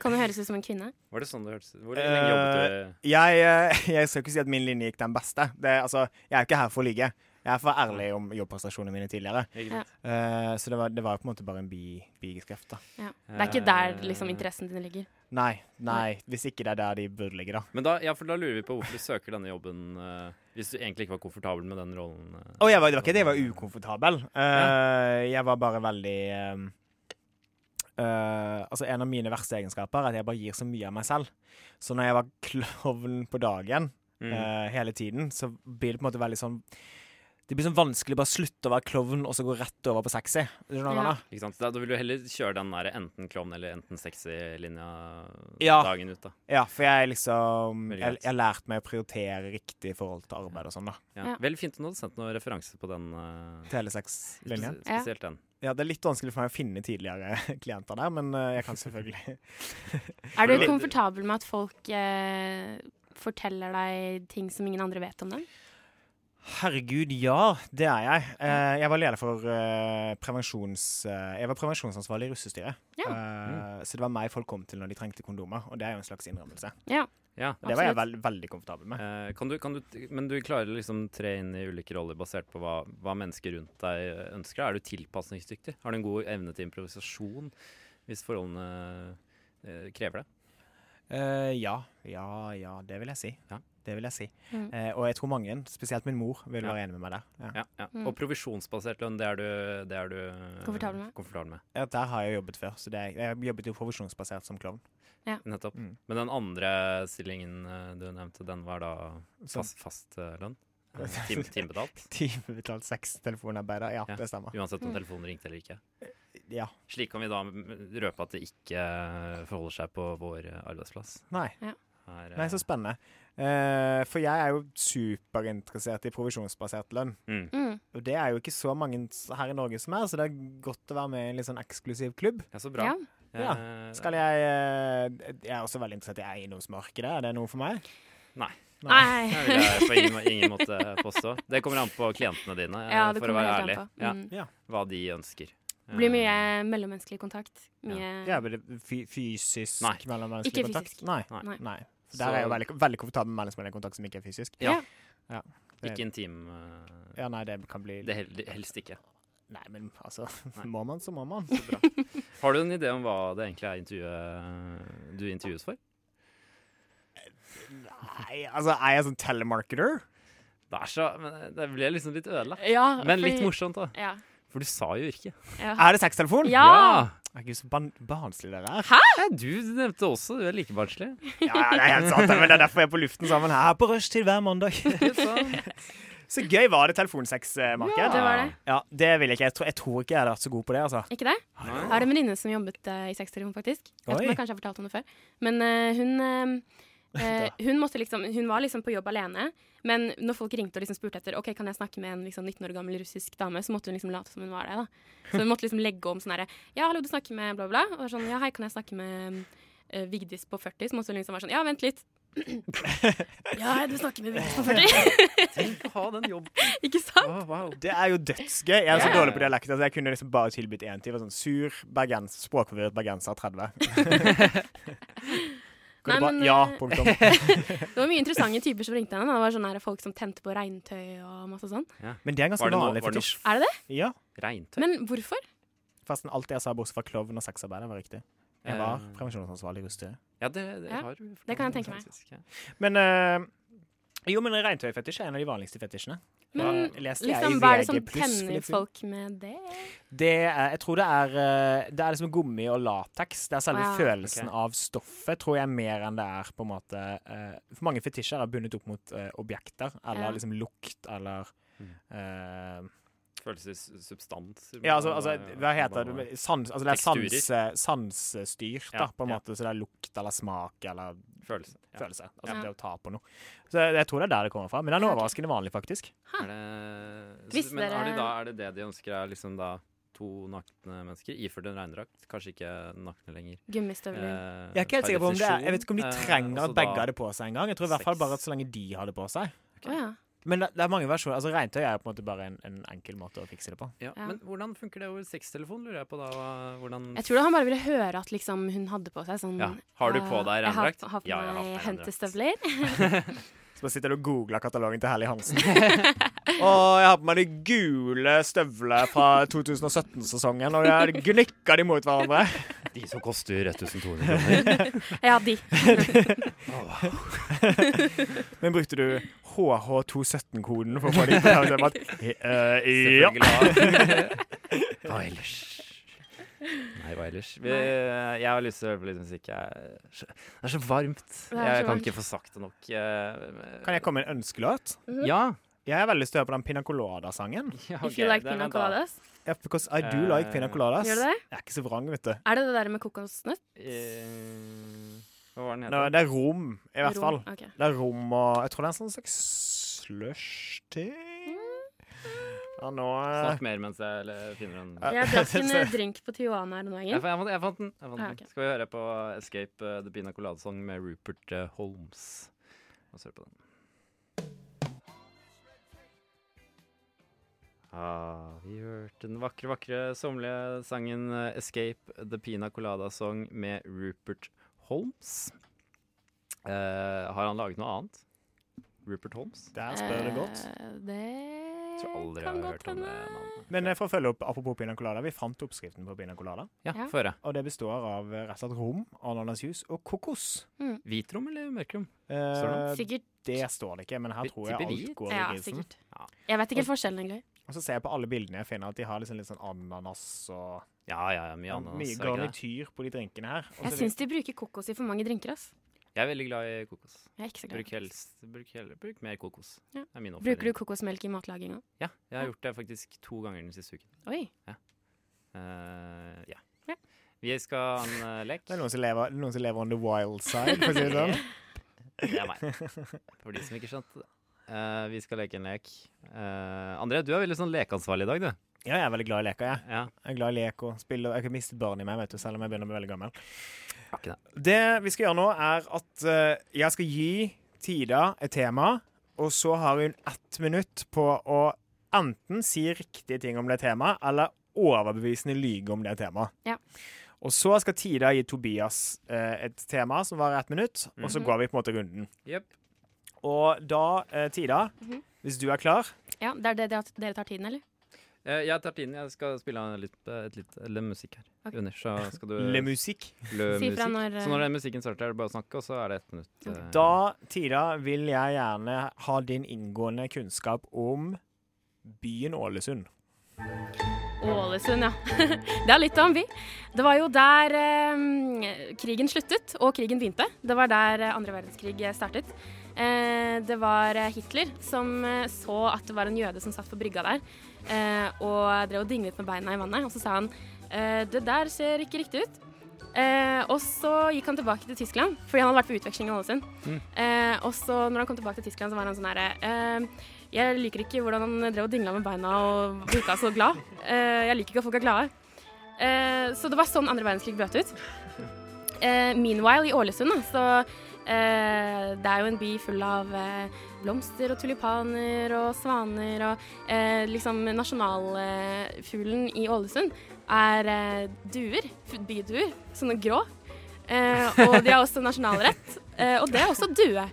Speaker 1: Kan det høres ut som en kvinne?
Speaker 3: Var det sånn det hørtes ut? Hvor lenge jobbet du?
Speaker 4: Jeg, eh, jeg skal ikke si at min linje gikk den beste. Det, er- altså, jeg er ikke her for å ligge. Jeg er for ærlig om jobbprestasjonene mine tidligere.
Speaker 3: Ikke
Speaker 1: Ja.
Speaker 3: sant?
Speaker 4: Eh, så det var, det var på en måte bare en bi, bigeskrift, da.
Speaker 1: Det er ikke der
Speaker 3: Eh,
Speaker 1: liksom interessen din ligger.
Speaker 4: Nei, nei, hvis ikke det er der de burde ligge, da.
Speaker 3: Men da, ja, for da lurer vi på hvorfor du søker denne jobben eh, hvis du egentlig ikke var komfortabel med den rollen. eh.
Speaker 4: Å, jeg var, det var ikke det, jeg var ukomfortabel. Eh, Jeg var bare veldig eh, eh, altså En av mine verste egenskaper er at jeg bare gir så mye av meg selv. Så når jeg var klovn på dagen,
Speaker 3: Mm.
Speaker 4: eh, hele tiden, så blir det på en måte veldig sånn Det blir sånn vanskelig å bare slutte å være klovn og så gå rett over på sexy. Skjønner du hva jeg
Speaker 1: Ja.
Speaker 4: mener?
Speaker 3: Ikke sant? Da, da vil du heller kjøre den der enten klovn eller enten sexy-linja
Speaker 4: Ja.
Speaker 3: dagen ut, da.
Speaker 4: Ja, for jeg liksom
Speaker 3: Veldig
Speaker 4: Jeg
Speaker 3: greit.
Speaker 4: jeg har lært meg å prioritere riktig i forhold til arbeid og sånn, da.
Speaker 3: Ja.
Speaker 1: Ja.
Speaker 3: Veldig fint om du hadde sendt noen referanse på den. eh,
Speaker 4: Telesex-linjen.
Speaker 3: spes-
Speaker 1: Ja.
Speaker 3: Spesielt den.
Speaker 4: Ja, det er litt vanskelig for meg å finne tidligere klienter der, men eh, jeg kan selvfølgelig
Speaker 1: Er du
Speaker 3: Veldig.
Speaker 1: komfortabel med at folk eh, forteller deg ting som ingen andre vet om dem?
Speaker 4: Herregud, ja, det er jeg. Eh, jeg var leder for eh, prevensjons... eh, jeg var prevensjonsansvarlig i russestyret.
Speaker 1: Ja.
Speaker 4: Eh, Så det var meg folk kom til når de trengte kondomer, og det er jo en slags innrømmelse.
Speaker 3: Ja.
Speaker 4: Og det var jeg
Speaker 1: Absolutt.
Speaker 4: vel- veldig komfortabel med.
Speaker 3: Eh, kan du, kan du, men du klarer liksom tre inn i ulike roller basert på hva, hva mennesker rundt deg eh, ønsker. Er du tilpasningsdyktig? Har du en god evne til improvisasjon hvis forholdene eh, krever det?
Speaker 4: Eh, ja, ja, ja, det vil jeg si.
Speaker 3: Ja.
Speaker 4: Det vil jeg si.
Speaker 1: Mm.
Speaker 4: Eh, og jeg tror mange, spesielt min mor, vil
Speaker 3: Ja.
Speaker 4: være enig med meg der. Ja.
Speaker 3: Ja, ja.
Speaker 1: Mm.
Speaker 3: Og provisjonsbasert lønn, det er du, det er du eh,
Speaker 1: Komfortabel med.
Speaker 3: komfortabel med.
Speaker 4: Ja, der har jeg jobbet før, så det, jeg jobbet jo provisjonsbasert som klovn.
Speaker 3: Nettopp.
Speaker 4: Mm.
Speaker 3: Men den andre stillingen eh, du nevnte, den var da
Speaker 4: Som-
Speaker 3: fast, fast eh, lønn? Eh, Tim, timebetalt?
Speaker 4: Timebetalt sextelefonarbeider. Ja,
Speaker 3: Ja.
Speaker 4: det stemmer.
Speaker 3: Uansett om
Speaker 1: Mm.
Speaker 3: telefonen ringte eller ikke?
Speaker 4: Ja.
Speaker 3: Slik kan vi da m- røpe at det ikke eh, forholder seg på vår eh, arbeidsplass.
Speaker 4: Nei.
Speaker 3: Her, eh,
Speaker 4: Nei, så spennende. Eh, for jeg er jo superinteressert i provisjonsbasert lønn.
Speaker 3: mm.
Speaker 1: Mm.
Speaker 4: Og det er jo ikke så mange s- her i Norge som er, så det er godt å være med i en litt sånn eksklusiv klubb.
Speaker 3: Ja, så bra.
Speaker 1: Ja.
Speaker 3: Eh,
Speaker 4: Skal jeg eh, Jeg er også veldig interessert i eiendomsmarkedet. Er det noe for meg?
Speaker 1: Mm.
Speaker 3: Det
Speaker 1: Nei.
Speaker 3: vil jeg på ingen, ingen måte påstå. Det kommer an på klientene dine, eh,
Speaker 1: Ja, det
Speaker 3: for å
Speaker 1: kommer
Speaker 3: være
Speaker 1: helt
Speaker 3: ærlig.
Speaker 1: an på.
Speaker 3: Ja,
Speaker 1: Mm.
Speaker 3: hva de ønsker.
Speaker 1: Det blir
Speaker 3: Eh,
Speaker 1: mye mellommenneskelig kontakt. Mye
Speaker 4: Ja, men det- fy- fysisk
Speaker 3: Nei.
Speaker 4: mellommenneskelig
Speaker 1: Ikke
Speaker 4: kontakt?
Speaker 1: fysisk.
Speaker 4: Nei.
Speaker 3: Nei.
Speaker 1: Nei.
Speaker 4: Nei. For der er jeg jo veldig, veldig komfortabel med mellommenneskelig kontakt som ikke er fysisk.
Speaker 3: Ja.
Speaker 4: Ja.
Speaker 3: Ikke intim eh,
Speaker 4: Ja, nei, det kan bli
Speaker 3: det hel- det Helst ikke.
Speaker 4: Nei, men altså
Speaker 3: Nei.
Speaker 4: Må man, så må man.
Speaker 3: Har du en idé om hva det egentlig er intervjuet du intervjues for?
Speaker 4: Nei, altså, er jeg sånn telemarketer?
Speaker 3: Det er så men Det ble liksom litt ødelagt.
Speaker 1: Ja,
Speaker 3: Men
Speaker 1: fordi-
Speaker 3: litt morsomt, da.
Speaker 1: Ja.
Speaker 3: For du sa jo ikke.
Speaker 1: Ja.
Speaker 4: Er det sextelefon?
Speaker 1: ja.
Speaker 4: Å, Gud, så ban- barnslig dere er.
Speaker 3: Ja, du nevnte også du er like barnslig.
Speaker 4: Ja, ja, det er helt sant, men det er derfor jeg er på luften sammen her på rushtid hver mandag. Så gøy var det
Speaker 1: Ja,
Speaker 4: telefonsex-marked.
Speaker 1: det var det.
Speaker 4: Ja, det vil jeg ikke. Jeg tror, jeg tror ikke jeg hadde vært så god på det, altså.
Speaker 1: Ikke det? Jeg har en venninne som jobbet eh, i sextelefon, faktisk. Jeg vet ikke om
Speaker 4: Oi.
Speaker 1: jeg kanskje har fortalt om det før. Men eh, hun eh, eh, hun, måtte liksom, hun var liksom på jobb alene, men når folk ringte og liksom spurte etter Ok, kan jeg snakke med en liksom 19 år gammel russisk dame, så måtte hun liksom late som hun var det. da Så hun måtte liksom legge om sånn herre Ja, hallo, du snakker med bla, bla. Og sånn, ja, hei, kan jeg snakke med eh, Vigdis på 40? Så måtte hun liksom være sånn Ja, vent litt. ja, hei, du snakker med Vigdis på 40.
Speaker 3: Tenk å ha den jobben.
Speaker 1: ikke sant?
Speaker 3: Å, wow.
Speaker 4: Det er jo dødsgøy. Jeg er så
Speaker 3: Ja.
Speaker 4: dårlig på dialekt. Altså, jeg kunne liksom bare tilbudt én til. Jeg var Sånn sur, bergens, språkforvirret bergenser 30. Kan
Speaker 1: Nei,
Speaker 4: du bare,
Speaker 1: men,
Speaker 4: ja,
Speaker 1: eh,
Speaker 4: punktum.
Speaker 1: Det var mye interessante typer som ringte henne. da. Det var sånn her folk som tente på regntøy og masse sånn.
Speaker 4: Men det er
Speaker 3: Var
Speaker 4: en ganske
Speaker 3: det noe-
Speaker 4: vanlig
Speaker 3: var det noe
Speaker 4: fetisj.
Speaker 1: Er det det?
Speaker 4: Ja,
Speaker 3: Regntøy.
Speaker 1: Men hvorfor?
Speaker 4: Forresten, alt jeg sa bortsett fra klovn og sexarbeider, var riktig. Jeg var prevensjonsansvarlig i russetida.
Speaker 3: Ja, det, det,
Speaker 1: Ja,
Speaker 3: har du
Speaker 1: det kan jeg tenke meg.
Speaker 3: faktisk, ja.
Speaker 4: Men eh, jo, men regntøyfetisj er en av de vanligste fetisjene.
Speaker 1: Men
Speaker 4: Ja, leste jeg
Speaker 1: liksom,
Speaker 4: i
Speaker 1: hva er det
Speaker 4: VG+,
Speaker 1: som
Speaker 4: for
Speaker 1: tenner
Speaker 4: litt siden.
Speaker 1: folk med det?
Speaker 4: Det er, jeg tror det er eh, Det er liksom gummi og lateks. Det er selve
Speaker 1: Wow.
Speaker 4: følelsen
Speaker 3: Ok.
Speaker 4: av stoffet, tror jeg, mer enn det er på en måte eh, For mange fetisjer er bundet opp mot eh, objekter, eller
Speaker 1: Ja.
Speaker 4: liksom lukt, eller
Speaker 3: Mm.
Speaker 4: eh,
Speaker 3: Følelsessubstanser.
Speaker 4: Ja, altså, altså
Speaker 3: eh,
Speaker 4: hva heter det? Sans, altså, det er
Speaker 3: Teksturer.
Speaker 4: sans, eh, sansstyrt,
Speaker 3: Ja,
Speaker 4: da, på en
Speaker 3: ja.
Speaker 4: måte. Så det er lukt eller smak eller
Speaker 3: Følelse. Ja.
Speaker 4: følelse. Altså
Speaker 1: Ja.
Speaker 4: det å ta på noe. Så jeg, jeg tror det er der det kommer fra. Men det er
Speaker 1: Ja,
Speaker 4: noe
Speaker 1: ok.
Speaker 4: overraskende vanlig, faktisk.
Speaker 3: Er det,
Speaker 1: Ah. Hvis
Speaker 3: så, men er det,
Speaker 1: dere-
Speaker 3: da, er det det de ønsker, er liksom da to nakne mennesker iført en regndrakt? Kanskje ikke nakne lenger.
Speaker 1: Gummistøvler.
Speaker 3: Eh,
Speaker 4: Jeg er ikke helt sikker på om det er, jeg vet ikke om de trenger at begge har
Speaker 3: har
Speaker 4: det på seg engang. Jeg tror i hvert fall
Speaker 3: sex.
Speaker 4: bare at så lenge de har det på seg.
Speaker 1: Å ja.
Speaker 4: Men det, det er mange versjoner. Altså Regntøy er jo på en måte bare en, en enkel måte å fikse det på.
Speaker 3: ja.
Speaker 1: Ja.
Speaker 3: Men hvordan funker det over sextelefon, lurer jeg på da? hva- Hvordan
Speaker 1: Jeg tror da han bare ville høre at liksom, hun hadde på seg sånn
Speaker 3: ja. Har du på
Speaker 1: eh,
Speaker 3: deg
Speaker 1: jeg har-
Speaker 3: regndrakt?
Speaker 1: Har på
Speaker 3: Ja, jeg
Speaker 1: meg
Speaker 3: på meg regndrakt.
Speaker 1: hentestøvler.
Speaker 4: Så bare sitter du og googler katalogen til Helly Hansen. Å, jeg har på meg de gule støvlene fra 2017-sesongen, og jeg gnikker de mot hverandre.
Speaker 3: De som koster 1200 kroner.
Speaker 1: Ja, de.
Speaker 4: Men brukte du HH217-koden for å få de til å høre at eh, Ja.
Speaker 3: Hva ellers? Nei, hva ellers? Vi, jeg har lyst til å høre på litt musikk. Jeg, det er så varmt.
Speaker 1: er
Speaker 3: jeg
Speaker 1: så
Speaker 3: kan
Speaker 1: varmt.
Speaker 3: ikke få sagt det nok. Eh,
Speaker 4: Kan jeg komme med en ønskelåt?
Speaker 3: Ja.
Speaker 4: Jeg har veldig lyst til å høre på den Pina Colada-sangen.
Speaker 3: ja
Speaker 1: Mhm. If you
Speaker 3: ok,
Speaker 1: like
Speaker 3: det-
Speaker 1: pina
Speaker 3: vent da.
Speaker 1: coladas.
Speaker 4: Yeah, because I do like Pina Coladas.
Speaker 1: Gjør du det?
Speaker 4: Jeg er ikke så vrang, vet du.
Speaker 1: Er det det der med kokosnøtt?
Speaker 3: Eh, Hva var den
Speaker 4: Nå,
Speaker 3: heter?
Speaker 4: det er rom, i hvert fall.
Speaker 1: Rom? Ok.
Speaker 4: Det er rom og Jeg tror det er en sånn slags slush-ting
Speaker 1: Mm.
Speaker 4: Ja, nå eh,
Speaker 3: Snakk mer mens jeg eller, finner den.
Speaker 4: Ja.
Speaker 1: Jeg drakk en eh, drink på Tijuana her om
Speaker 3: Jeg,
Speaker 1: dagen.
Speaker 3: fa- jeg, fant, jeg fant den. Jeg fant
Speaker 1: Ah,
Speaker 3: den.
Speaker 1: ok.
Speaker 3: Skal vi høre på Escape eh, The Pina Colada Song med Rupert eh, Holmes. La oss høre på den. Ah, vi hørte den vakre, vakre sommerlige sangen eh, Escape The Pina Colada Song med Rupert Holmes. Eh, har han laget noe annet? Rupert Holmes?
Speaker 4: Der spør det godt.
Speaker 1: Eh, Det
Speaker 3: Jeg tror aldri jeg
Speaker 1: kan
Speaker 3: har
Speaker 1: godt
Speaker 3: hørt om det
Speaker 1: hende.
Speaker 3: navnet.
Speaker 4: Men eh, for å følge opp apropos Pina Colada, vi fant oppskriften på Pina Colada.
Speaker 3: Ja,
Speaker 1: Ja.
Speaker 3: få høre.
Speaker 4: Og det består av eh, rett og slett rom, ananasjus og kokos.
Speaker 3: Hvitrom eller mørkrom?
Speaker 4: Eh,
Speaker 1: Sikkert.
Speaker 4: det står det ikke, men her
Speaker 3: Vi
Speaker 4: tror jeg
Speaker 3: tipper
Speaker 4: alt
Speaker 3: hvit.
Speaker 4: går i
Speaker 1: Ja,
Speaker 4: grisen.
Speaker 1: sikkert. Jeg vet ikke helt forskjellen, egentlig.
Speaker 4: Og så ser jeg på alle bildene jeg finner at de har liksom litt sånn ananas og
Speaker 3: Ja, ja, ja, mye ananas.
Speaker 4: mye
Speaker 3: er det ikke det?
Speaker 4: garnityr på de drinkene her. Og
Speaker 1: Jeg
Speaker 4: så-
Speaker 1: syns de bruker kokos i for mange drinker, ass.
Speaker 3: Jeg er veldig glad i kokos.
Speaker 1: Jeg er ikke så glad.
Speaker 3: Bruk, helst, bruk, heller, bruk mer kokos.
Speaker 1: Ja.
Speaker 3: Det er min oppfordring.
Speaker 1: Bruker du kokosmelk i matlaginga?
Speaker 3: Ja, jeg har
Speaker 1: Ja.
Speaker 3: gjort det faktisk to ganger den siste uken.
Speaker 1: Oi.
Speaker 3: Eh, ja.
Speaker 1: Ja.
Speaker 3: Vi skal ha en eh, lek.
Speaker 4: det er noen som, lever, noen som lever on the wild side, for å si det sånn.
Speaker 3: Det er meg. For de som ikke skjønte det. Eh, vi skal leke en lek. Eh, André, du er veldig sånn lekeansvarlig i dag, du.
Speaker 4: Ja, jeg er veldig glad i leker, jeg.
Speaker 3: Ja.
Speaker 4: Jeg er glad i lek og spill. og Jeg har ikke mistet barnet i meg, vet du, selv om jeg begynner å bli veldig gammel.
Speaker 3: ikke det.
Speaker 4: Det vi skal gjøre nå, er at eh, jeg skal gi Tida et tema, og så har hun ett minutt på å enten si riktige ting om det temaet, eller overbevisende lyge om det temaet.
Speaker 1: Ja.
Speaker 4: Og så skal Tida gi Tobias eh, et tema som varer ett minutt, og så
Speaker 1: Mhm.
Speaker 4: går vi på en måte runden.
Speaker 3: Jep.
Speaker 4: Og da, eh, Tida,
Speaker 1: Mhm.
Speaker 4: hvis du er klar
Speaker 1: Ja, det er det dere- dere tar tiden, eller?
Speaker 3: Eh, Jeg tar tiden. Jeg skal spille av litt, eh, et litt le musikk her.
Speaker 1: Ok.
Speaker 3: Under, så skal du
Speaker 4: Le musikk.
Speaker 3: le
Speaker 1: Si fra
Speaker 3: musikk.
Speaker 1: når, eh,
Speaker 3: Så når den musikken starter, er det bare å snakke, og så er det ett minutt. eh,
Speaker 4: Da, Tida, vil jeg gjerne ha din inngående kunnskap om byen Ålesund.
Speaker 1: Ålesund, ja. Det har litt om vi. Det var jo der eh, krigen sluttet, og krigen begynte. Det var der eh, andre verdenskrig eh, startet. Eh, det var eh, Hitler som eh, så at det var en jøde som satt på brygga der, eh, og drev og dinglet med beina i vannet. Og så sa han eh, det der ser ikke riktig ut. Eh, og så gikk han tilbake til Tyskland, fordi han hadde vært på utveksling i Ålesund. Eh, og så når han kom tilbake til Tyskland, så var han sånn herre eh, Jeg liker ikke hvordan han drev og dingla med beina og virka så glad. Eh, jeg liker ikke at folk er glade. Eh, så det var sånn andre verdenskrig brøt ut. Eh, meanwhile, i Ålesund, da, så eh, Det er jo en by full av eh, blomster og tulipaner og svaner og eh, liksom nasjonalfuglen i Ålesund er eh, duer, f- byduer, sånne grå. Eh, og de har også nasjonalrett, eh, og det er også due.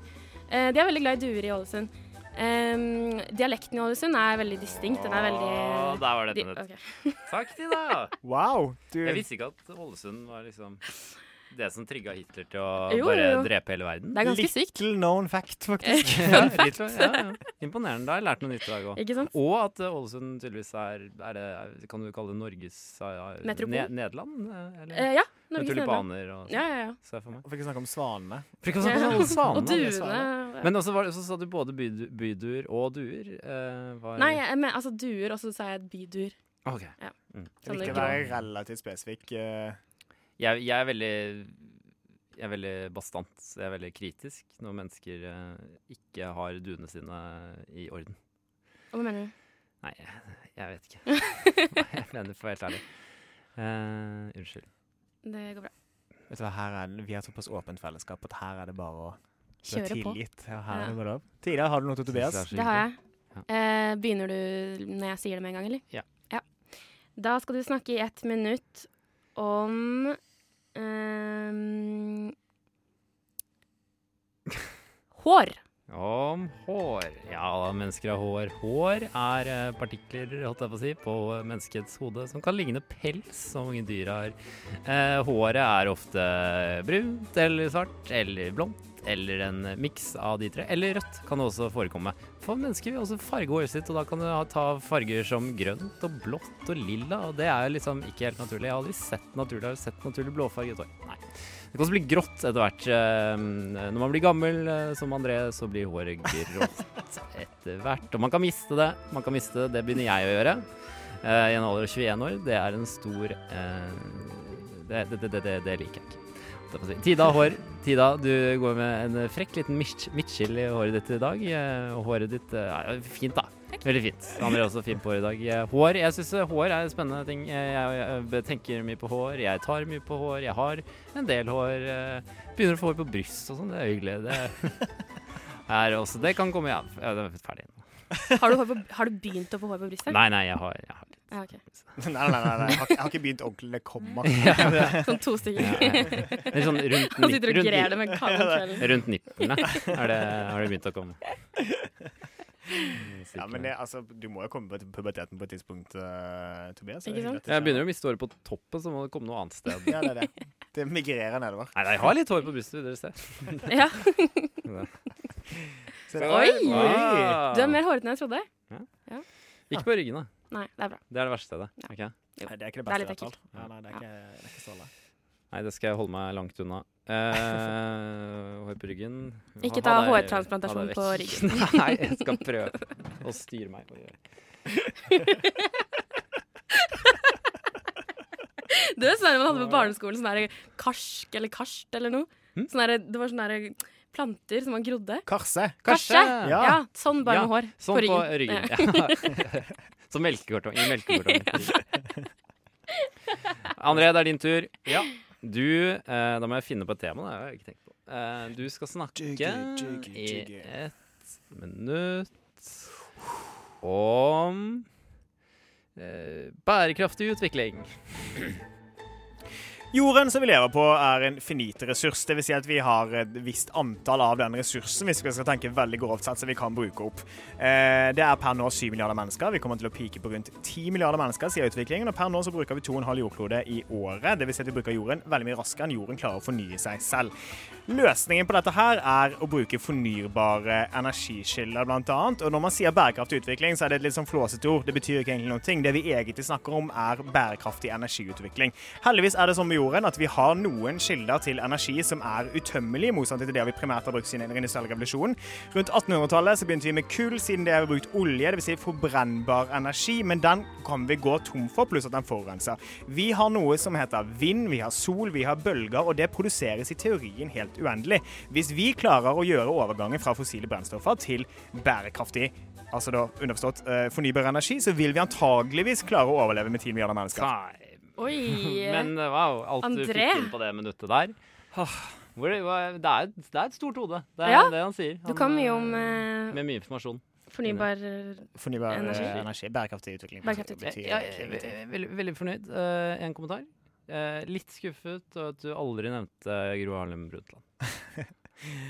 Speaker 1: Eh, de er veldig glad i duer i Ålesund. Em, dialekten i Ålesund er veldig distinkt. Den er
Speaker 3: Å,
Speaker 1: veldig
Speaker 3: der var det
Speaker 1: di
Speaker 3: ett minutt.
Speaker 1: ok.
Speaker 3: Takk, Tina.
Speaker 4: Wow! Du,
Speaker 3: Jeg visste ikke at Ålesund var liksom det som trigga Hitler til å
Speaker 1: Jo, jo,
Speaker 3: bare
Speaker 1: jo.
Speaker 3: drepe hele verden.
Speaker 1: Det er ganske sykt.
Speaker 4: little known fact, faktisk.
Speaker 3: Ja, litt, sånn, ja, ja. Imponerende. Da har jeg lært noe nytt i dag òg.
Speaker 1: Ikke sant?
Speaker 3: Og at eh, Ålesund tydeligvis er, er det, er- Kan du kalle det Norges eh,
Speaker 1: Metropol?
Speaker 3: Ne Nederland? eh, Eller?
Speaker 1: Eh, ja.
Speaker 3: Med
Speaker 1: Norges Nederland.
Speaker 3: tulipaner og sånn.
Speaker 1: Ja, ja, ja.
Speaker 3: Ser jeg for meg.
Speaker 4: Får ikke snakke om svanene.
Speaker 3: For ikke å
Speaker 1: Ja.
Speaker 3: snakke om alle
Speaker 1: Og
Speaker 3: samene.
Speaker 4: det
Speaker 1: duene.
Speaker 4: svaret.
Speaker 1: ja.
Speaker 3: Men også var, det- så sa du både bydu- byduer og duer. Eh, var,
Speaker 1: Nei, jeg, men, altså duer, og så sa jeg byduer.
Speaker 3: Ok. Mm.
Speaker 4: Det er
Speaker 1: Sånne
Speaker 4: viktig å
Speaker 1: grå.
Speaker 4: være relativt spesifikk. eh,
Speaker 3: Jeg, jeg er veldig jeg er veldig bastant. Jeg er veldig kritisk når mennesker eh, ikke har duene sine i orden.
Speaker 1: Hva mener du?
Speaker 3: Nei, jeg, jeg vet ikke. Nei, jeg mener for å være helt ærlig. Eh, unnskyld.
Speaker 1: Det går bra.
Speaker 4: Vet du hva, her er det, Vi har såpass åpent fellesskap at her er det bare å det er
Speaker 1: Kjøre på.
Speaker 4: tilgitt. Ja, her er det
Speaker 1: Ja.
Speaker 4: bare lov. Tida, har du noe til Tobias?
Speaker 3: Synes
Speaker 1: Det har jeg.
Speaker 3: Ja.
Speaker 1: Eh, begynner du når jeg sier det med en gang, eller?
Speaker 3: Ja.
Speaker 1: Da skal du snakke i ett minutt om ehm, Hår.
Speaker 3: Om hår. Ja, mennesker har hår. Hår er eh, partikler holdt jeg på, å si, på menneskets hode som kan ligne pels, som mange dyr har. Eh, håret er ofte brunt eller svart eller blondt eller en miks av de tre. Eller rødt kan det også forekomme. For mennesker vil også farge håret sitt, og da kan du ha- ta farger som grønt og blått og lilla, og det er liksom ikke helt naturlig. Jeg har aldri sett naturlig, har du sett naturlig blåfarget hår. Nei. Det kan også bli grått etter hvert. Eh, Når man blir gammel eh, som André, så blir håret grått etter hvert. Og man kan miste det. Man kan miste det. Det begynner jeg å gjøre eh, i en alder av 21 år. Det er en stor eh, det, det, det, det, det liker jeg ikke. Det får jeg si. Tida hår. Tida, du går med en frekk liten midt- midtskill i håret ditt i dag. eh, Og håret ditt eh, er fint, da. Veldig fint. Andre er også fint på hår i dag. Eh, Hår, jeg syns hår er en spennende ting. Eh, Jeg, jeg be- tenker mye på hår, jeg tar mye på hår, jeg har en del hår. eh, Begynner å få hår på bryst og sånn, det er hyggelig. Det er også, det kan komme igjen. Ja, det er ferdig.
Speaker 1: Har du, hår på, har du begynt å få hår på brystet?
Speaker 3: Nei, nei, jeg har, jeg har litt.
Speaker 1: Ja, ok.
Speaker 4: Nei, nei, nei, nei. Jeg, har, ikke- jeg har ikke begynt ordentlig. Det kommer.
Speaker 1: Sånn to stykker.
Speaker 3: Det er sånn rundt,
Speaker 1: Han
Speaker 3: nipp-
Speaker 1: sitter og grer
Speaker 3: rundt,
Speaker 1: det med kalde kvelden.
Speaker 3: nipp- rundt nipplene er det, har det begynt å komme.
Speaker 4: Ja, men det, altså, du må jo komme på puberteten på et tidspunkt, eh, Tobias.
Speaker 1: Ikke sant?
Speaker 3: Jeg begynner å miste håret på toppen, så må det komme noe annet sted.
Speaker 4: Ja, det er det. Det migrerer nedover.
Speaker 3: Nei, nei, jeg har litt hår på brystet, dere ser.
Speaker 1: Ja.
Speaker 4: Se der.
Speaker 1: Oi!
Speaker 4: Oi!
Speaker 1: Du er mer hårete enn jeg trodde.
Speaker 3: Ah. Ikke på ryggen, da.
Speaker 1: Nei, det er bra.
Speaker 3: Det er det verste, det. Ok?
Speaker 4: Nei, det er ikke det
Speaker 1: Det
Speaker 4: beste
Speaker 1: er litt
Speaker 4: jeg har
Speaker 1: ekkelt.
Speaker 4: talt. Ja, nei, det er ikke, det er ikke så ille.
Speaker 3: Nei, det skal jeg holde meg langt unna. Eh, hår på ryggen Ha-
Speaker 1: Ikke
Speaker 3: ha
Speaker 1: ta
Speaker 3: deg-
Speaker 1: hårtransplantasjon
Speaker 3: ha deg
Speaker 1: på
Speaker 3: vekk. Nei, jeg skal prøve å styre meg. på det.
Speaker 1: Det er sånn der man hadde på barneskolen, sånn der karsk eller karst eller noe.
Speaker 3: Hm?
Speaker 1: Sånn der, det var sånne der planter som man grodde.
Speaker 4: Karse.
Speaker 1: Karse! Ja.
Speaker 4: Ja.
Speaker 1: sånn bare
Speaker 3: Ja,
Speaker 1: med hår.
Speaker 3: Eh, Sånn på ryggen.
Speaker 1: Ja.
Speaker 3: Ja. Som melkekartong. I melkekartong. André, det er din tur. Du, eh, Da må jeg finne på et tema. Det har jeg ikke tenkt på. Eh, du skal snakke
Speaker 4: Jiggy, jiggy,
Speaker 3: i
Speaker 4: jiggy.
Speaker 3: ett minutt om eh, bærekraftig utvikling.
Speaker 4: Jorden som vi lever på, er en finit ressurs. Det vil si at vi har et visst antall av den ressursen hvis vi skal tenke veldig grovt sett, så vi kan bruke opp. Eh, Det er per nå 7 milliarder mennesker. Vi kommer til å pike på rundt 10 milliarder mennesker, sier utviklingen. Og per nå så bruker vi 2,5 jordklode i året. Det vil si at vi bruker jorden veldig mye raskere enn jorden klarer å fornye seg selv. Løsningen på dette her er å bruke fornybare energikilder, blant annet. Og når man sier bærekraftig utvikling, så er det et litt sånn flåsete ord. Det betyr ikke egentlig noen ting. Det vi egentlig snakker om, er bærekraftig energiutvikling. Heldigvis er det sånn med jorden at vi har noen kilder til energi som er utømmelige, i motsetning til det vi primært har brukt siden den industrielle revolusjonen. Rundt 1800-tallet så begynte vi med kull, siden det har vi brukt olje, dvs. Si forbrennbar energi, men den kan vi gå tom for, pluss at den forurenser. Vi har noe som heter vind, vi har sol, vi har bølger, og det produseres i teorien helt uendelig. Hvis vi klarer å gjøre overgangen fra fossile brennstoffer til bærekraftig altså da underforstått eh, fornybar energi, så vil vi antageligvis klare å overleve med 10 milliarder mennesker.
Speaker 3: Nei,
Speaker 1: Oi.
Speaker 3: men eh, wow, alt du
Speaker 1: André?
Speaker 3: fikk inn på det minuttet der. Hvor, hva- det, er, et- det er et stort hode, det er
Speaker 1: Ja.
Speaker 3: det han sier.
Speaker 1: Du
Speaker 3: Han,
Speaker 1: kan
Speaker 3: eh,
Speaker 1: mye om eh,
Speaker 3: Med mye informasjon.
Speaker 1: fornybar
Speaker 4: Fornybar eh,
Speaker 1: Energi.
Speaker 4: energi. Bærekraftig utvikling.
Speaker 1: Bærekraftig
Speaker 4: betyr
Speaker 1: utvikling.
Speaker 3: Ja,
Speaker 4: egentlig
Speaker 3: jeg
Speaker 4: ingenting.
Speaker 3: er veldig, veldig fornøyd. Eh, en kommentar. Eh, litt skuffet over at du aldri nevnte Gro Harlem Brundtland.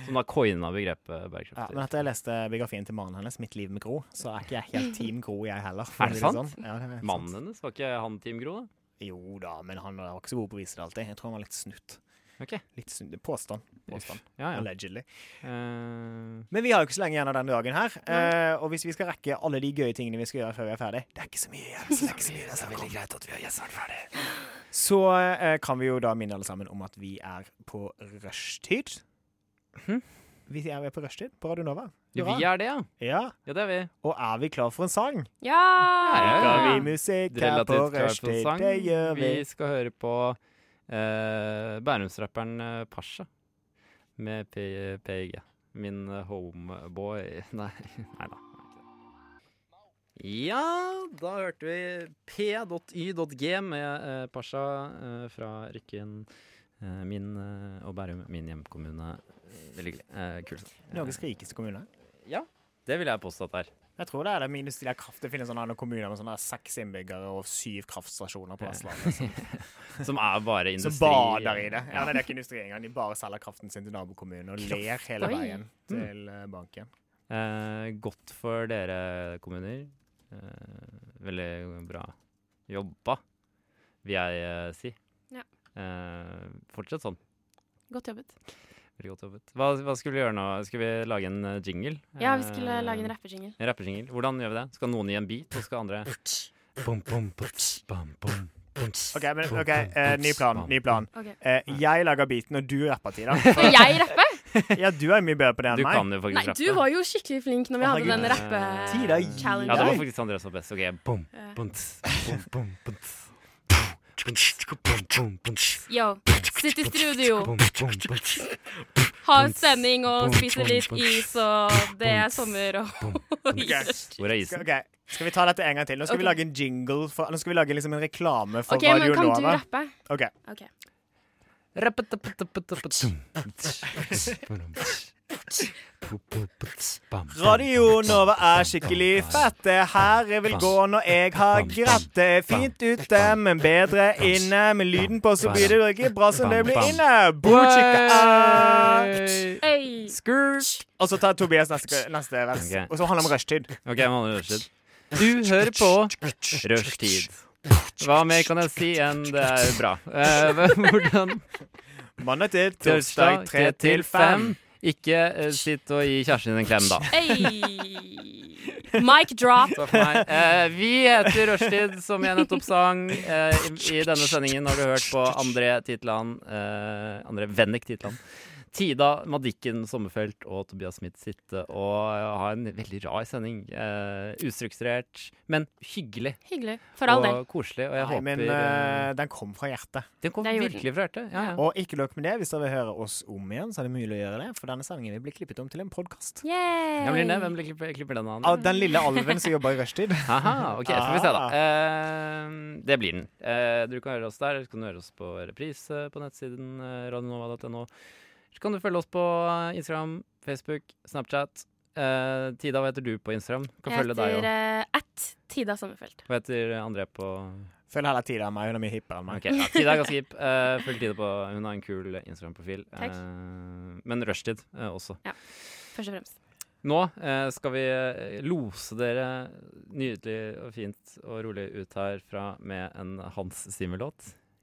Speaker 3: Som da coina begrepet
Speaker 4: Ja,
Speaker 3: bærekraftig.
Speaker 4: men etter jeg leste biografien til mannen hennes, 'Mitt liv med Gro', så er ikke jeg helt Team Gro, jeg heller. for
Speaker 3: Er
Speaker 4: å
Speaker 3: det
Speaker 4: si
Speaker 3: sant?
Speaker 4: Sånn. Ja, det er sant.
Speaker 3: Mannen hennes, var ikke han Team Gro, da?
Speaker 4: Jo da, men han var ikke så god på å vise det alltid. Jeg tror han var litt snutt.
Speaker 3: Ok.
Speaker 4: Litt snutt. Påstand. Påstand.
Speaker 3: Ja, ja.
Speaker 4: Allegedly.
Speaker 3: Eh,
Speaker 4: Men vi har jo ikke så lenge igjen av denne dagen her. eh, og hvis vi skal rekke alle de gøye tingene vi skal gjøre før vi er ferdig Det er ikke så mye igjen. så Det er ikke så mye igjen, så det er veldig greit at vi har gjestene ferdig. Så eh, kan vi jo da minne alle sammen om at vi er på rushtid. Hm?
Speaker 3: Mhm.
Speaker 4: Vi er på rushtid på Radio Nova.
Speaker 3: ja,
Speaker 4: Hurra.
Speaker 3: vi er det, ja.
Speaker 4: Ja.
Speaker 3: Ja, det er vi.
Speaker 4: Og er vi klar for en sang?
Speaker 1: Ja!
Speaker 4: Skal
Speaker 3: Ja.
Speaker 4: vi musikk her på
Speaker 3: Relativt klar på
Speaker 4: rushtid?
Speaker 3: sang.
Speaker 4: Det gjør vi.
Speaker 3: Vi skal høre på eh, Bærumsrapperen eh, Pasha med P- PIG. Min eh, homeboy Nei, nei da. Ja, da hørte vi p.y.g med eh, Pasha eh, fra Rykken. eh, min eh, og Bærum, min hjemkommune. Veldig hyggelig. Eh, kult.
Speaker 4: Norges rikeste kommune.
Speaker 3: Det vil jeg påstå at det er.
Speaker 4: Jeg tror det er det minus de der kraft. Det finnes sånne andre kommuner med sånne der seks innbyggere og syv kraftstasjoner på
Speaker 3: Ja.
Speaker 4: Vestlandet som,
Speaker 3: Som er bare industri.
Speaker 4: som bader i det. Ja, nei, det er ikke industri engang. De bare selger kraften sin til nabokommunen og ler hele
Speaker 1: Oi. Mm.
Speaker 4: veien til eh, banken.
Speaker 3: Eh, godt for dere kommuner. Eh, veldig bra jobba, vil jeg eh, si.
Speaker 1: Ja.
Speaker 3: Eh, fortsett sånn.
Speaker 1: Godt jobbet.
Speaker 3: Veldig godt jobbet. Hva, hva skulle vi gjøre nå? Skulle vi lage en eh, jingle?
Speaker 1: Ja, vi skulle
Speaker 3: Eh,
Speaker 1: lage en rappejingle.
Speaker 3: en rappejingle. Hvordan gjør vi det? Skal noen gi en beat, og skal andre Bom, bom, puts, bam, bom, puts,
Speaker 4: OK, men,
Speaker 3: bom,
Speaker 4: ok,
Speaker 3: bom,
Speaker 4: eh, ny
Speaker 3: puts,
Speaker 4: plan.
Speaker 3: bam,
Speaker 4: Ny plan.
Speaker 1: Ok.
Speaker 4: Eh, jeg lager beaten, og du rapper til den.
Speaker 1: Skal jeg rappe?
Speaker 4: Ja, du er mye bedre på det
Speaker 3: Du
Speaker 4: enn meg.
Speaker 3: kan jo
Speaker 1: Nei,
Speaker 3: faktisk rappe.
Speaker 1: du var jo skikkelig flink når vi
Speaker 4: Å,
Speaker 1: hadde den
Speaker 3: herregud.
Speaker 4: Tida
Speaker 1: rappe...
Speaker 4: gir
Speaker 3: Ja, det
Speaker 1: Challenge.
Speaker 3: var faktisk André som var best. Ok, bom,
Speaker 1: Ja.
Speaker 3: bom, tss, bom, bom, bom, tss. Bom, tss, bom, bom, bom, tss.
Speaker 1: Yo, sitt i studio,
Speaker 3: Bom, bom, bom, tss.
Speaker 1: ha sending og spise litt is, og det er sommer og
Speaker 3: Hvor
Speaker 1: Ok,
Speaker 3: er
Speaker 4: Skal,
Speaker 3: isen?
Speaker 4: ok, skal vi ta dette en gang til? Nå skal
Speaker 1: sånn. Ok.
Speaker 4: vi lage en jingle for, Nå skal vi lage liksom en reklame for
Speaker 1: men
Speaker 4: Radio
Speaker 1: kan du
Speaker 4: Nova.
Speaker 1: rappe?
Speaker 4: Ok.
Speaker 1: Ok.
Speaker 4: Radio Nova er skikkelig fett. Det her jeg vil gå når jeg har greit. Det er fint ute, men bedre inne. Med lyden på så blir det ikke bra som det blir inne. Boo-chicka-act.
Speaker 1: Øy.
Speaker 3: Skurt.
Speaker 4: Og så tar Tobias neste, neste vers.
Speaker 3: Ok.
Speaker 4: Og så handler det om rushtid.
Speaker 3: Ok, jeg må ha rushtid. Du hører på Rushtid. Hva mer kan jeg si enn det er bra? Eh, hvordan
Speaker 4: Mandag til torsdag tre til fem.
Speaker 3: Ikke eh, sitt og gi kjæresten din en klem, da.
Speaker 1: Hey. Mic drop.
Speaker 3: Så for meg. Eh, vi heter Rushtid, som jeg nettopp sang. Eh, i, I denne sendingen har du hørt på André Titland, eh, André Vennik Titland, Tida Madikken Sommerfelt og Tobias Smith sitte og eh, ha en veldig rar sending. Eh, ustrukturert, men hyggelig
Speaker 1: Hyggelig. For all del.
Speaker 3: og koselig. Og jeg
Speaker 4: Nei,
Speaker 3: håper
Speaker 4: men eh, den kom fra hjertet.
Speaker 3: eh, Den kom
Speaker 1: Det gjorde den.
Speaker 3: virkelig fra hjertet. Ja, ja.
Speaker 4: Og ikke nok med det, hvis dere vil høre oss om igjen, så er det mulig å gjøre det. For denne sendingen vil bli klippet om til en podkast.
Speaker 1: Yay.
Speaker 3: Jeg blir ned. Hvem klipper, klipper den av?
Speaker 4: Av den lille alven som jobber i rushtid.
Speaker 3: Aha, ok, så får vi se da. Eh, det blir den. Eh, du kan høre oss der, eller så kan du høre oss på reprise på nettsiden eh, radionova.no. Så kan du følge oss på eh, Instagram, Facebook, Snapchat, Eh, Tida, hva heter du på Instagram? Kan følge deg
Speaker 1: heter
Speaker 3: òg.
Speaker 1: eh, at Tida Sommerfelt.
Speaker 3: Hva heter André på
Speaker 4: Følg heller tida enn meg. Hun er mye hippere enn meg.
Speaker 3: Ok, ja, Tida er ganske hipp. Eh, følg Tida på Hun har en kul Instagram-profil.
Speaker 1: Takk.
Speaker 3: Eh, men rushtid eh, også.
Speaker 1: Først og fremst.
Speaker 3: Nå eh, skal vi eh, lose dere nydelig og fint og rolig ut herfra med en Hans Zimmer-låt.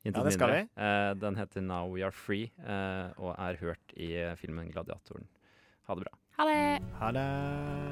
Speaker 3: Intet
Speaker 4: Ja, det skal
Speaker 3: mindre. Eh, den heter 'Now We Are Free' eh, og er hørt i eh, filmen 'Gladiatoren'. Ha det bra.
Speaker 1: Ha det!
Speaker 4: Ha det.